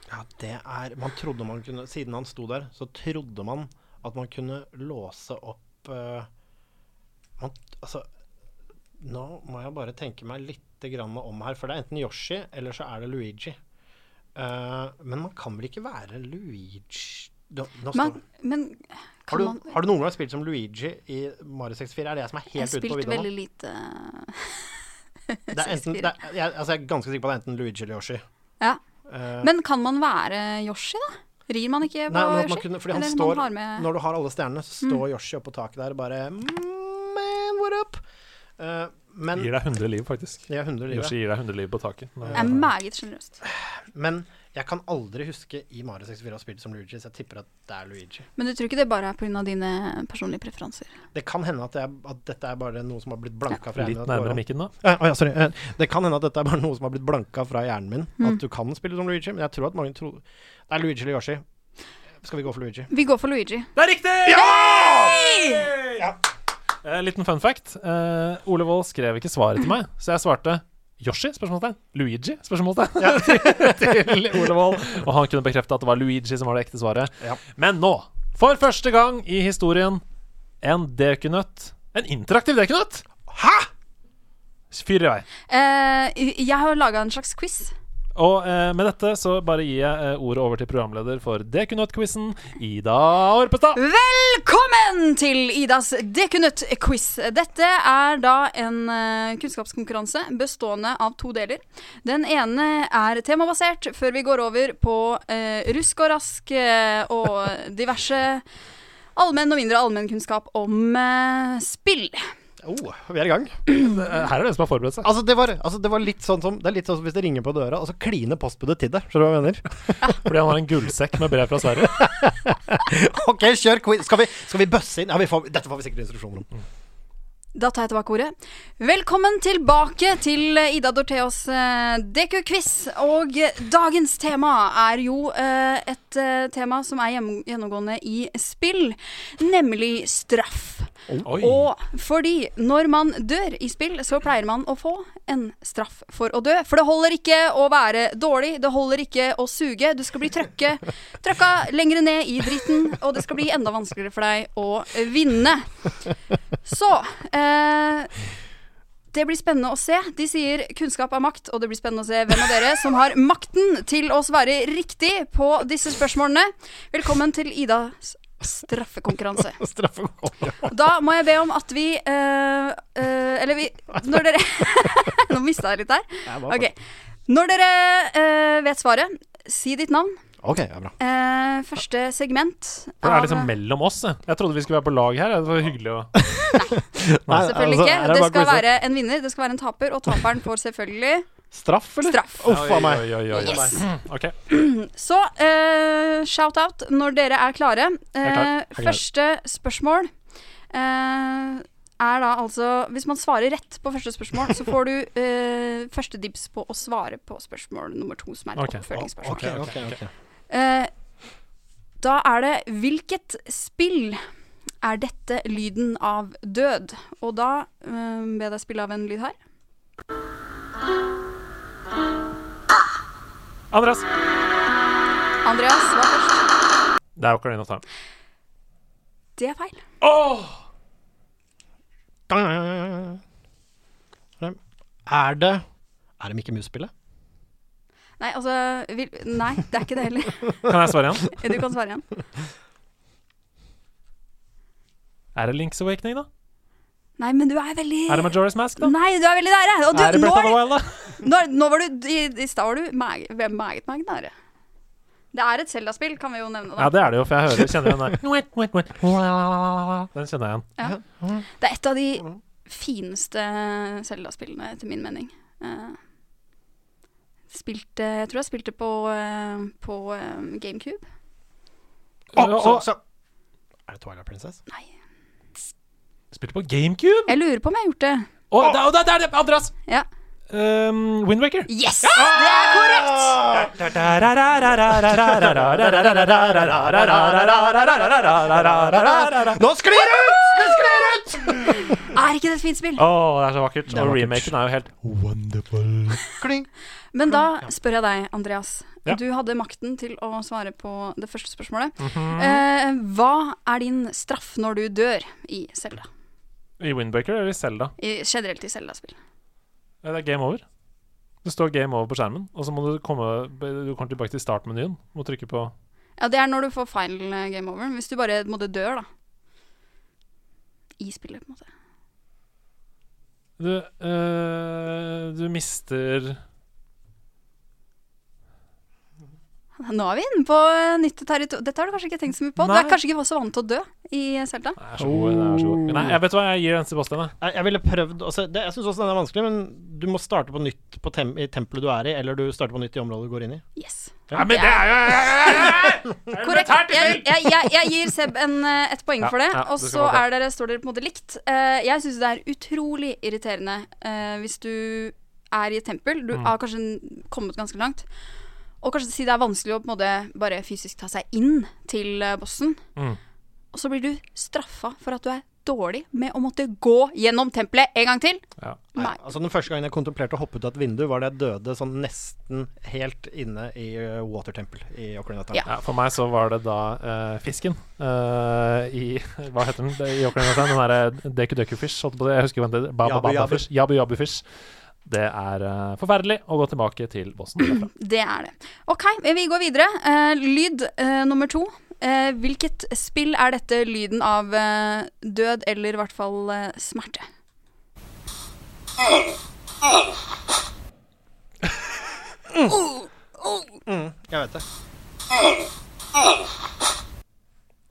Ja, det er Man trodde man kunne Siden han sto der, så trodde man at man kunne låse opp eh, man, Altså Nå må jeg bare tenke meg litt grann om her, for det er enten Yoshi eller så er det Luigi. Eh, men man kan vel ikke være Luigi nå, nå Men, står- men har, kan man du, har du noen gang spilt som Luigi i Mario 64? Er det jeg som er Jeg helt ute på spilte vidda nå? veldig lite Det er enten, det er, jeg, altså jeg er ganske sikker på at det er enten Luigi eller Yoshi. Ja. Eh, Men kan man være Yoshi, da? Rir man ikke på Nei, men at man Yoshi? kunne, fordi han Eller står, man har med Mm. Når du har alle stjernene, så står Yoshi oppå taket der og bare "Mm, Man, what up? Eh, men Gir deg 100 liv, faktisk. det er 100 livet. Yoshi gir deg 100 liv på taket. er meget sjenerøst. Men Jeg kan aldri huske i Mario 64 å ha spilt som Luigi, så jeg tipper at det er Luigi. Men du tror ikke det bare er pga. dine personlige preferanser? Det kan hende at, jeg, at dette er bare noe som har blitt blanka fra Litt hjernen. nærmere mikken, da. Eh, å ja, sorry. Eh, det kan hende at dette er bare noe som har blitt blanka fra hjernen min. Mm. At du kan spille som Luigi, men jeg tror at mange tror Det er Luigi eller Yoshi. Skal vi gå for Luigi? Vi går for Luigi. Det er riktig! Ja! Eh, liten fun fact. Eh, Ole Wold skrev ikke svaret til meg, så jeg svarte Yoshi? spørsmålstegn Luigi? spørsmålstegn til Ole Wold. Og han kunne bekrefte at det var Luigi som var det ekte svaret. Ja. Men nå, for første gang i historien, en dekunøtt. En interaktiv dekunøtt! Hæ?! Fyr i vei. Eh, jeg har laga en slags quiz. Og eh, med dette så bare gir jeg eh, ordet over til programleder for dekunøtt-quizen, Ida Orpestad. Velkommen til Idas Dekunøtt-quiz. Dette er da en eh, kunnskapskonkurranse bestående av to deler. Den ene er temabasert, før vi går over på eh, rusk og rask eh, og diverse allmenn og mindre allmennkunnskap om eh, spill. Oh, vi er i gang. Eh, Her er det en som har forberedt seg. Altså, det var, altså, det var litt sånn som Det er litt sånn som hvis det ringer på døra, og så kliner postbudet til deg. Skjønner du hva jeg mener? Fordi han har en gullsekk med brev fra Sverige. OK, kjør quiz. Skal vi, skal vi bøsse inn? Ja, vi får, dette får vi sikkert instruksjoner Mm. om. Da tar jeg tilbake ordet. Velkommen tilbake til eh, Ida Dortheos eh, DQ-quiz. Og eh, dagens tema er jo eh, et eh, tema som er gjennom- gjennomgående i spill, nemlig straff. Oi. Og fordi når man dør i spill, så pleier man å få en straff for å dø. For det holder ikke å være dårlig, det holder ikke å suge. Du skal bli trøkke, trøkka lengre ned i dritten, og det skal bli enda vanskeligere for deg å vinne. Så eh, det blir spennende å se. De sier kunnskap er makt, og det blir spennende å se hvem av dere som har makten til å svare riktig på disse spørsmålene. Velkommen til Idas straffekonkurranse. Da må jeg be om at vi eh, eh, Eller vi Når dere Nå mista jeg litt der. Ok. Når dere eh, vet svaret, si ditt navn. OK, ja, bra. Eh, første segment For det er liksom mellom oss. jeg. Jeg trodde vi skulle være på lag her. Det var hyggelig å Nei, Selvfølgelig altså, ikke. er Det det bare skal quiz? være en vinner, det skal være en taper, og taperen får selvfølgelig Straff, eller? straff. Uff a meg. Oi, oi, oi, oi. Yes. Mm, Ok. Så eh, shout-out når dere er klare. Eh, Jeg er klar. Jeg er klar. Første spørsmål eh, er da altså Hvis man svarer rett på første spørsmål, så får du eh, første dibs på å svare på spørsmål nummer to, som er et Ok. oppfølgingsspørsmål. OK, OK. ok. Eh, da er det Hvilket spill er dette lyden av død? Og da eh, ber jeg spille av en lyd her. Andreas. Andreas var først. Det er Ocarina of Time. Det er feil. Er det Er det Mikke Mus-spillet? Nei, altså vil, Nei, det er ikke det heller. Kan jeg svare igjen? Du kan svare igjen. Er det Link's Awakening, da? Nei, men du er veldig Er det Majora's Mask, da? Nei, du er veldig nære. Og du, er det nå, Breath of the er du- Wild, da? nå, nå var du I, i stad var du meg, ve- meget, meget nære. Det er et Zelda-spill, kan vi jo nevne. Ja, Da. det er det jo, for jeg hører kjenner den der. Den kjenner jeg igjen. Det er et av de Mhm. fineste Zelda-spillene, etter min mening. Eh, spilte Jeg tror jeg spilte på, eh, på eh, GameCube. Å, Å, så, å. så. Er det Twilight Princess? Nei. Spilte på GameCube? Jeg lurer på om jeg har gjort det. Å, det er- det er det! Andreas! Ja. Um, Windwaker. Yes! Det er korrekt! Å, Nå sklir det ut! Det sklir ut! Er ikke det et fint spill? det er så vakkert. Og remaken er jo helt Wonderful. Kling. Men da spør jeg deg, Andreas. Ja. Du hadde makten til å svare på det første spørsmålet. eh, hva er din straff når du dør i Selda? I Windbaker eller i Zelda? I, generelt i Selda-spill. Det er game over. Det står game over på skjermen, og så må du komme Du kommer tilbake til startmenyen. Må trykke på Ja, det er når du får final eh, game over. Hvis du bare måtte dør, da. I spillet, på en måte. Du, øh, du mister Nå er vi inne på eh, nytt territorium. Dette har du kanskje ikke tenkt så mye på. Du Nei. er kanskje ikke så vant til å dø i Selda. Jeg er så god, jeg er så god. Nei, jeg vet hva jeg gir den Sebastian. jeg. Jeg, jeg ville prøvd altså, det, Jeg syns også den er vanskelig, men du må starte på nytt på tem i tempelet du er i, eller du starter på nytt i området du går inn i. Yes. Nei, men det er jo Korrekt. Jeg, jeg, jeg, jeg gir Seb en, eh, et poeng Ja, for det. ja, og du skal så få det. er dere, står dere på en måte likt. Eh, jeg syns det er utrolig irriterende eh, hvis du er i et tempel. Du Mm. har kanskje kommet ganske langt. Og kanskje si det er vanskelig å på en måte bare fysisk ta seg inn til eh, bossen. Mm. Og så blir du straffa for at du er dårlig med å måtte gå gjennom tempelet en gang til. Nei. Altså Den første gangen jeg kontemplerte å hoppe ut av et vindu, var da jeg døde sånn nesten helt inne i uh, Water Temple i Ocarina of Time. Ja, for meg så var det da eh, fisken eh, i Hva heter den Det- i Ocarina of Time? Den derre Deku Deku Fish, holdt på det. Jeg husker hva den heter. Baba Yabu Baba Yabu. Fish. Yabu Yabu Fish. Det er eh, forferdelig å gå tilbake til bossen. derfra. Det er det. OK, men vi går videre. Eh, lyd eh, nummer to. Eh, hvilket spill er dette lyden av eh, død, eller i hvert fall eh, smerte? Mm, jeg vet det.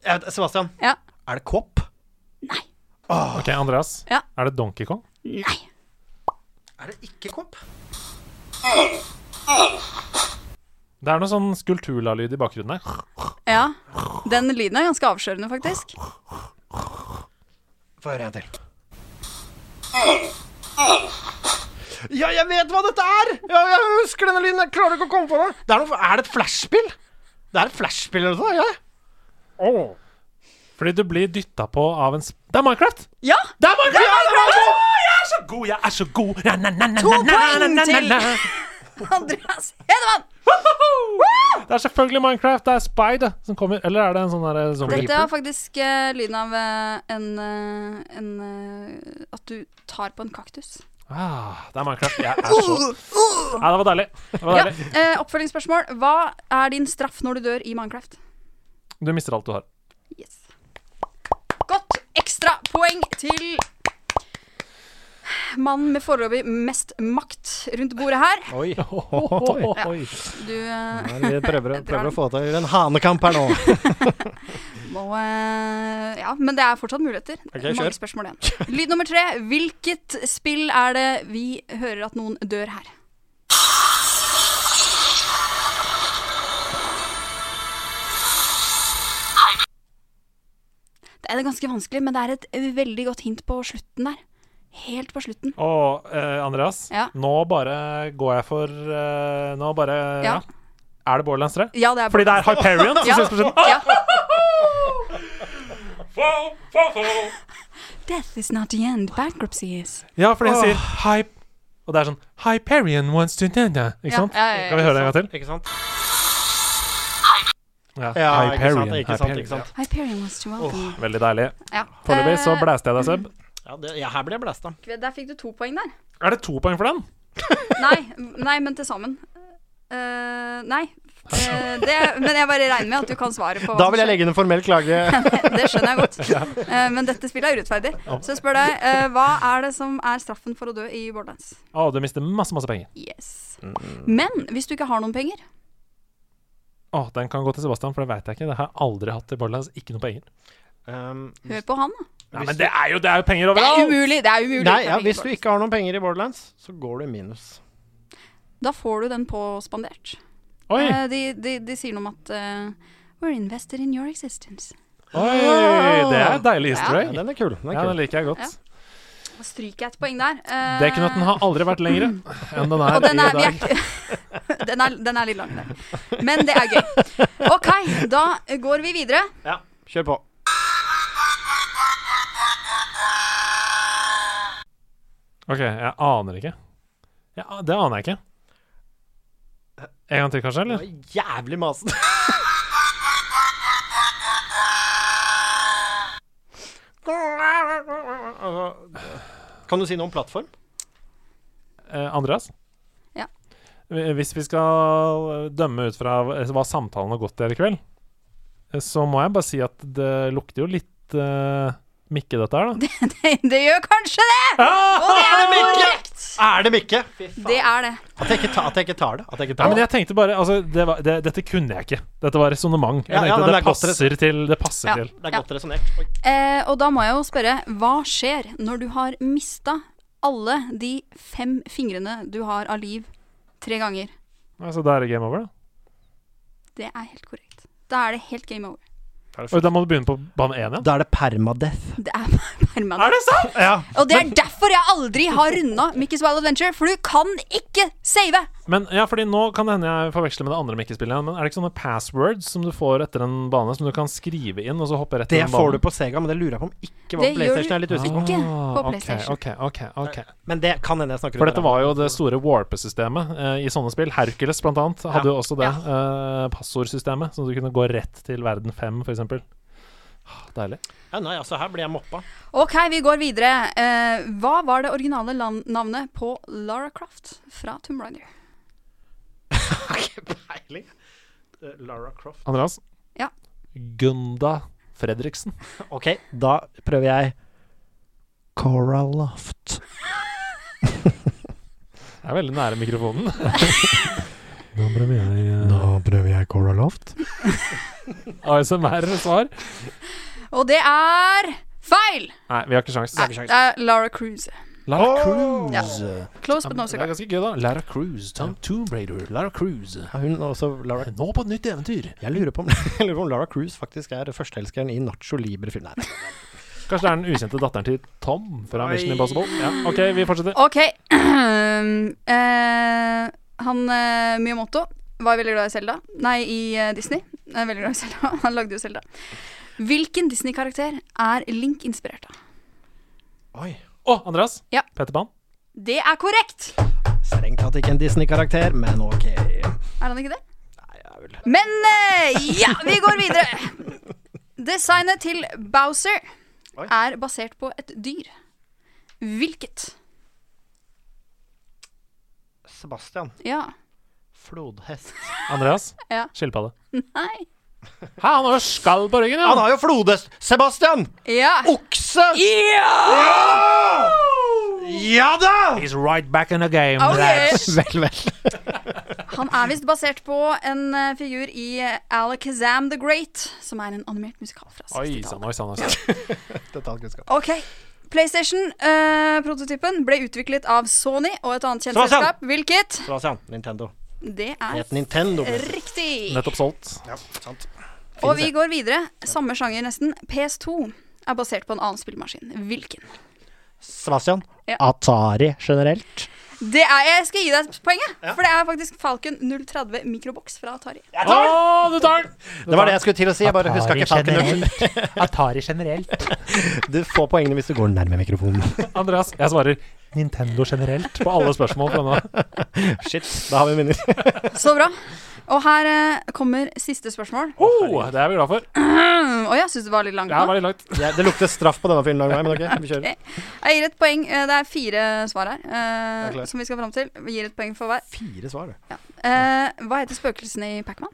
Jeg vet, Sebastian, Ja. er det Kopp? OK, Andreas. Ja. Er det Donkey Kong? Nei. Er det ikke Kopp? Det er noe sånn skulpturla-lyd i bakgrunnen der. Ja. Den lyden er ganske avslørende, faktisk. Få høre en til. Ja, jeg vet hva dette er! Ja, jeg husker denne lyden. Jeg klarer ikke å komme på det. Det er, noe, er det et flashspill? Det er et flashspill eller noe sånt? Ja. Oh. Fordi du blir dytta på av en sp Det er Minecraft! Ja! Det er Minecraft! Ja, det er Minecraft! Å, jeg er så god, jeg er så god! Na, na, na, na, To na, na, poeng na, na, til! na. Andreas Hedemann! Det er selvfølgelig Minecraft. Det er Spider som kommer. Eller er det en sånn derre zombie? Dette er faktisk eh, lyden av eh, en, eh, en eh, At du tar på en kaktus. Ah, det er Minecraft. Jeg er så Nei, det var deilig. Det var Ja, deilig. eh, oppfølgingsspørsmål. Hva er din straff når du dør i Minecraft? Du mister alt du har. Godt ekstra poeng til mannen med foreløpig mest makt rundt bordet her. Oi. Ja. Du eh, Nei, Vi prøver, å- drar prøver den. å få til en hanekamp her nå. må, eh, Ja, men det er fortsatt muligheter. Ok, Mange kjør. spørsmål igjen. Lyd nummer tre. Hvilket spill er det vi hører at noen dør her? Det er ganske vanskelig, men det er et veldig godt hint på slutten der. Helt på slutten. Og eh, Andreas, Ja. nå bare går jeg for eh, Nå bare ja. Ja. Er det Borderlands 3? Ja, det er Fordi det er Borderlands. Hyperion som Ja. synes på slutten. Ja. Fo, fo, fo. Death is not the end, bankruptcy is. Ja, fordi hun sier Hype Og det er sånn Hyperion wants to know that. Ikke Ja, sant? ja, ja, ja, Kan vi høre det en gang til? Ikke sant? Ja, Ja, ikke sant, Hyperion. ikke sant, ikke sant. Hyperion was to welcome. Veldig deilig. Ja. Foreløpig så Eh, blæste jeg deg, Seb. Ja, det, ja, her ble jeg blæsta. Der fikk du to poeng der. Er det to poeng for den? Nei, nei men til sammen. Eh, nei. Eh, det, men jeg bare regner med at du kan svaret på hva Da som vil jeg legge inn en formell klage. skjer. Det skjønner jeg godt. Ja. Eh, men dette spillet er urettferdig. Så jeg spør deg, eh, hva er det som er straffen for å dø i Borderlands? Å, du mister masse, masse penger. Yes. Mm. Men hvis du ikke har noen penger Å, den kan gå til Sebastian, for det veit jeg ikke. Det har jeg aldri hatt i Borderlands. Ikke noe penger. Um, Hør på han, da. Nei, men det er jo, det er jo penger Det er overalt! umulig. Det er umulig. Nei, Det er ja, penger hvis for du det. ikke har noen penger i Borderlands, så går du i minus. Da får du den påspandert. Oi. Eh, de, de, de sier noe om at eh, We're invested in your existence. Oi, det er deilig Ja. easter egg. Ja, den er kul, den er ja, kul. den liker jeg godt. Da stryker jeg et poeng der. Eh, Det kunne at den har aldri vært lengre enn den er, Og den i er, vi dag. er- den, er, den er litt lang, der. Men det er gøy. OK, da går vi videre. Ja, kjør på. OK, jeg aner ikke. Ja, det aner jeg ikke. En gang til, kanskje? eller? Jævlig masete. Altså, Kan du si noe om plattform? Eh, Andreas? Ja. Eh, Hvis vi skal eh, dømme ut fra hva hva samtalen har gått til her i kveld, eh, så må jeg bare si at det lukter jo litt eh, Mikke, dette her, da? Ah! Nei, det gjør kanskje det! Og det er er det Mikke? korrekt! Er det Mikke? Det er det. At jeg ikke, ta, at jeg ikke tar det. At jeg ikke Nei, tar men det. jeg tenkte bare altså, det var, det, Dette kunne jeg ikke. Dette var resonnement. Jeg Ja, ja, tenkte men det, det er godt passer til Det passer Ja. til. Det er godt resonnert. Oi. Eh, og da må jeg jo spørre, hva skjer når du har mista alle de fem fingrene du har av liv, tre ganger? Altså, da er det game over, da. Det er helt korrekt. Da er det helt game over. Og da må du begynne på bane én igjen. Da er det permadeath. Det er permanent. Er det sant?! Ja. Og det er derfor jeg aldri har runda Mickey's Wild Adventure, for du kan ikke save! Men ja, fordi nå kan det hende jeg forveksler med det andre Mikke-spillet. igjen, Men er det ikke sånne passwords som du får etter en bane, som du kan skrive inn, og så hoppe rett i Det den får banen? du på Sega, men det lurer jeg på om ikke var Det på gjør PlayStation. Jeg er litt du usikker. ikke på Ah, ok, PlayStation. ok, ok, ok. Men det kan hende jeg snakker For under dette var jo det store warpe-systemet eh, i sånne spill. Hercules, blant annet, hadde Ja. jo også det. Eh, passordsystemet, så du kunne gå rett til verden 5, for eksempel. Ah, Deilig. ja, Nei, altså, her blir jeg moppa. Ok, vi går videre. Eh, hva var det originale lan- navnet på Lara Croft fra Tomb Raider? Peiling. Eh, Lara Croft. Andreas? Ja. Gunda Fredriksen. OK, da prøver jeg Cora Loft. Jeg er veldig nære mikrofonen. Nå prøver jeg Da prøver jeg Cora Loft. ASMR-svar. Og det er feil! Nei, vi har ikke sjans. Nei, det er Lara Cruise. Lara Cruz. Ja. Close Ja, but men no det er cigar. ganske gøy, da. Lara Cruz, Tom Tomb Raider, Lara Cruz. Hun er også Lara Nå på et nytt eventyr. Jeg lurer på om, jeg lurer på om Lara Cruise faktisk er førsteelskeren i Nacho Libre-filmen. Nei, Kanskje det er den ukjente datteren til Tom fra Oi. Mission Impossible. Ja, OK, vi fortsetter. Ok. Eh, han eh, Miyamoto var veldig glad i Zelda. Nei, i eh, Disney. Er veldig glad i Zelda. Han lagde jo Zelda. Hvilken Disney-karakter er Link inspirert av? Oi. Å, Andreas. Ja. Petter Pan. Det er korrekt! Strengt tatt ikke en Disney-karakter, men OK. Er han ikke det? Men eh, ja, vi går videre. Designet til Bowser Oi. er basert på et dyr. Hvilket? Sebastian. Ja. Flodhest. Andreas. Ja. Skilpadde. Nei. Hæ, han har jo skall på ryggen, Han har jo flodhest! Sebastian! Ja. Oh, Okse! Ja! Ja da! He's right back in the game. Ok. Vel, vel. Han er visst basert på en eh, figur i eh, Alakazam the Great, som er en animert musikal fra Oi sånn. sann, 60-tallet. oi sann. oi sann. Detaljkunnskap. Ok, PlayStation-prototypen ble utviklet av Sony og et annet kjent Sebastian! selskap. Hvilket? Sebastian. Nintendo. Det Det er het Nintendo. riktig. Nettopp solgt. Ja, sant. Og vi går videre. Samme sjanger nesten. PS2 er basert på en annen spillmaskin. Hvilken? Sebastian. Ja. Atari generelt. Det er, Jeg skal gi deg poenget, for det er faktisk Falcon 030 Microbox fra Atari. Å, du tar den! Det var det jeg skulle til å si. Jeg bare huska ikke Falcon Atari generelt. Du får poengene hvis du går nærme mikrofonen. Andreas, jeg svarer Nintendo generelt på alle spørsmål fra nå. Shit, da har vi minner. Så bra. Og her eh, kommer siste spørsmål. Oh, det er vi glad for. Og jeg syns det var litt langt Det her nå. var litt langt. Ja, det lukter straff på denne filmen, men ok, vi kjører. Jeg gir et poeng. Eh, Det er fire svar her eh, er klart. som vi skal fram til. Vi gir et poeng for hver. Fire svar, du. Eh, hva heter spøkelsene i Pacman?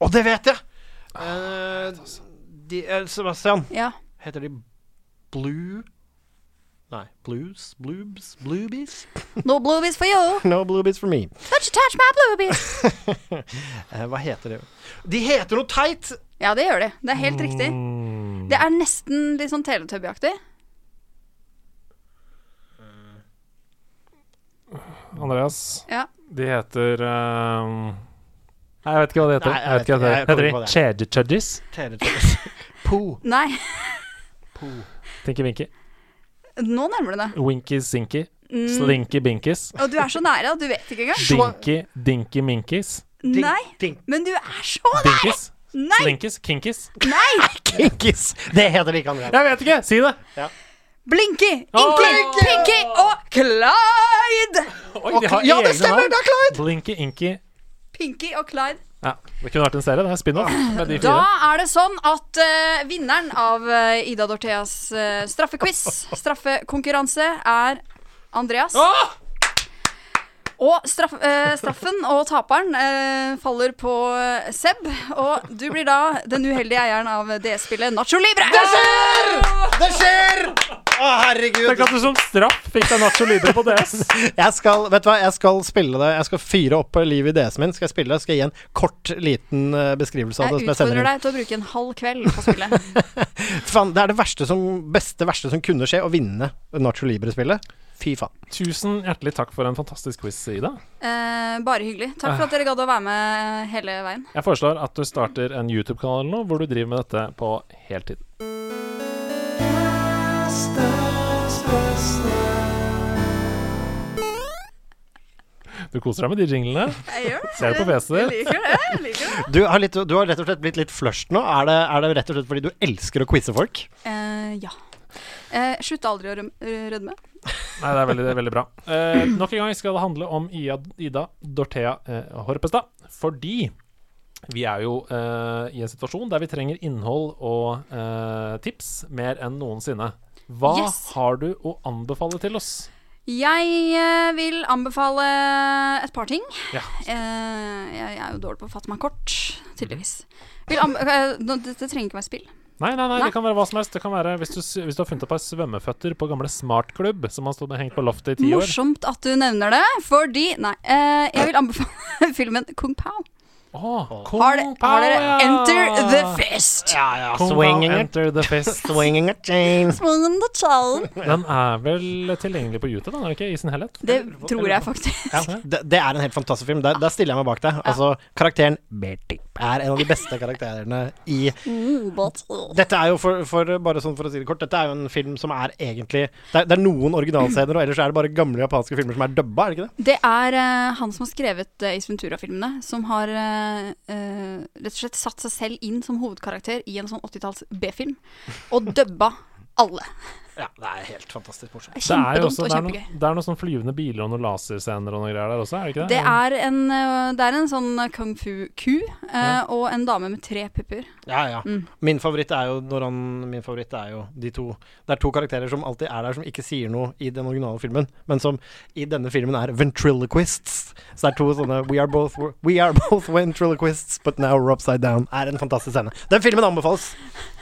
Å, det vet jeg! Eh, de, eh, Sebastian, Ja. heter de Blue Nei, Blues? Bloobs? Bloobies? No bluebies for you. No Bloobies for me. Touch, touch my bluebies. Eh, hva heter de? De heter noe teit! Ja, det gjør de. Det er helt riktig. Det er nesten litt sånn Teletubby-aktig. Andreas, Ja. de heter ehm, Nei, jeg vet ikke hva de heter. Nei, jeg jeg vet ikke hva de vet ikke. Jeg heter. Heter kommer de Cheddy Chuddies? Teletubbies. Po. Nei, Tinky Winky. nå nærmer du deg. Winky Sinky. Mm. Slinky Binkies. Og du er så nære at du vet ikke engang. Dinky Dinky Minkies. Ding, Nei, ding. men du er så nære! Dinkies. Nei! Slinkies. Kinkies. Nei! Kinkis! Det heter de ikke, Andreas. Jeg vet ikke! Si det! Blinky, Åh! Inky, Pinky og Clyde! Oi, de har ja, det egne stemmer! navn. Det er Clyde! Blinky Inky Pinky og Clyde. Ja, det kunne vært en serie. Det er spin-off med de Da fire. er det sånn at eh, vinneren av eh, Ida Dortheas eh, straffequiz, straffekonkurranse, er Andreas. Åh! Og straff, eh, straffen og taperen eh, faller på eh, Seb, og du blir da den uheldige eieren av DS-spillet Nacho Libre. Det skjer! Det skjer! Å, herregud. Tenk at du som straff fikk deg Nacho Libre på DS. Jeg skal, vet du hva, jeg skal spille det Jeg skal fyre opp livet i DS-en min. Skal jeg spille det, skal jeg gi en kort, liten eh, beskrivelse av det. Jeg som jeg sender utfordrer inn. deg til å bruke en halv kveld på spillet. Faen, det er det verste som, beste verste som kunne skje, å vinne Nacho Libre-spillet. Fy faen. Tusen hjertelig takk for en fantastisk quiz, Ida. Eh, bare hyggelig. Takk for at dere gadd å være med hele veien. Jeg foreslår at du starter en YouTube-kanal eller noe hvor du driver med dette på heltid. Du koser deg med de jinglene. Jeg gjør det. Ser du på PC-et Jeg liker det. Jeg liker det. Du har, litt, du har rett og slett blitt litt flushed nå. Er det, er det rett og slett fordi du elsker å quize folk? Eh, ja. Eh, slutt aldri å røm- rødme. Nei, det er veldig, det er veldig bra. Eh, nok en gang skal det handle om Ia, Ida Dorthea eh, Horpestad. Fordi vi er jo eh, i en situasjon der vi trenger innhold og eh, tips mer enn noensinne. Hva Yes. har du å anbefale til oss? Jeg eh, vil anbefale et par ting. Ja. Eh, jeg er jo dårlig på å fatte meg kort, tydeligvis. Mm. Vil anbe- eh, nå, dette trenger ikke være spill. Nei, nei, nei, Nei. det kan være hva som helst. Det kan være Hvis du, s- hvis du har funnet et par svømmeføtter på gamle smartklubb som har stått og hengt på loftet i ti år Morsomt at du nevner det, fordi Nei. eh, jeg vil anbefale filmen Kung Pao. Har, de, har dere Enter the Fist? Ja, ja. Kung Pao Swinging it. Enter the Fist. Swinging a chain. Swing the town. Den er vel tilgjengelig på YouTube, den er den ikke? I sin helhet? Det tror jeg faktisk. Ja, det, det er en helt fantastisk film. Der, der stiller jeg meg bak deg. Altså, karakteren Bertie er en av de beste karakterene i Dette er jo for, for bare sånn for å si det kort Dette er jo en film som er egentlig Det er, det er noen originalscener, og ellers er det bare gamle japanske filmer som er dubba, er det ikke det? Det er eh, han som har skrevet eh, Ace Ventura-filmene, som har eh, eh, rett og slett satt seg selv inn som hovedkarakter i en sånn 80-talls B-film, og dubba alle. Ja, det er helt fantastisk morsomt. Det er jo Kjempedumt også, og det er, kjempegøy. noen, det er noen sånn flyvende biler og noen laserscener og noen greier der også, er det ikke det? Det er en, eh, det er en sånn kung fu-ku eh, og en dame med tre pupper. Ja, ja. Mm. Min favoritt er jo når han Min favoritt er jo de to Det er to karakterer som alltid er der, som ikke sier noe i den originale filmen, men som i denne filmen er ventriloquists. Så det er to sånne We are both, we are both ventriloquists, but now we're upside down. Er en fantastisk scene. Den filmen anbefales.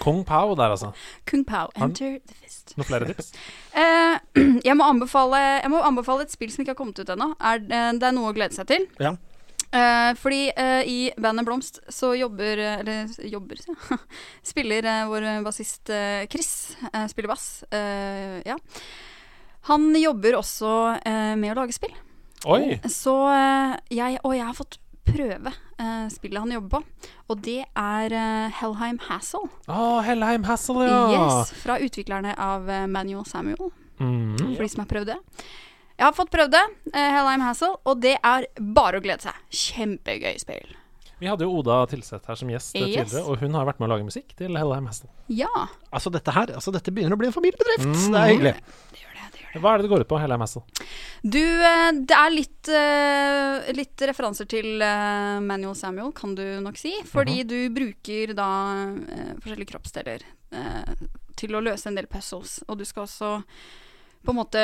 Kong Pao der, altså. Kung Pao, Han- enter the fist. Noen flere tips? Eh, jeg, må anbefale, jeg må anbefale et spill som ikke har kommet ut ennå. Er, eh, det er noe å glede seg til. Ja. Eh, fordi eh, i bandet Blomst så jobber eh, Eller s- jobber, sier jeg. Spiller eh, vår eh, bassist eh, Chris. eh, spiller bass. eh, ja. Han jobber også eh, med å lage spill. Oi! Så eh, jeg Og jeg har fått prøve eh, spillet han jobber på. Og det er eh, Hellheim Hassel. Å, Hellheim Hassel, ja! Yes, fra utviklerne av eh, Manual Samuel Mm. for de som har prøvd det. Jeg har fått prøvd det, eh, Hellheim Hassel, og det er bare å glede seg. Kjempegøy spill. Vi hadde jo Oda Tilseth her som gjest eh, Yes. tidligere, og hun har vært med å lage musikk til Hellheim Hassel. Ja. Altså, dette her Altså, dette begynner å bli en familiebedrift. Det er hyggelig. Hva er det det går ut på, Hellheim Hassel? Du, eh, det er litt, eh, litt referanser til eh, Manual Samuel, kan du nok si. Fordi du bruker da eh, forskjellige kroppsdeler eh, til å løse en del puzzles. Og du skal også på en måte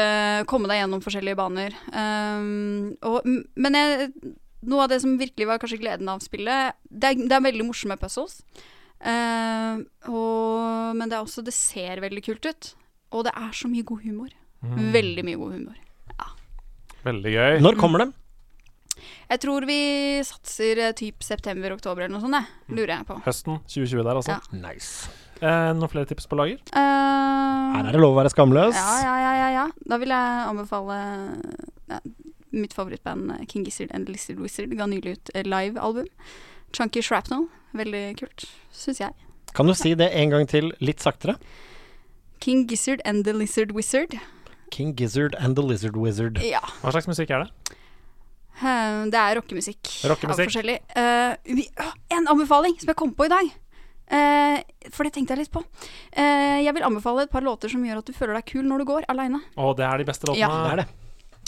komme deg gjennom forskjellige baner. Um, og, m- men jeg, noe av det som virkelig var kanskje gleden av spillet, det er, det er veldig morsomme puzzles. Eh, og, men det er også Det ser veldig kult ut. Og det er så mye god humor. Mm. Veldig mye god humor. Veldig gøy. Når kommer den? Jeg tror vi satser eh, typ september-oktober eller noe sånt, jeg. Mm. lurer jeg på. Høsten 2020 der, altså. Ja. Nice. Eh, noen flere tips på lager? Eh, Her er det lov å være skamløs. ja, ja, ja, ja, ja. Da vil jeg anbefale ja, mitt favorittband eh, King Gizzard and the Lizard Wizard ga nylig ut eh, live-album. Chunky Shrapnel. Veldig kult, syns jeg. Kan du si det en gang til, litt saktere? King Gizzard and the Lizard Wizard. King Gizzard and the Lizard Wizard. Ja. Hva slags musikk er det? Eh, Det er rockemusikk. Rockemusikk. Av forskjellig. Eh, vi, Å, en anbefaling som jeg kom på i dag. Eh, for det tenkte jeg litt på. Eh, jeg vil anbefale et par låter som gjør at du føler deg kul når du går aleine. Å, det er de beste låtene. Ja. Det er det.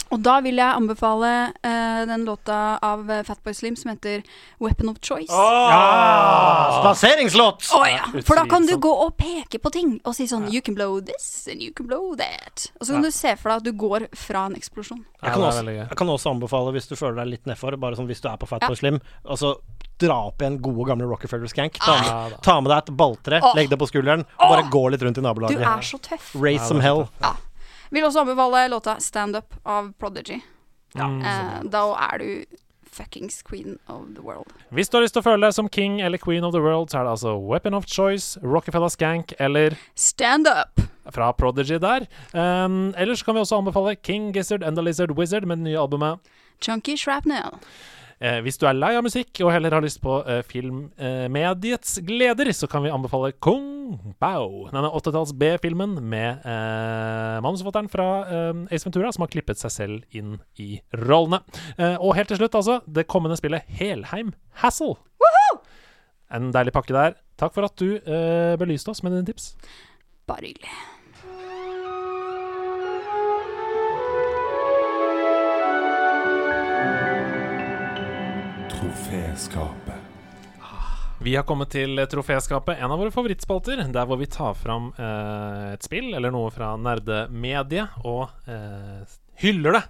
Og da vil jeg anbefale eh, den låta av eh, Fatboy Slim som heter 'Weapon of Choice'. Ja, Spaseringslåt! Å ja, For da kan du gå og peke på ting og si sånn 'You can blow this, and you can blow that'. Og så kan Ja. du se for deg at du går fra en eksplosjon. Jeg kan, også, jeg kan også anbefale, hvis du føler deg litt nedfor, bare sånn hvis du er på Fatboy Ja. Slim, og så dra opp igjen gode, gamle Rockefeller Skank. Ta, Ah. med- ta med deg et balltre, Åh. legg det på skulderen, og bare gå litt rundt i Du nabolaget. er så tøff. Race some hell. Vil også anbefale låta 'Stand Up' av Prodigy. Ja. Mm. Eh, da er du fuckings queen of the world. Hvis du har lyst til å føle deg som king eller queen of the world, så er det altså Weapon of Choice, Rockefeller Skank eller Stand Up! fra Prodigy der. Um, ellers kan vi også anbefale King Gizzard and the Lizard Wizard med det nye albumet. Chunky Shrapnel. Eh, hvis du er lei av musikk og heller har lyst på eh, filmmediets gleder, så kan vi anbefale Kung Bao. Denne 80-talls B-filmen med eh, manusforfatteren fra eh, Ace Ventura, som har klippet seg selv inn i rollene. Eh, og helt til slutt, altså, det kommende spillet Helheim Hassle. En deilig pakke der. Takk for at du eh, belyste oss med dine tips. Bare hyggelig. Troféskapet. Vi har kommet til Troféskapet, en av våre favorittspalter. Der hvor vi tar fram eh, et spill eller noe fra nerdemediet og eh, hyller det.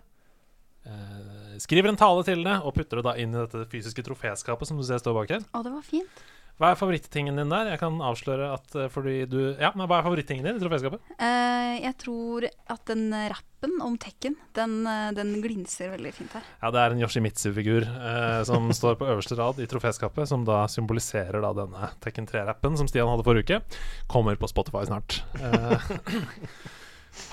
Eh, skriver en tale til det og putter det da inn i dette fysiske troféskapet som du ser står bak her. Å, det var fint. Hva er favorittingen din der? Jeg kan avsløre at eh, fordi du Ja, men hva er favorittingen din i troféskapet? Eh, jeg tror at den eh, rappen om Tekken, den, eh, den glinser veldig fint her. Ja, det er en Yoshimitsu-figur eh, som står på øverste rad i troféskapet, som da symboliserer da denne Tekken 3-rappen som Stian hadde forrige uke. Kommer på Spotify snart. Eh,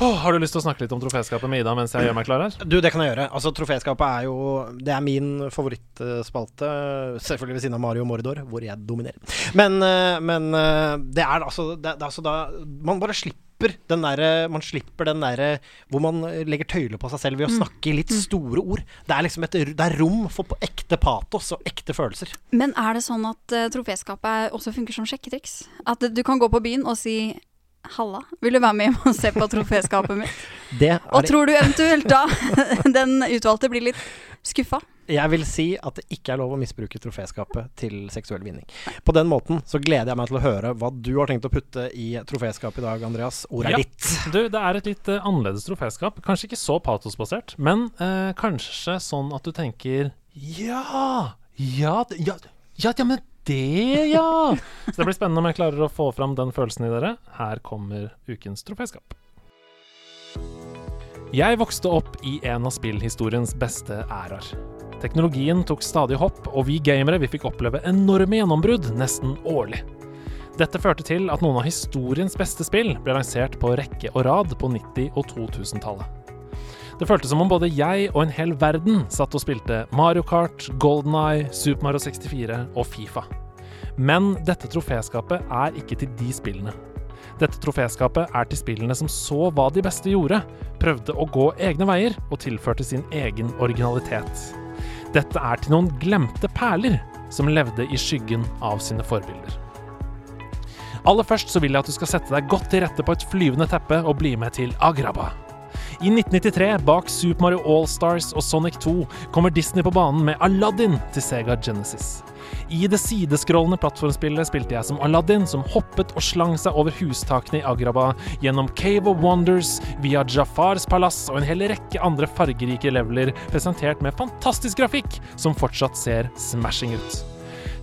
Åh, har du lyst til å snakke litt om troféskapet med Ida mens jeg gjør meg klar her? Du, det kan jeg gjøre. Altså, Troféskapet er jo Det er min favorittspalte. Selvfølgelig ved siden av Mario Mordor, hvor jeg dominerer. Men, eh, men eh, det er altså det, det er altså da Man bare slipper den derre Man slipper den derre hvor man legger tøyler på seg selv ved å Mm. snakke i litt store ord. Det er liksom et r- Det er rom for på ekte patos og ekte følelser. Men er det sånn at eh, troféskapet også funker som sjekketriks? At eh, du kan gå på byen og si 'halla, vil du være med hjem og se på troféskapet mitt'? Det er Og tror du eventuelt da den utvalgte blir litt skuffa? Jeg vil si at det ikke er lov å misbruke troféskapet til seksuell vinning. På den måten så gleder jeg meg til å høre hva du har tenkt å putte i troféskapet i dag, Andreas. Ordet er Ja. ditt. Du, det er et litt eh, annerledes troféskap. Kanskje ikke så patosbasert, men eh, kanskje sånn at du tenker Ja! Ja, d- ja, ja, ja men det, ja! Så det blir spennende om jeg klarer å få fram den følelsen i dere. Her kommer ukens troféskap. Jeg vokste opp i en av spillhistoriens beste æraer. Teknologien tok stadig hopp, og vi gamere vi fikk oppleve enorme gjennombrudd nesten årlig. Dette førte til at noen av historiens beste spill ble lansert på rekke og rad på 90- og 2000-tallet. Det føltes som om både jeg og en hel verden satt og spilte Mario Kart, Golden Eye, Super Mario 64 og Fifa. Men dette troféskapet er ikke til de spillene. Dette troféskapet er til spillene som så hva de beste gjorde, prøvde å gå egne veier og tilførte sin egen originalitet. Dette er til noen glemte perler som levde i skyggen av sine forbilder. Aller først så vil jeg at du skal sette deg godt til rette på et flyvende teppe og bli med til Agraba. I 1993, bak Super Mario All-Stars og Sonic 2, kommer Disney på banen med Aladdin til Sega Genesis. I det sideskrollende plattformspillet spilte jeg som Aladdin, som hoppet og slang seg over hustakene i Agraba, gjennom Cave of Wonders, via Jafars palass og en hel rekke andre fargerike leveler, presentert med fantastisk grafikk som fortsatt ser smashing ut.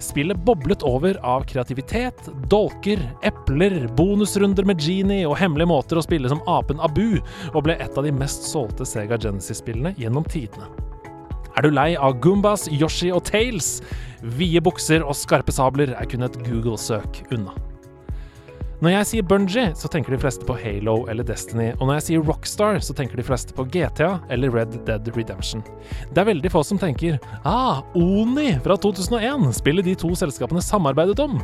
Spillet boblet over av kreativitet, dolker, epler, bonusrunder med Genie og hemmelige måter å spille som apen Abu, og ble et av de mest solgte Sega Genesis-spillene gjennom tidene. Er du lei av Goombas, Yoshi og Tails? Vide bukser og skarpe sabler er kun et Google-søk unna. Når jeg sier Bungie, så tenker de fleste på Halo eller Destiny, og når jeg sier Rockstar, så tenker de fleste på GTA eller Red Dead Redemption. Det er veldig få som tenker ah, Oni fra 2001, spillet de to selskapene samarbeidet om.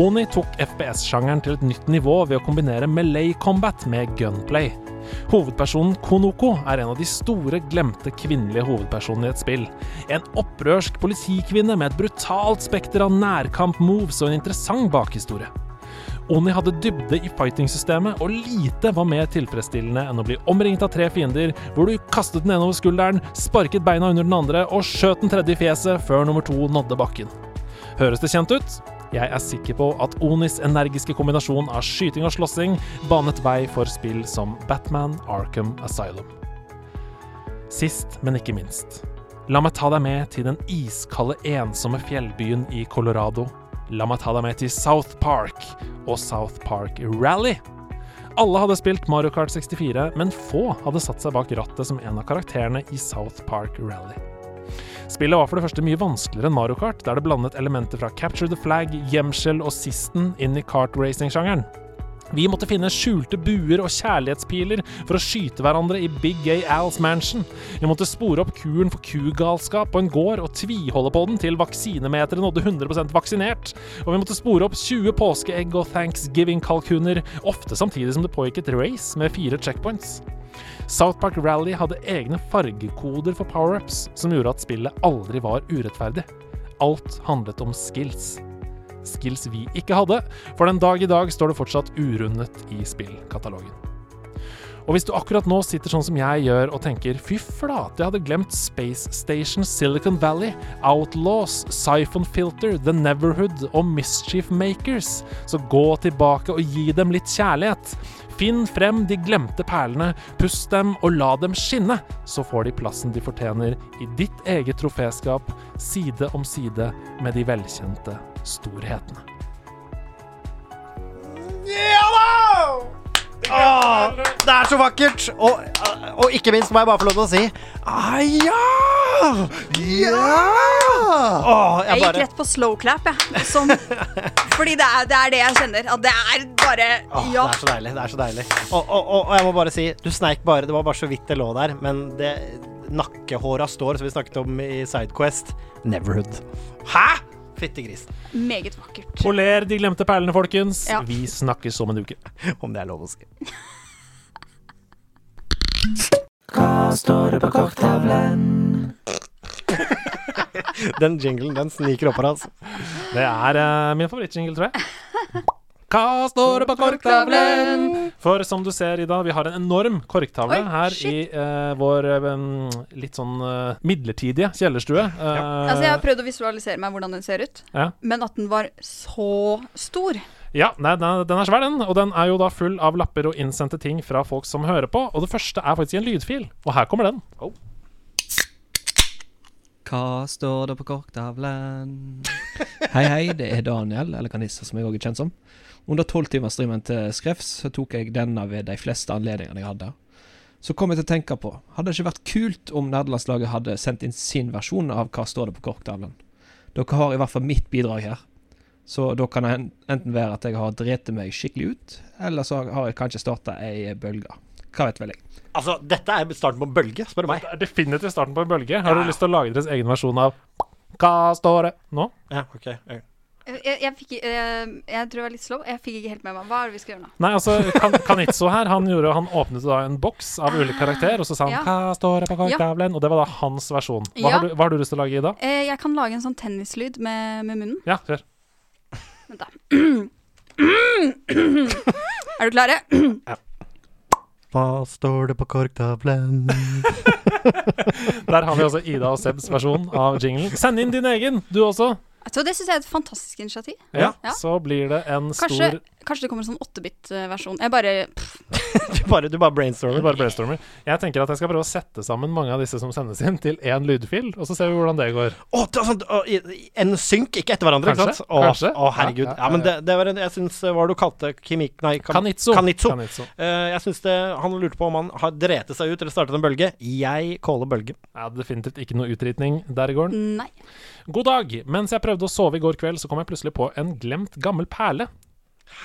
Oni tok FPS-sjangeren til et nytt nivå ved å kombinere melee combat med gunplay. Hovedpersonen Konoko er en av de store glemte kvinnelige hovedpersonene i et spill. En opprørsk politikvinne med et brutalt spekter av nærkamp-moves og en interessant bakhistorie. Oni hadde dybde i fighting-systemet, og lite var mer tilfredsstillende enn å bli omringet av tre fiender, hvor du kastet den ene over skulderen, sparket beina under den andre og skjøt den tredje i fjeset før nummer to nådde bakken. Høres det kjent ut? Jeg er sikker på at Onis energiske kombinasjon av skyting og slåssing banet vei for spill som Batman Arkham Asylum. Sist, men ikke minst. La meg ta deg med til den iskalde, ensomme fjellbyen i Colorado. La meg ta deg med til South Park og South Park Rally. Alle hadde spilt Mario Kart 64, men få hadde satt seg bak rattet som en av karakterene i South Park Rally. Spillet var for det første mye vanskeligere enn Mario Kart, der det blandet elementer fra Capture the Flag, gjemsel og sisten inn i kartracing-sjangeren. Vi måtte finne skjulte buer og kjærlighetspiler for å skyte hverandre i Big Gay Al's Mansion. Vi måtte spore opp kuren for kugalskap på en gård og tviholde på den til vaksinemeteret nådde 100 vaksinert. Og vi måtte spore opp 20 påskeegg og thanksgiving-kalkuner, ofte samtidig som det pågikk et race med fire checkpoints. South Park Rally hadde egne fargekoder for power-ups som gjorde at spillet aldri var urettferdig. Alt handlet om skills. Skills vi ikke hadde, for den dag i dag står det fortsatt urundet i spillkatalogen. Og hvis du akkurat nå sitter sånn som jeg gjør og tenker fy flate, jeg hadde glemt Space Station, Silicon Valley, Outlaws, Siphon Filter, The Neverhood og Mischief Makers, så gå tilbake og gi dem litt kjærlighet. Finn frem de glemte perlene, pust dem og la dem skinne, så får de plassen de fortjener i ditt eget troféskap, side om side med de velkjente storhetene. Åh, det er så vakkert! Og, og ikke minst må jeg bare få lov til å si ah, ja! Ja! Åh, Jeg, jeg gikk bare rett på slow clap, jeg. Som, fordi det er, det er det jeg kjenner. At det er bare Åh, Ja. Det er så deilig. det er så deilig og, og, og, og jeg må bare si, du sneik bare. Det var bare så vidt det lå der. Men det nakkehåra står, som vi snakket om i Sidequest. Neverhood. Hæ?! Fyttegrisen. Meget vakkert. Poler de glemte perlene, folkens. Ja. Vi snakkes om en uke. Om det er lov å si. Hva står det på kokktavlen? Den jinglen, den sniker opp her, altså. Det er eh, min favorittjingle, tror jeg. Hva står det på korktavlen? For som du ser, Ida, vi har en enorm korktavle Oi, her shit. i eh, vår eh, litt sånn eh, midlertidige kjellerstue. Eh, Altså, jeg har prøvd å visualisere meg hvordan den ser ut, Ja. men at den var så stor. Ja, nei, den er- den er svær, den. Og den er jo da full av lapper og innsendte ting fra folk som hører på. Og det første er faktisk i en lydfil. Og her kommer den. Hva står det på korktavlen? Hei, hei, det er Daniel, eller Kanissa, som jeg også er kjent som. Under tolvtimersstreamen til Skrevs så tok jeg denne ved de fleste anledningene jeg hadde. Så kom jeg til å tenke på, hadde det ikke vært kult om nerdelandslaget hadde sendt inn sin versjon av Hva står det på korktavlen? Dere har i hvert fall mitt bidrag her. Så da kan det en- enten være at jeg har dreti meg skikkelig ut, eller så har jeg kanskje starta ei bølge. Hva vet vel jeg. Altså, dette er starten på en bølge, spør du meg. Det er definitivt starten på en bølge. Har du lyst til å lage deres egen versjon av Hva står det nå? Ja, ok. Jeg, jeg, jeg, fikk, eh, jeg tror jeg var litt slow. Jeg fikk ikke helt med meg. Hva er det vi skal gjøre nå? Nei, altså, kan, Kanitso her, han, gjorde, han åpnet da en boks av ulike karakterer, og så sa han Ah, Ja. Hva står det på Ja. korktavlen? Og det var da hans versjon. Hva, Ja. har, du, hva har du lyst til å lage i dag? Eh, jeg kan lage en sånn tennislyd med, med munnen. Ja, kjør. Vent, da. er du klare? Hva står det på korktavlen? Der har vi også Ida og Sebs versjon av jinglen. Send inn din egen, du også. Så det syns jeg er et fantastisk initiativ. Ja, Ja. Så blir det en Kanskje, stor kanskje det kommer en sånn 8-bit-versjon. Jeg bare pff, du, bare, du bare brainstormer. Du bare brainstormer. Jeg tenker at jeg skal prøve å sette sammen mange av disse som sendes inn, til én lydfil, og så ser vi hvordan det går. Å, det er sånn, å, i- en synk, ikke etter hverandre. Kanskje, ikke sant? Å, kanskje. å, herregud. Ja, ja, Ja, men det, det var en, jeg syns eh, Hva var det du kalte Kimik... Nei, Kam- Kanitso. Kanitso. Kanitso. Eh, jeg syns det Han lurte på om han har drete seg ut eller startet en bølge. Jeg caller bølge. Ja, definitivt ikke noe utritning der i gården. Nei. God dag! Mens jeg prøvde å sove i går kveld, så kom jeg plutselig på en glemt gammel perle.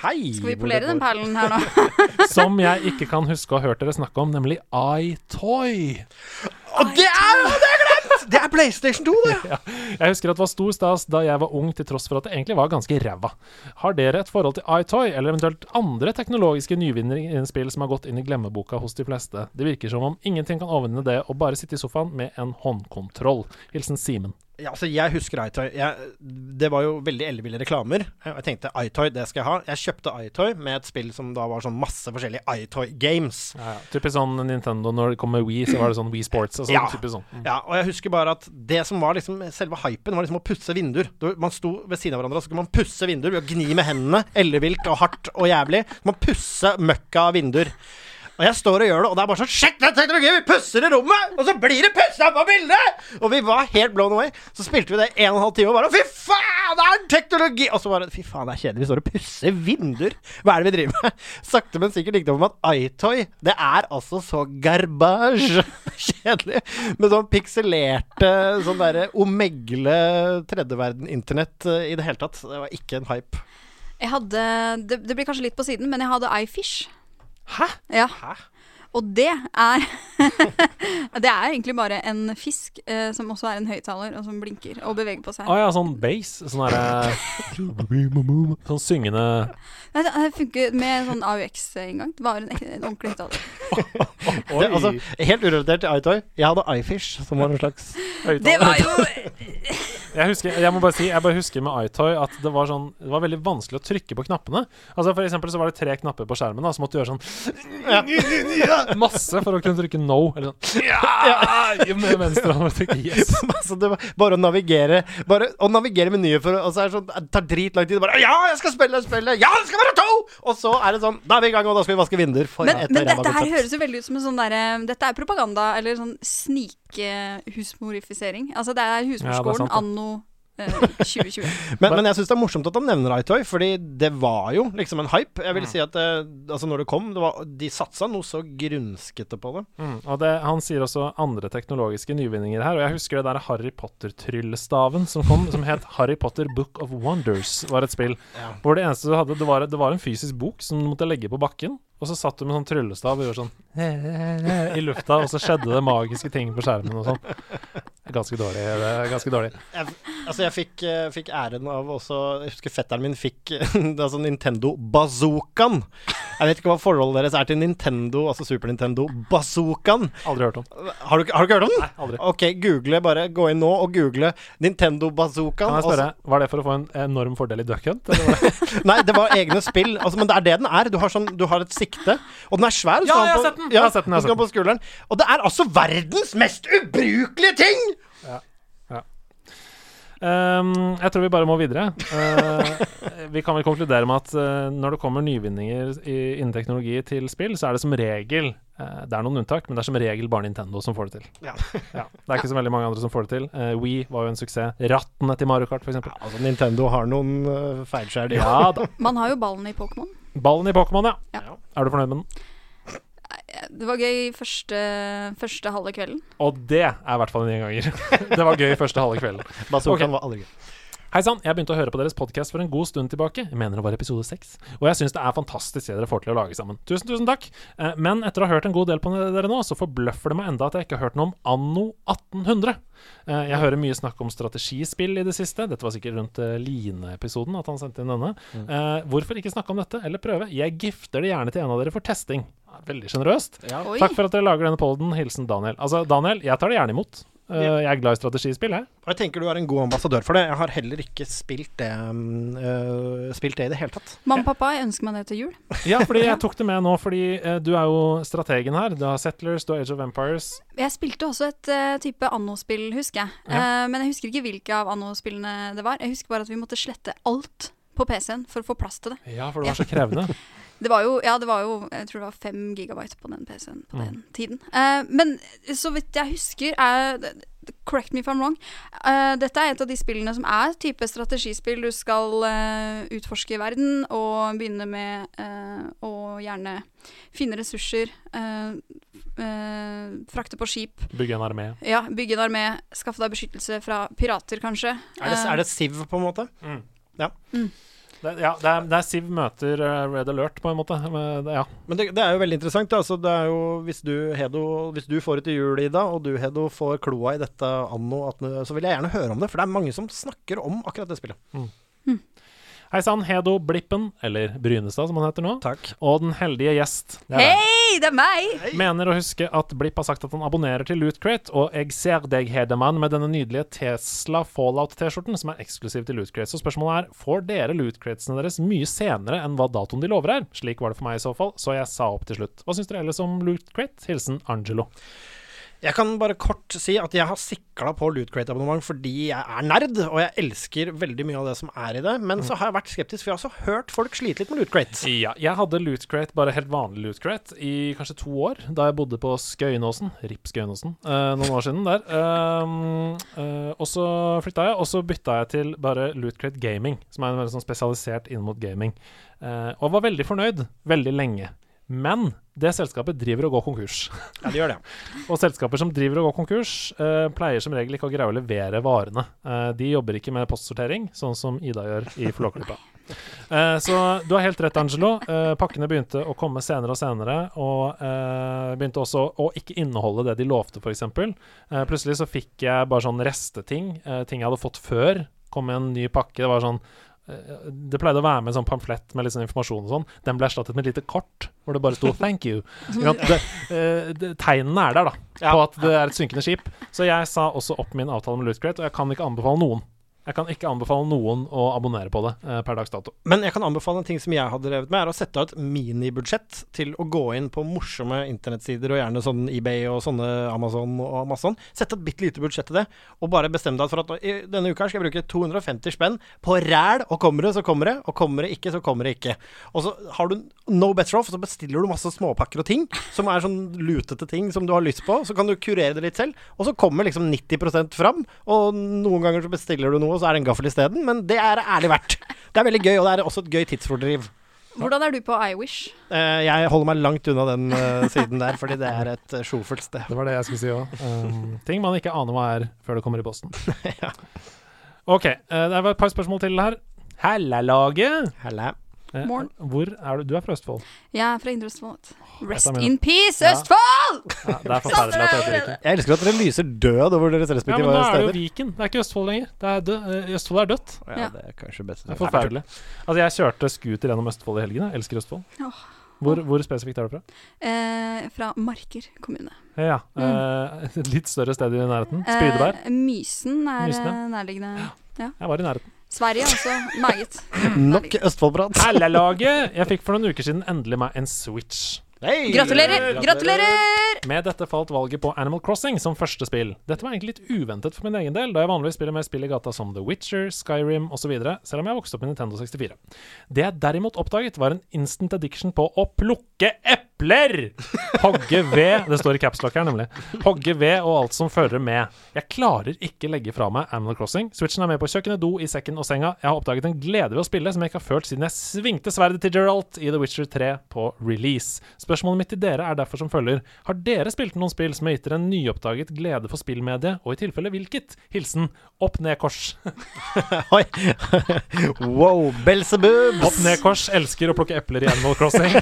Hei! Skal vi polere den perlen her nå? Som jeg ikke kan huske å ha hørt dere snakke om, nemlig iToy. Og det er jo det er glemt! Det er PlayStation 2, det! Jeg husker at det var stor stas da jeg var ung, til tross for at det egentlig var ganske ræva. Har dere et forhold til iToy, eller eventuelt andre teknologiske nyvinninger innen spill som har gått inn i glemmeboka hos de fleste? Det virker som om ingenting kan overvinne det å bare sitte i sofaen med en håndkontroll. Hilsen Simen. Ja, altså jeg husker iToy. Jeg, det var jo veldig elleville reklamer. Og jeg tenkte iToy, det skal jeg ha. Jeg kjøpte iToy med et spill som da var sånn masse forskjellige iToy games. Ja, ja. Typisk sånn Nintendo når det kom med Wii, så var det sånn Wii Sports og sånn. Ja. Typisk sånn. Mm. Ja, og jeg husker bare at det som var liksom selve hypen, var liksom å pusse vinduer. Du, man sto ved siden av hverandre, og så kunne man pusse vinduer ved å gni med hendene. Ellevilt og hardt og jævlig. Så Man pusse møkka av vinduer. Og jeg står og gjør det, og det er bare sånn Shit, det er teknologi! Vi pusser i rommet! Og så blir det pussa på bildet! Og vi var helt blown away. Så spilte vi det en og en halv time og bare Fy faen, det er teknologi! Og så bare Fy faen, det er kjedelig. Vi står og pusser vinduer. Hva er det vi driver med? Sakte, men sikkert gikk det om at iToy, det er altså så garbage. Kjedelig. Med sånn pikselerte, sånn derre omegle tredjeverden-internett eh, i det hele tatt. Det var ikke en hype. Jeg hadde det, det blir kanskje litt på siden, men jeg hadde iFish. Hæ? Ja. Og det er Det er egentlig bare en fisk eh, som også er en høyttaler, og som blinker og beveger på seg. Å ja, sånn base. Sånn derre Sånn syngende Nei, det det funker med sånn AUX-inngang. Det var en, ek- en ordentlig høyttaler. Det, altså, helt urelatert til iToy. Jeg hadde iFish, som var en slags Det var jo Jeg husker, jeg må bare si Jeg bare husker med iToy at det var sånn Det var veldig vanskelig å trykke på knappene. Altså For eksempel så var det tre knapper på skjermen, da så måtte du gjøre sånn Masse for å kunne trykke no. Eller sånn ja, Med venstre hånd og trykke yes. altså, det var bare å navigere Bare å navigere menyer for Og så er det sånn Det tar dritlang tid. Bare, ja, jeg skal spille, spille! Ja, det skal være to! Og så er det sånn Da er vi i gang, og da skal vi vaske vinduer. For Men, et men ræva dette her konsept. høres jo veldig ut som en sånn derre Dette er propaganda, eller sånn snikehusmorifisering. Altså det Ja, er det er sant, husmorskolen da. anno eh, 2020. Men, men jeg syns det er morsomt at han nevner iToy, fordi det var jo liksom en hype. Mm. Jeg vil si at eh, altså når det kom, det var, de satsa noe så grunskete på det. Mm, og det, Han sier også andre teknologiske nyvinninger her. Og jeg husker det der Harry Potter-tryllestaven som kom, som het Harry Potter Book of Wonders. var et spill Ja. Hvor det eneste du hadde, det var, det var en fysisk bok som du måtte legge på bakken. Og så satt du med sånn tryllestav og gjorde sånn i lufta, og så skjedde det magiske ting på skjermen og sånn. Ganske dårlig. Det er ganske dårlig. Jeg, altså jeg fikk, eh, fikk æren av også Jeg husker fetteren min fikk Det er sånn Nintendo Bazookaen. Jeg vet ikke hva forholdet deres er til Nintendo, altså Super Nintendo Bazookaen. Aldri hørt om. Har du, ikke- har du ikke hørt om den? Nei, aldri. Ok, google, bare gå inn nå og google Nintendo Bazookaen. Kan jeg og spørre, så- Var det for å få en enorm fordel i Duck Hunt? eller var det- Nei, det var egne spill. Altså, men det er det den er. Du har, sånn, du har et sikte, og den er svær. Ja, jeg har på- sett den. Ja, Jeg har sett den, jeg har du skal sett den. på skulderen. Og det er altså verdens mest ubrukelige ting! Ehm, jeg tror vi bare må videre. Eh, vi kan vel konkludere med at eh, når det kommer nyvinninger i, innen teknologi til spill, så er det som regel eh, Det er noen unntak, men det er som regel bare Nintendo som får det til. Ja. Det er ikke så veldig mange andre som får det til. Uh, We var jo en suksess. Rattene til Mario Kart, f.eks. Altså, Nintendo har noen uh, feilskjær, de Ja da. Man har jo ballen i Pokémon. Ballen i Pokémon, ja. Ja. Er du fornøyd med den? Det var gøy første, første halve kvelden. Og det er i hvert fall en gjenganger. det var gøy første halve kvelden. Bazookaen Ok. var aldri gøy. Hei sann, jeg begynte å høre på deres podkast for en god stund tilbake. Jeg mener det var episode seks. Og jeg syns det er fantastisk det dere får til å lage sammen. Tusen, tusen takk. Eh, Men etter å ha hørt en god del på dere nå, så forbløffer det meg enda at jeg ikke har hørt noe om anno 1800. Eh, Jeg hører mye snakk om strategispill i det siste. Dette var sikkert rundt eh, Line-episoden at han sendte inn denne. Eh, Hvorfor ikke snakke om dette, eller prøve? Jeg gifter det gjerne til en av dere for testing. Ja, Veldig sjenerøst. Ja. Oi. Takk for at dere lager denne polden. Hilsen Daniel. Altså, Daniel, jeg tar det gjerne imot. Eh, Ja. Jeg er glad i strategispill, jeg. Og jeg tenker du er en god ambassadør for det. Jeg har heller ikke spilt det, um, øh, spilt det i det hele tatt. Mamma og pappa, jeg ønsker meg det til jul. Ja, fordi jeg tok det med nå, fordi eh, du er jo strategen her. Du har Settlers, du har Age of Empires. Jeg spilte også et eh, type anno-spill, husker jeg. Ja. Eh, men jeg husker ikke hvilke av anno-spillene det var. Jeg husker bare at vi måtte slette alt på PC-en for å få plass til det. Ja, for det var så krevende. Det var jo, ja, det var jo jeg tror det var fem gigabyte på den PC-en på den Mm. tiden. Eh, men så vidt jeg husker er, d- d- Correct me if I'm wrong. eh, dette er et av de spillene som er type strategispill. Du skal eh, utforske verden og begynne med eh, å gjerne finne ressurser. eh, eh, frakte på skip. Bygge en armé. Ja, bygge en armé, skaffe deg beskyttelse fra pirater, kanskje. Er det, Eh, er det Siv, på en måte? Mm. Ja. Det, ja, det er, det er Siv møter eh, Red Alert, på en måte. Men det- Ja. Men det, det er jo veldig interessant. Altså, det er jo, hvis, du, Hedo, hvis du får det til jul, Ida, og du, Hedo, får kloa i dette anno 1800, så vil jeg gjerne høre om det. For det er mange som snakker om akkurat det spillet. Hei sann, Hedo Blippen, eller Brynestad som han heter nå, og den heldige gjest. Det er deg. Hei, det er meg! Mener å huske at Blipp har sagt at han abonnerer til Loot Crate, og jeg ser deg, Hedemann, med denne nydelige Tesla Fallout-T-skjorten som er eksklusiv til Loot Crate. Så spørsmålet er, får dere Loot Cratesene deres mye senere enn hva datoen de lover er? Slik var det for meg i så fall, så jeg sa opp til slutt. Hva syns dere ellers om Loot Crate? Hilsen Angelo. Jeg kan bare kort si at jeg har sikla på Loot Crate-abonnement fordi jeg er nerd, og jeg elsker veldig mye av det som er i det. Men så har jeg vært skeptisk, for jeg har også hørt folk slite litt med Loot Crate. Ja, jeg hadde Loot Crate, bare helt vanlig Loot Crate, i kanskje to år, da jeg bodde på Skøyenåsen, RIP Skøyenåsen, eh, noen år siden der. Um, eh, og så flytta jeg, og så bytta jeg til bare Loot Crate Gaming, som er en veldig sånn spesialisert inn mot gaming. Eh, og var veldig fornøyd veldig lenge. Men det selskapet driver og går konkurs. Ja, det gjør det. og selskaper som driver og går konkurs, eh, pleier som regel ikke å greie å levere varene. Eh, de jobber ikke med postsortering, sånn som Ida gjør i Flåklypa. Eh, så du har helt rett, Angelo. Eh, pakkene begynte å komme senere og senere, og eh, begynte også å ikke inneholde det de lovte, f.eks. Eh, plutselig så fikk jeg bare sånn resteting, eh, ting jeg hadde fått før. Kom i en ny pakke. Det var sånn eh, det pleide å være med en sånn pamflett med litt sånn informasjon og sånn. Den ble erstattet med et lite kort hvor det bare sto 'thank you'. Ikke sant? Det, eh, det, tegnene er der, da, på at det er et synkende skip. Så jeg sa også opp min avtale med Lootcrate, og jeg kan ikke anbefale noen. Jeg kan ikke anbefale noen å abonnere på det eh, per dags dato. Men jeg kan anbefale en ting som jeg har drevet med, er å sette av et minibudsjett til å gå inn på morsomme internettsider, og gjerne sånn eBay og sånne Amazon og masse sånn. Sett et bitte lite budsjett til det, og bare bestem deg for at nå- i denne uka skal jeg bruke 250 spenn på ræl, og kommer det, så kommer det, og kommer det ikke, så kommer det ikke. Og så har du no better off, så bestiller du masse småpakker og ting, som er sånn lutete ting som du har lyst på, så kan du kurere det litt selv, og så kommer liksom 90 fram, og noen ganger så bestiller du noe, og så er det en gaffel isteden, men det er det ærlig verdt. Det er veldig gøy, og det er også et gøy tidsfordriv. Hvordan er du på iWish? Eh, jeg holder meg langt unna den eh, siden der, fordi det er et eh, sjofelt sted. Det var det jeg skulle si òg. Um, ting man ikke aner hva er før det kommer i posten. OK, eh, det var et par spørsmål til her. Hallalaget. Halla. Eh, Morn. hvor er du? Du er fra Østfold. Jeg er fra Indre Østfold. Rest Jeg tar med in den. peace, Ja. Østfold! Ja, det er forferdelig at det heter Viken. Jeg elsker at dere lyser død over deres Ja, men da er respektive det jo steder. Viken. Det er ikke Østfold lenger. Det er død. eh, Østfold er dødt. Ja, det er kanskje best. Det er forferdelig. Altså, jeg kjørte scooter gjennom Østfold i helgen. Jeg elsker Østfold. Åh. Hvor, hvor spesifikt er du fra? Eh, fra Marker kommune. Ja, eh, Et litt større sted i nærheten. Spydeberg. Mm. Eh, Mysen er Mysen, ja. eh, nærliggende. Ja. Jeg var i nærheten. Sverige også. Meget. Nok Østfold-prat. Hallalaget! Jeg fikk for noen uker siden endelig meg en Switch. Gratulerer! Gratulerer! Med dette falt valget på Animal Crossing som første spill. Dette var egentlig litt uventet for min egen del, da jeg vanligvis spiller mer spill i gata som The Witcher, Skyrim osv., selv om jeg vokste opp med Nintendo 64. Det jeg derimot oppdaget, var en instant addiction på å plukke epler! Hogge ved Det står i capslock her, nemlig. Hogge ved og alt som fører med. Jeg klarer ikke legge fra meg Animal Crossing. Switchen er med på kjøkkenet, do, i sekken og senga. Jeg har oppdaget en glede ved å spille som jeg ikke har følt siden jeg svingte sverdet til Geralt i The Witcher 3 på release. Spørsmålet mitt til dere er derfor som følger. Har dere spilt noen spill som har gitt dere en nyoppdaget glede for spillmediet, og i tilfelle hvilket? Hilsen opp ned kors. Oi. wow, Belzebub! Opp ned kors elsker å plukke epler i Animal Crossing.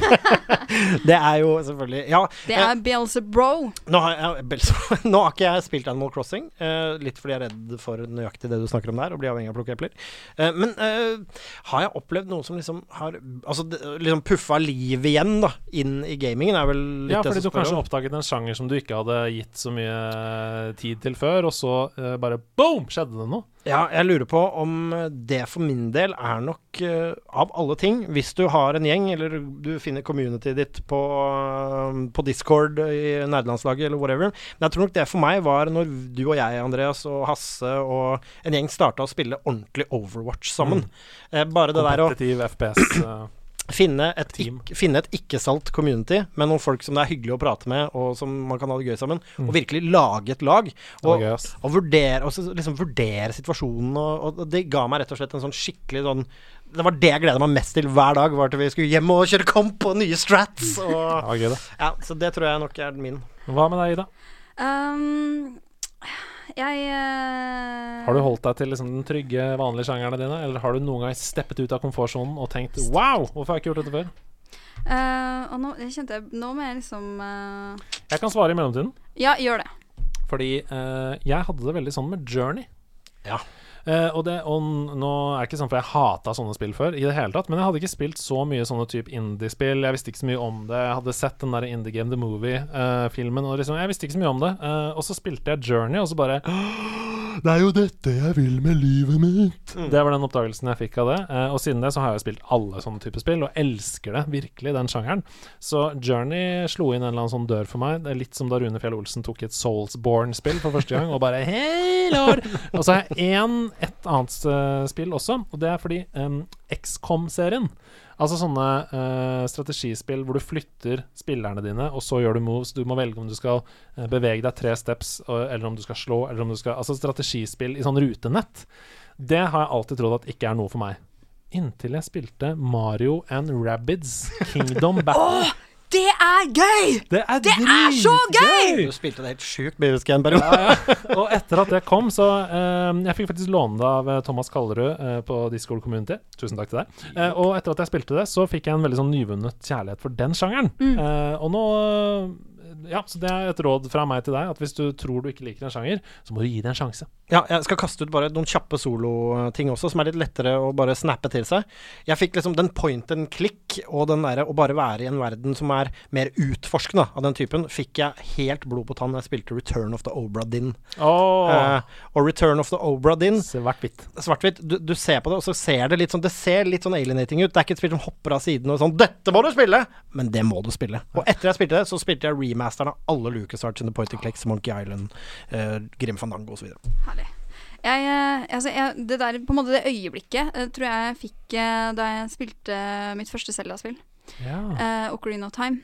Det er jo selvfølgelig Ja. Det eh, er Beelzebro. Nå har, jeg, Belzebub- nå har ikke jeg spilt Animal Crossing, eh, litt fordi jeg er redd for nøyaktig det du snakker om der, og blir avhengig av å plukke epler. Eh, men eh, har jeg opplevd noe som liksom har Altså det- liksom puffa livet igjen, da, inn i gamingen, er vel litt Ja, det fordi du som spør kanskje om. oppdaget en sjanger som du ikke hadde gitt så mye eh, tid til før, og så eh, bare boom, skjedde det noe. Ja, jeg lurer på om det for min del er nok eh, av alle ting Hvis du har en gjeng, eller du finner communityet ditt på, eh, på Discord i nerdelandslaget eller whatever Men jeg tror nok det for meg var når du og jeg, Andreas, og Hasse og en gjeng starta å spille ordentlig Overwatch sammen. Eh, Bare det der å Kompetitiv FPS. eh, Finne et, ikk- finne et ikke-salt community med noen folk som det er hyggelig å prate med, og som man kan ha det gøy sammen. Og virkelig lage et lag. var Og, gøy, ass. og, vurdere, og så liksom vurdere situasjonen. Og, og det ga meg rett og slett en sånn skikkelig sånn Det var det jeg gleda meg mest til hver dag. Var til vi skulle hjem og kjøre kamp og nye strats. det Og, var gøy, det. ja, så det tror jeg nok er min. Hva med deg, Ida? Um, jeg eh, Har du holdt deg til liksom, den trygge, vanlige sjangerne dine, eller har du noen gang steppet ut av komfortsonen og tenkt wow, hvorfor har jeg ikke gjort dette før? eh, og nå, jeg kjente jeg, nå må jeg liksom eh, Jeg kan svare i mellomtiden, Ja, gjør det. fordi eh, jeg hadde det veldig sånn med Journey. Ja. Eh, og, det, og n- nå er det ikke sånn, for jeg hata sånne spill før, i det hele tatt. Men jeg hadde ikke spilt så mye sånne type indie-spill. Jeg visste ikke så mye om det. Jeg hadde sett den der Indie Game The Movie-filmen, og liksom, jeg visste ikke så mye om det. Eh, og så spilte jeg Journey, og så bare Det er jo dette jeg vil med livet mitt. Det var den oppdagelsen jeg fikk av det. Eh, og siden det så har jeg jo spilt alle sånne typer spill, og elsker det virkelig, den sjangeren. Så Journey slo inn en eller annen sånn dør for meg. Det er litt som da Rune Fjell Olsen tok et Soulsborne-spill for første gang, og bare Hei, lord! Og så har jeg én, et annet eh, spill også, og det er fordi um, XCOM-serien Altså sånne eh, strategispill hvor du flytter spillerne dine, og så gjør du moves. Du må velge om du skal eh, bevege deg tre steps, og, eller om du skal slå, eller om du skal Altså strategispill i sånn rutenett. Det har jeg alltid trodd at ikke er noe for meg. Inntil jeg spilte Mario and Rabbids Kingdom Battle. Det er gøy! Det er, så gøy! Du spilte det helt sjukt BSK en periode. Ja, ja. Og etter at det kom, så eh, Jeg fikk faktisk låne det av eh, Thomas Kallerud eh, på Discord Community. Tusen takk til deg. Eh, og etter at jeg spilte det, så fikk jeg en veldig sånn nyvunnet kjærlighet for den sjangeren. Mm. Eh, og nå eh, Ja, så det er et råd fra meg til deg, at hvis du tror du ikke liker en sjanger, så må du gi det en sjanse. Ja, jeg skal kaste ut bare noen kjappe soloting også, som er litt lettere å bare snappe til seg. Jeg fikk liksom den point and click og den derre å bare være i en verden som er mer utforskende av den typen, fikk jeg helt blod på tann da jeg spilte Return of the Obra Dinn. Eh, og Return of the Obra Dinn Svart-hvitt. Du, du ser på det, og så ser det litt sånn Det ser litt sånn alienating ut. Det er ikke et spill som hopper av siden og sånn 'Dette må du spille!' Men det må du spille. Og etter jeg spilte det, så spilte jeg remasteren av alle Lucas Arts in the Point and Clicks, Monkey Island, eh, Grim Fandango osv. Jeg, eh, altså, jeg, det der på en måte det øyeblikket eh, tror jeg jeg fikk eh, da jeg spilte mitt første Zelda-spill. Ja. Eh, Ocarina of Time.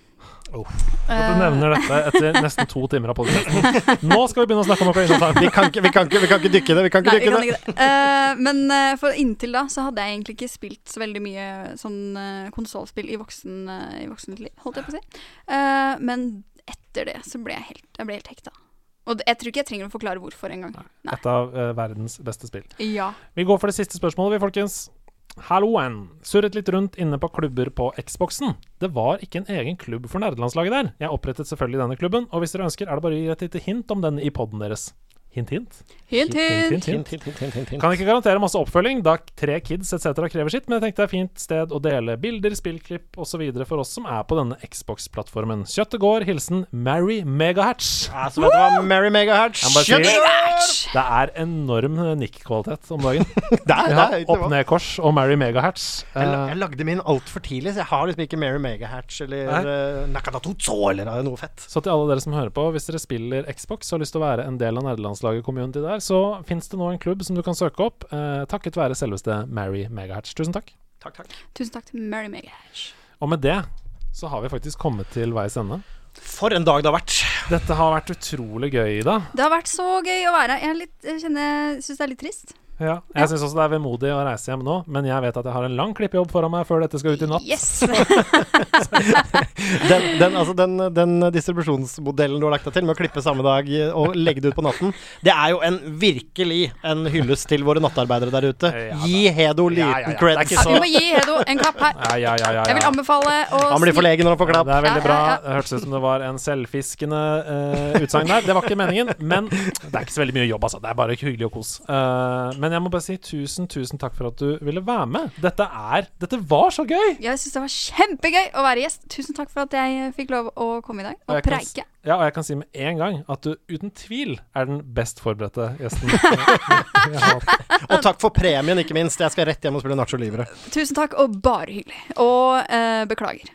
Oh. Mm. At du nevner dette etter nesten to timer av podkasten. Nå skal vi begynne å snakke om Ocarina of Time. Vi kan ikke, vi kan ikke, vi kan ikke dykke i det. Vi kan ikke Nei, vi dykke kan i det. ikke det. Eh, men eh, for inntil da så hadde jeg egentlig ikke spilt så veldig mye sånn uh, konsollspill i, voksen, eh, i voksent liv, holdt jeg på å si. Eh, men etter det så ble jeg helt, jeg ble helt hekta. Og det, jeg tror ikke jeg trenger å forklare hvorfor engang. Et av eh, verdens beste spill. Ja. Vi går for det siste spørsmålet, vi, folkens. Halloen. Surret litt rundt inne på klubber på Xboxen. Det var ikke en egen klubb for nerdelandslaget der. Jeg opprettet selvfølgelig denne klubben, og hvis dere ønsker, er det bare å gi et lite hint om den i poden deres. Hint, hint. Hint, hint. hint, hint. Kan ikke garantere masse oppfølging, da tre kids etc. krever sitt, men jeg tenkte det er et fint sted å dele bilder, spillklipp osv. for oss som er på denne Xbox-plattformen. Kjøttet går. Hilsen Mary Megahatch. Ja, så vet du hva, Mary Megahertz. Jeg må bare si- Kjøtt i går! Det er enorm eh, nikk-kvalitet om dagen. er- ja, det er høyt nivå. Opp-ned-kors og Mary Eh, Megahertz. Jeg, la- jeg lagde min altfor tidlig, så jeg har liksom ikke Mary Megahertz eller uh, Nakatatutso eller eh, noe fett. Så til alle dere som hører på, hvis dere spiller Xbox og har lyst til å være en del av nerdelandslaget-community der, så fins det nå en klubb som du kan søke opp, eh, takket være selveste Mary Megahertz. Tusen takk. Takk, takk. Tusen takk til Mary Megash. Og med det så har vi faktisk kommet til veis ende. For en dag det har vært. Dette har vært utrolig gøy, Ida. Det har vært så gøy å være her. Jeg, er litt- jeg kjenner- syns det er litt trist. Ja. Jeg syns også det er vemodig å reise hjem nå, men jeg vet at jeg har en lang klippejobb foran meg før dette skal ut i natt. Yes! Den, den, altså den, den distribusjonsmodellen du har lagt deg til med å klippe samme dag og legge det ut på natten, det er jo en virkelig en hyllest til våre nattarbeidere der ute. Gi Hedo liten ja, ja. creds. Det er ikke så- Vi må gi Hedo en klapp her. Ja, ja, ja, ja, Jeg vil ja. anbefale å Han blir for lege når han får klapp. Det er veldig Ja, bra. ja, ja. Det hørtes ut som det var en selvfiskende uh, utsagn der. Det var ikke meningen, men det er ikke så veldig mye jobb, altså. Det er bare hyggelig og kos. Eh, men jeg må bare si tusen, tusen takk for at du ville være med. Dette er Dette var så gøy! Jeg syns det var kjempegøy å være gjest. Tusen takk for at jeg fikk lov å komme i dag og, jeg kan s- preike. Ja, og jeg kan si med en gang at du uten tvil er den best forberedte gjesten. Jeg har hatt. Og takk for premien, ikke minst. Jeg skal rett hjem og spille Nacho Livre. Tusen takk, og bare hyggelig. Og eh, beklager.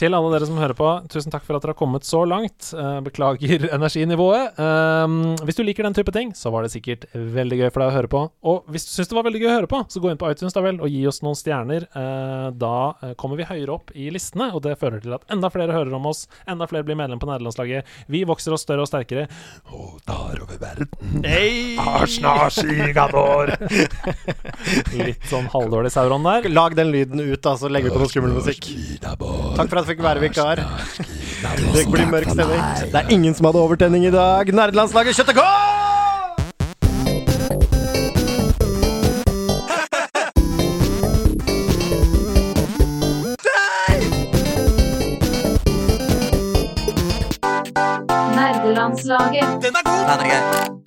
Til alle dere som hører på, tusen takk for at dere har kommet så langt. Eh, Beklager energinivået. Um, Hvis du liker den type ting, så var det sikkert veldig gøy for deg å høre på. Og hvis du syns det var veldig gøy å høre på, så gå inn på iTunes da vel og gi oss noen stjerner. Eh, Da eh, kommer vi høyere opp i listene, og det fører til at enda flere hører om oss, enda flere blir medlem på nederlandslaget. Vi vokser oss større og sterkere. Og tar over verden. Arsnarsiga vår. Litt sånn halvdårlig Sauron der. Lag den lyden ut, da, så legger vi på noe skummel musikk. Takk for at jeg fikk være vikar. Det blir mørk stemning. Det er ingen som hadde overtenning i dag. Nerdelandslaget, kjøttet går! Nerdelandslaget. Den er god! Den er grei.